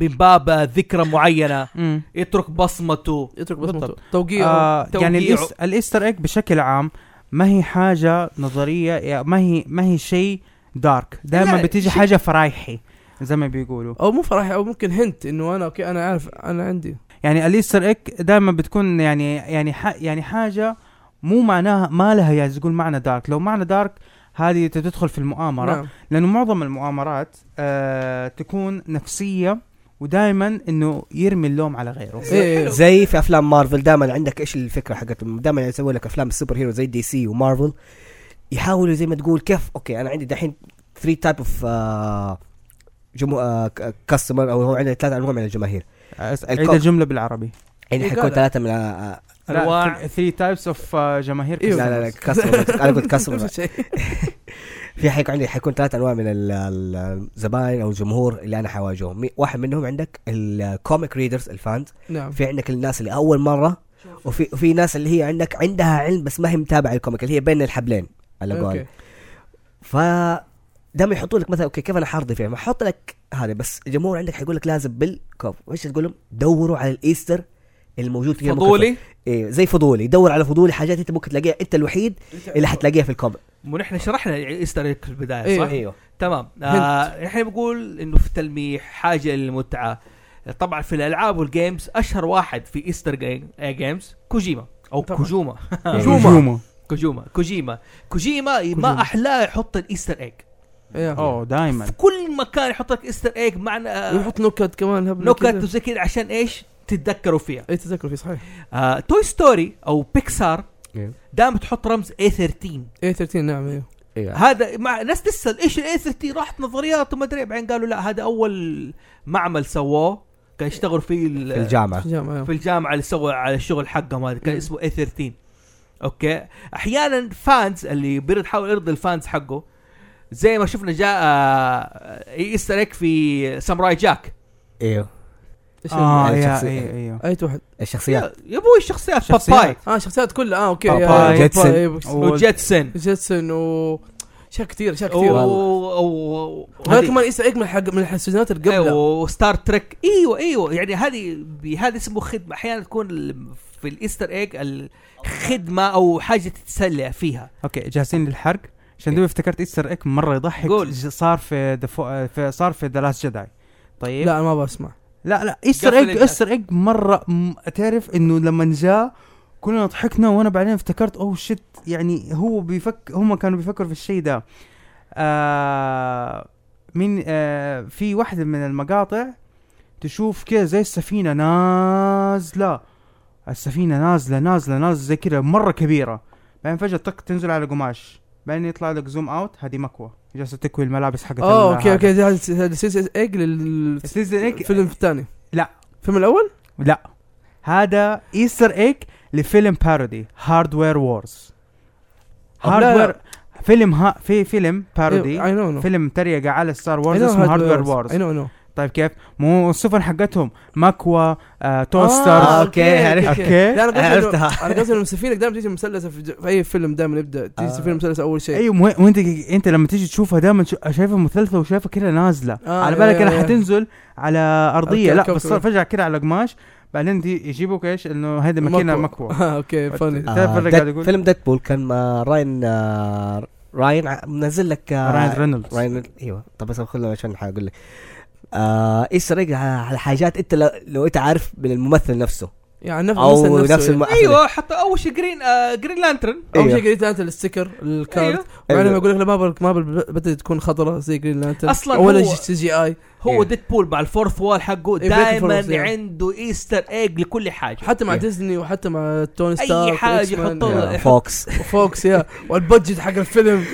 من باب ذكرى معينه
مم.
يترك بصمته
اترك
بالضبط.
بس توقيع
آه
توقيعه.
يعني الإيست- الايستر ايج بشكل عام ما هي حاجه نظريه يعني ما هي ما هي شيء دارك دائما
لا،
بتيجي
شيء-
حاجه فرايحي زي ما بيقولوا
او مو فرح او ممكن هنت انه انا اوكي انا عارف انا عندي
يعني الايستر ايج دائما بتكون يعني يعني ح- يعني حاجه مو معناها ما لها يعني تقول معنى دارك لو معنى دارك هذه ت- تدخل في المؤامره
نعم
لانه معظم المؤامرات آه تكون نفسيه ودائما انه يرمي اللوم على غيره
إيه.
زي في افلام مارفل دائما عندك ايش الفكره حقتهم دائما يسوي لك افلام السوبر هيرو زي دي سي ومارفل يحاولوا زي ما تقول كيف اوكي انا عندي دحين 3 تايب اوف آه، جمهور كاستمر او هو عنده ثلاث انواع من الجماهير
آه، س- عيد
الكو-
الجمله بالعربي
يعني
إيه
حيكون
قال.
ثلاثه من آه،
أنواع.
3 تايبس اوف آه، جماهير
إيوه.
لا لا لا كاستمر انا قلت كاستمر في حيكون عندي حيكون ثلاث انواع من ال- ال- الزباين او الجمهور اللي انا حواجههم مي- واحد منهم عندك الكوميك ريدرز الفانز
نعم
في عندك الناس اللي اول مره وفي وفي ناس اللي هي عندك عندها علم بس ما هي متابعه الكوميك اللي هي بين الحبلين على قول
اوكي
ف دائما يحطوا لك مثلا اوكي كيف انا حارضي فيها ما حط لك هذا بس الجمهور عندك حيقول لك لازم بالكوب وايش تقول لهم دوروا على الايستر الموجود فيها
فضولي
إيه زي فضولي دور على فضولي حاجات انت ممكن تلاقيها انت الوحيد اللي حتلاقيها في الكوميك
ونحن شرحنا الايستر ايج في البدايه
إيه.
صح؟ تمام آه احنا بنقول انه في تلميح حاجه للمتعه طبعا في الالعاب والجيمز اشهر واحد في ايستر جيم آه، جيمز كوجيما او
طبعاً.
كوجوما
يعني جوما
كوجوما كوجيما كوجيما ما
كوجيما.
احلاه يحط الايستر ايج
إيه.
اوه دائما
في كل مكان يحط لك ايستر ايج معنى آه،
ويحط نكت كمان هبل
نكت
كده.
وزي كذا عشان ايش تتذكروا فيها
اي تذكر في صحيح
آه توي ستوري او بيكسار
إيه.
دائما تحط رمز اي 13
اي 13 نعم ايوه
هذا مع ناس تسال ايش الاي 13 راحت نظريات وما ادري بعدين قالوا لا هذا اول معمل سووه كان يشتغلوا فيه ال-
في الجامعه
في الجامعة
في
ايوه
الجامعه اللي سووا على الشغل حقهم هذا كان
مم.
اسمه اي 13 اوكي احيانا فانز اللي بيرد حاول يرضي الفانز حقه زي ما شفنا جاء آه، ايستر ايك في ساموراي جاك
ايوه
إيش
اه
هي؟
ايوه
الشخصية.
ايوه
اية واحد
الشخصيات
يا ابوي الشخصيات
شخصيات.
باباي
اه شخصيات كلها اه اوكي
باباي،
يا-
جيتسون.
باباي، إيه، بوكس.
و-
وجيتسن
جيتسون و اشياء كثير اشياء
و-
كثير
و-
هذا
هذه-
كمان ايستر ايج من حق من السيزونات
ايوه
أيوه.
القبله
وستار تريك ايوه ايوه يعني هذه بهذا اسمه خدمه احيانا تكون ال- في الايستر ايج الخدمه او حاجه تتسلى فيها
اوكي جاهزين للحرق عشان دوبي افتكرت ايستر ايك مره يضحك
قول.
ج- صار في, دفو... في صار في ذا لاست جداي طيب
لا أنا ما بسمع
لا لا ايستر
قفل
ايج
ال-
ايستر ايج مره م- تعرف انه لما جاء كلنا ضحكنا وانا بعدين افتكرت اوه شت يعني هو بيفك هم كانوا بيفكروا في الشيء ده آه من آه في واحده من المقاطع تشوف كده زي السفينه نازله السفينه نازله نازله نازله زي كده مره كبيره بعدين فجاه طق تنزل على قماش بعدين يطلع لك زوم اوت هذه مكوى جالسه تكوي الملابس حقت
اوه
ال-
اوكي
هذا.
اوكي دي هذه هذه سلسله ايج للفيلم
سيزن إيج-
الثاني
لا.
الفيلم الاول؟
لا هذا ايستر ايج لفيلم بارودي هاردوير وورز
لا، لا. أيوة،
هاردوير فيلم ها في فيلم بارودي
اي نو نو
فيلم تريقة على ستار وورز اسمه هاردوير
اي
وورز
نو نو
طيب كيف مو السفن حقتهم ماكوا آه،
آه،
توسترز
أوكي، عرفت.
اوكي
لا انا قصدي
أنا
إنه-
إيه؟ عرفتها.
انا قصدي انه السفينه دائما تيجي مسلسه في, ج- في اي فيلم دائما يبدا تيجي
آه.
سفينه مسلسه اول شيء
ايوه مه- وانت انت لما تيجي تشوفها دائما شايفها مثلثه وشايفها كده نازله
آه،
على
يا-
بالك
يا-
انها
يا.
حتنزل على
أوكي،
ارضيه
أوكي،
لا
أوكي،
بس صار
أوكي.
فجاه كده على قماش بعدين دي- يجيبوك ايش انه هذه ماكينه مكوى
آه، اوكي فاني
تعرف
آه
اللي
ديد-
قاعد يقول؟
فيلم ديدبول كان مع راين آه راين ع- منزل لك آه
راين رينولدز
راين ايوه طب بس خلنا عشان حقول لك آه ايستر ايج على حاجات انت لو, لو انت عارف من الممثل نفسه
يعني نفس
او نفس
الم...
الم...
ايوه حتى اول شيء جرين آه جرين لانترن
اول
أيوة.
شيء قريت انت الستيكر الكارد
ايوه
وبعدين
أيوة.
يقول لك لا ما بال- ما بال- بدات تكون خضراء زي جرين لانترن
أصلاً
ولا
هو-
سي جي اي
هو
إيه.
ديد بول مع الفورث وول حقه
إيه، breaking forth،
دائما
إيه.
عنده ايستر ايج لكل حاجه
حتى مع
إيه.
ديزني وحتى مع توني ستارك
اي حاجه
والإكس-مان
يحطوا له
آه، فوكس
وفوكس يا والبادجت حق الفيلم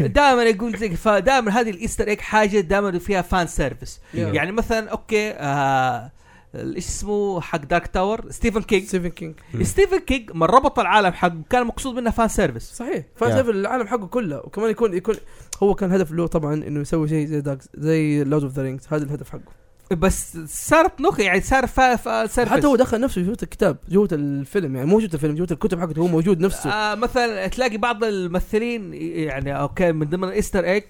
دائما يقول زي فدائما هذه الايستر ايج حاجه دائما فيها فان سيرفيس يعني مثلا اوكي آه ايش اسمه حق دارك تاور ستيفن كينج
ستيفن كينج
ستيفن كينج من ربط العالم حقه كان مقصود منه فان سيرفيس
صحيح
Yeah.
فاز في العالم حقه كله وكمان يكون يكون هو كان هدف له طبعا انه يسوي شيء زي دارك زي لورد اوف ذا رينجز هذا الهدف حقه
بس صارت نكته يعني صار فا فا سيرفيس
حتى هو دخل نفسه جوه الكتاب جوه الفيلم يعني مو جوه الفيلم جوه الكتب حقته هو موجود نفسه
آه مثلا تلاقي بعض الممثلين يعني اوكي من ضمن الايستر ايج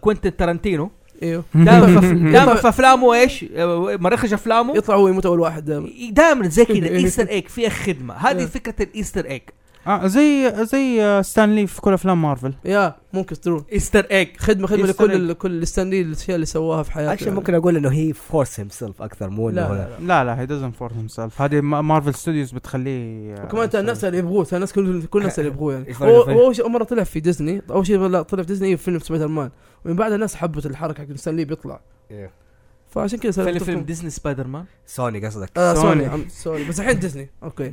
كوينتن ترنتينو
ايوه
دائما في- دائما في افلامه ايش؟ آه، مراخج افلامه
يطلع هو يموت اول واحد دائما
دائما زي كذا ايستر ايج فيها خدمه هذه
إيه.
فكره الايستر ايج
اه زي زي آه، ستانلي في كل افلام مارفل
يا ممكن تدرون
ايستر ايج
خدمه خدمه
يستر
لكل ال- كل الستانلي الاشياء اللي سواها في حياته
اكشن ممكن اقول انه هي فورس هيم سيلف اكثر مو
لا،
انه هو-
لا، لا.
لا لا هي دزنت فورس هيم سيلف هذه ما- مارفل ستوديوز بتخليه آه،
وكمان ترى الناس اللي يبغوه ترى الناس كل كل الناس اللي يبغوه يعني
إيش
هو
رأيك؟
هو أول شيء- اول مره طلع في ديزني اول شيء لا، طلع في ديزني في فيلم سبايدر مان ومن بعدها الناس حبت الحركه حق ستانلي بيطلع
إيه.
فعشان كذا صار
فيلم
يتفقون.
فيلم ديزني سبايدر مان
سوني قصدك
آه
سوني.
سوني عم- سوني بس الحين ديزني اوكي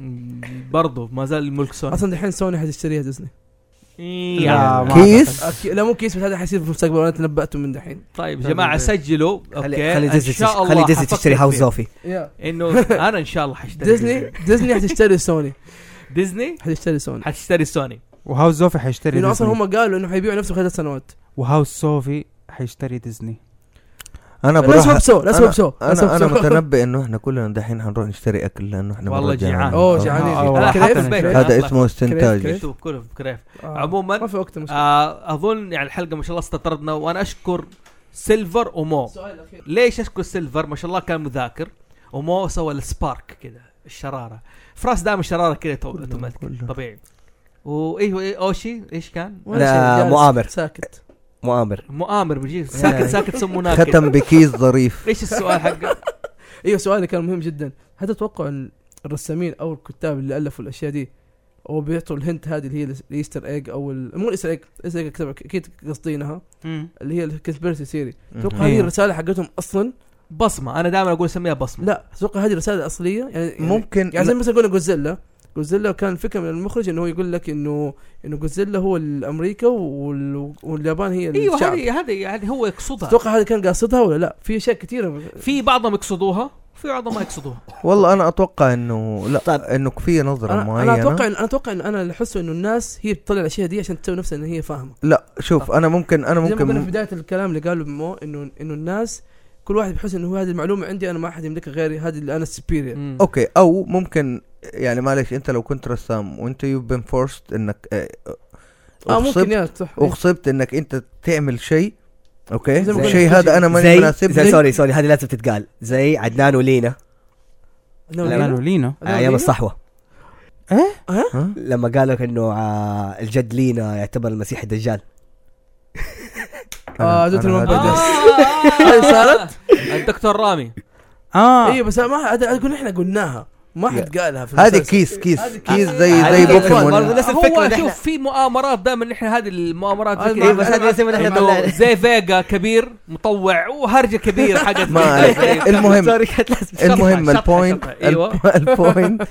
برضه ما زال الملك سوني
اصلا الحين سوني حتشتريها ديزني
لا،
يا
ما
كيس؟
أعتقد.
أكي- لا مو كيس بس هذا حيصير في المستقبل انا تنبأته من دحين
طيب يا جماعه سجلوا
خلي
اوكي
خلي
ان
ديزني تش-
شاء الله
خلي ديزني
حفكر
تشتري هاوس
فيه.
زوفي
يا
انه انا ان شاء الله حشتري
ديزني ديزني حتشتري سوني
ديزني
حتشتري سوني
حتشتري سوني
وهاوس زوفي حيشتري
لانه اصلا
ديزني
هم قالوا انه حيبيعوا نفسه خلال ثلاث سنوات
وهاوس صوفي حيشتري ديزني
انا
لا
بروح
سوب سو لا سوب سو لا سوب
انا انا
سو.
متنبئ انه احنا كلنا دحين حنروح نشتري اكل لانه احنا
والله
مرة
جيعان.
اوه
آه.
آه،
جعانين
آه،
لا،
والله.
كريف؟
حتى أنا
كريف؟
شايف.
هذا اسمه استنتاج
كريف.
كتب كله في كريف
آه.
عموماً.
ما في وقت مشكلة
آه، اظن يعني الحلقه ما شاء الله استطردنا وانا اشكر سيلفر ومو
السؤال الاخير
ليش اشكر سيلفر ما شاء الله كان مذاكر ومو سوى السبارك كذا الشراره فراس دائما شراره كذا تو- اوتوماتيك طبيعي وايوه إيه، اوشي ايش كان؟
ولا
لا،
شيء، جالس
مؤامر.
ساكت
مؤامر
مؤامر بيجي
إيه.
ساكت ساكت سمو ناكت
ختم بكيس ظريف
ايش السؤال حقه؟
ايوه سؤالي كان مهم جدا هل تتوقع ان الرسامين او الكتاب اللي الفوا الاشياء دي او بيعطوا الهنت هذه اللي هي الايستر ايج او ال- مو الايستر ايج الايستر ايج كتاب- اكيد قصدينها اللي هي الكسبيرسي سيري اتوقع هذه
إيه.
الرساله حقتهم اصلا
بصمه انا دائما اقول اسميها بصمه
لا اتوقع هذه الرساله الاصليه يعني يعني-
ممكن
يعني زي مثلا قلنا جوزيلا جوزيلا كان فكره من المخرج انه هو يقول لك انه انه جوزيلا هو الامريكا وال... واليابان هي
ايوه
الشعب ايوه
هذه هذه هذه هو يقصدها
تتوقع هذا كان قاصدها ولا لا؟ في اشياء كثيره
في بعضهم يقصدوها وفي بعضهم ما يقصدوها
والله انا اتوقع انه لا
طيب.
انه في نظره
انا انا
معينه
اتوقع إن انا اتوقع ان انا اللي احسه انه الناس هي بتطلع الاشياء دي عشان تسوي نفسها ان هي فاهمه
لا شوف انا ممكن انا
طيب. زي ما قلنا في
ممكن
بدايه الكلام اللي قاله مو انه انه الناس كل واحد بيحس انه هو هذه المعلومه عندي انا ما حد يملكها غيري هذه اللي انا السبيرير
اوكي
اوكي او ممكن يعني معلش انت لو كنت رسام وانت يو بين فورست انك آه،
اه ممكن
أغصبت-
يا صح
اغصبت انك انت تعمل شيء اوكي
زي ما قلنا
الشيء
في
هذا انا ماني
زي, زي
مناسب
سوري سوري هذه لازم تتقال زي عدنان ولينا
لا،
لينا
لا.
ولينا
ايام الصحوه
إيه؟
لما قال لك انه آه، الجد لينا يعتبر المسيح الدجال
اه
أنا-
دوت
أنا
المنبر
هذا-
ده.
هذه
هذه صارت؟
آه، الدكتور رامي
اه
ايوه بس ما هذا اقول احنا قلناها ما حد قالها في
هذه
المسلسل.
كيس كيس
هذه
كيس
كيس.
زي زي
هذه كيس
بوكيمون
برضه نفس الفكرة
هو
نحن.
شوف في مؤامرات دائما نحن هذه المؤامرات
هذه
زي
ما-
كذا.
إيه، بس هذه زي ما نحن
إنه
طلعنا
زي فيجا كبير مطوع وهرجه كبيره حقت
ما عليك. المهم-
أيوة. سوري كانت لازم
شطحة،
المهم
شطحة،
البوينت
شطحة.
أيوة.
ايوه
الب- البوينت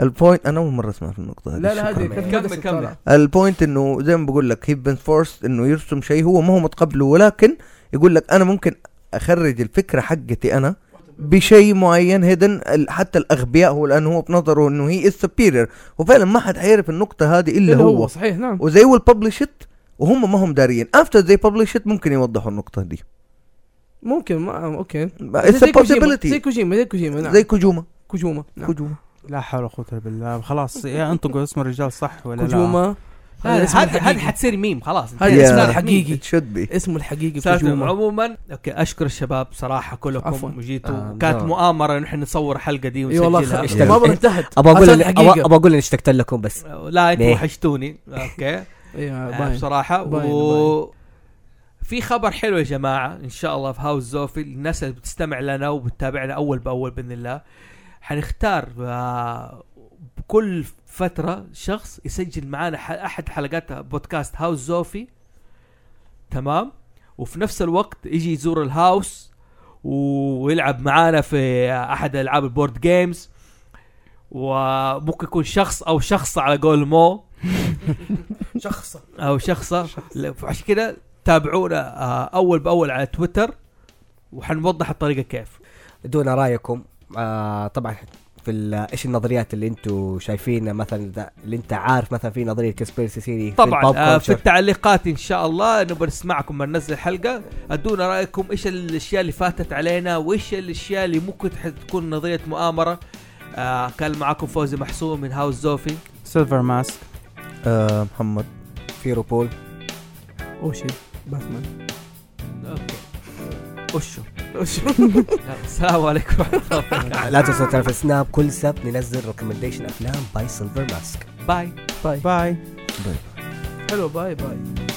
البوينت انا اول مره اسمع في النقطه هذه
لا لا
شكراً.
هذه كانت
كمل،
مدرسة
كمل.
طالعة.
البوينت انه زي ما بقول لك هي بن فورس انه يرسم شيء هو ما هو متقبله ولكن يقول لك انا ممكن اخرج الفكره حقتي انا بشيء معين هيدن حتى الاغبياء هو لانه هو بنظره انه هي السبيرير وفعلا ما حد حيعرف النقطه هذه الا
اللي
هو
هو صحيح نعم
وزي ويل ببلشت وهم ما هم دارين افتر زي ببلشت ممكن يوضحوا النقطه دي
ممكن ما اوكي
اتس
زي كوجيما زي
possibility
كوجيما زي كوجيما نعم
زي كوجوما
كوجوما نعم
كوجوما
لا حول ولا قوه الا بالله خلاص إيه، يا انطقوا اسم الرجال صح ولا لا
كوجوما هذا
هذه
اسمه
هذه هذه
الحقيقي
حتصير ميم خلاص
هذه
انتهى.
اسمها
Yeah.
الحقيقي. إيه.
it should be
اسمه الحقيقي
سالفة
كوجوما
عموما اوكي اشكر الشباب صراحه
عفواً.
كلكم
آه،
جيتوا كانت
نعم.
مؤامره نحن نصور حلقه دي
اي والله
ونسجلها
خ-
اشتغل.
ما أبغى انتهت
ابغى اقول
حصل
إن-
حقيقة.
ابغى أبغى اقول اني اشتقت لكم بس
لا انتم
ليه؟
وحشتوني اوكي
ايوه
آه،
باين
بصراحه
باين،
و في خبر حلو يا جماعه ان شاء الله في هاوس زوفي الناس اللي بتستمع لنا وبتتابعنا اول باول باذن الله حنختار آه، بكل فتره شخص يسجل معانا ح- احد حلقات بودكاست هاوس زوفي تمام وفي نفس الوقت يجي يزور الهاوس ويلعب معانا في احد العاب البورد جيمز وممكن يكون شخص او شخص على قول مو
شخصة
او شخصه لا، عشان كذا تابعونا آه، اول باول على تويتر وحنوضح الطريقه كيف
ادونا رايكم آه طبعا في ال- ايش النظريات اللي انتم شايفينها مثلا ده- اللي انت عارف مثلا في نظريه كسبيرسي سيري
طبعا آه، في التعليقات ان شاء الله نبغى نسمعكم لما ننزل الحلقه ادونا رايكم ايش الاشياء اللي فاتت علينا وايش الاشياء اللي ممكن تح- تكون نظريه مؤامره آه كان معاكم فوزي محسوم من هاوس زوفي
سيلفر ماسك
آه محمد
في روبول
اوه شيت باتمان
اوكي وشو
أوه، شيت.
يلا، السلام عليكم ورحمه الله وبركاته
لا تنسوا تعرف سناب كل سبت ننزل ريكومنديشن افلام باي سيلفر ماسك
باي
باي
باي
حلو باي باي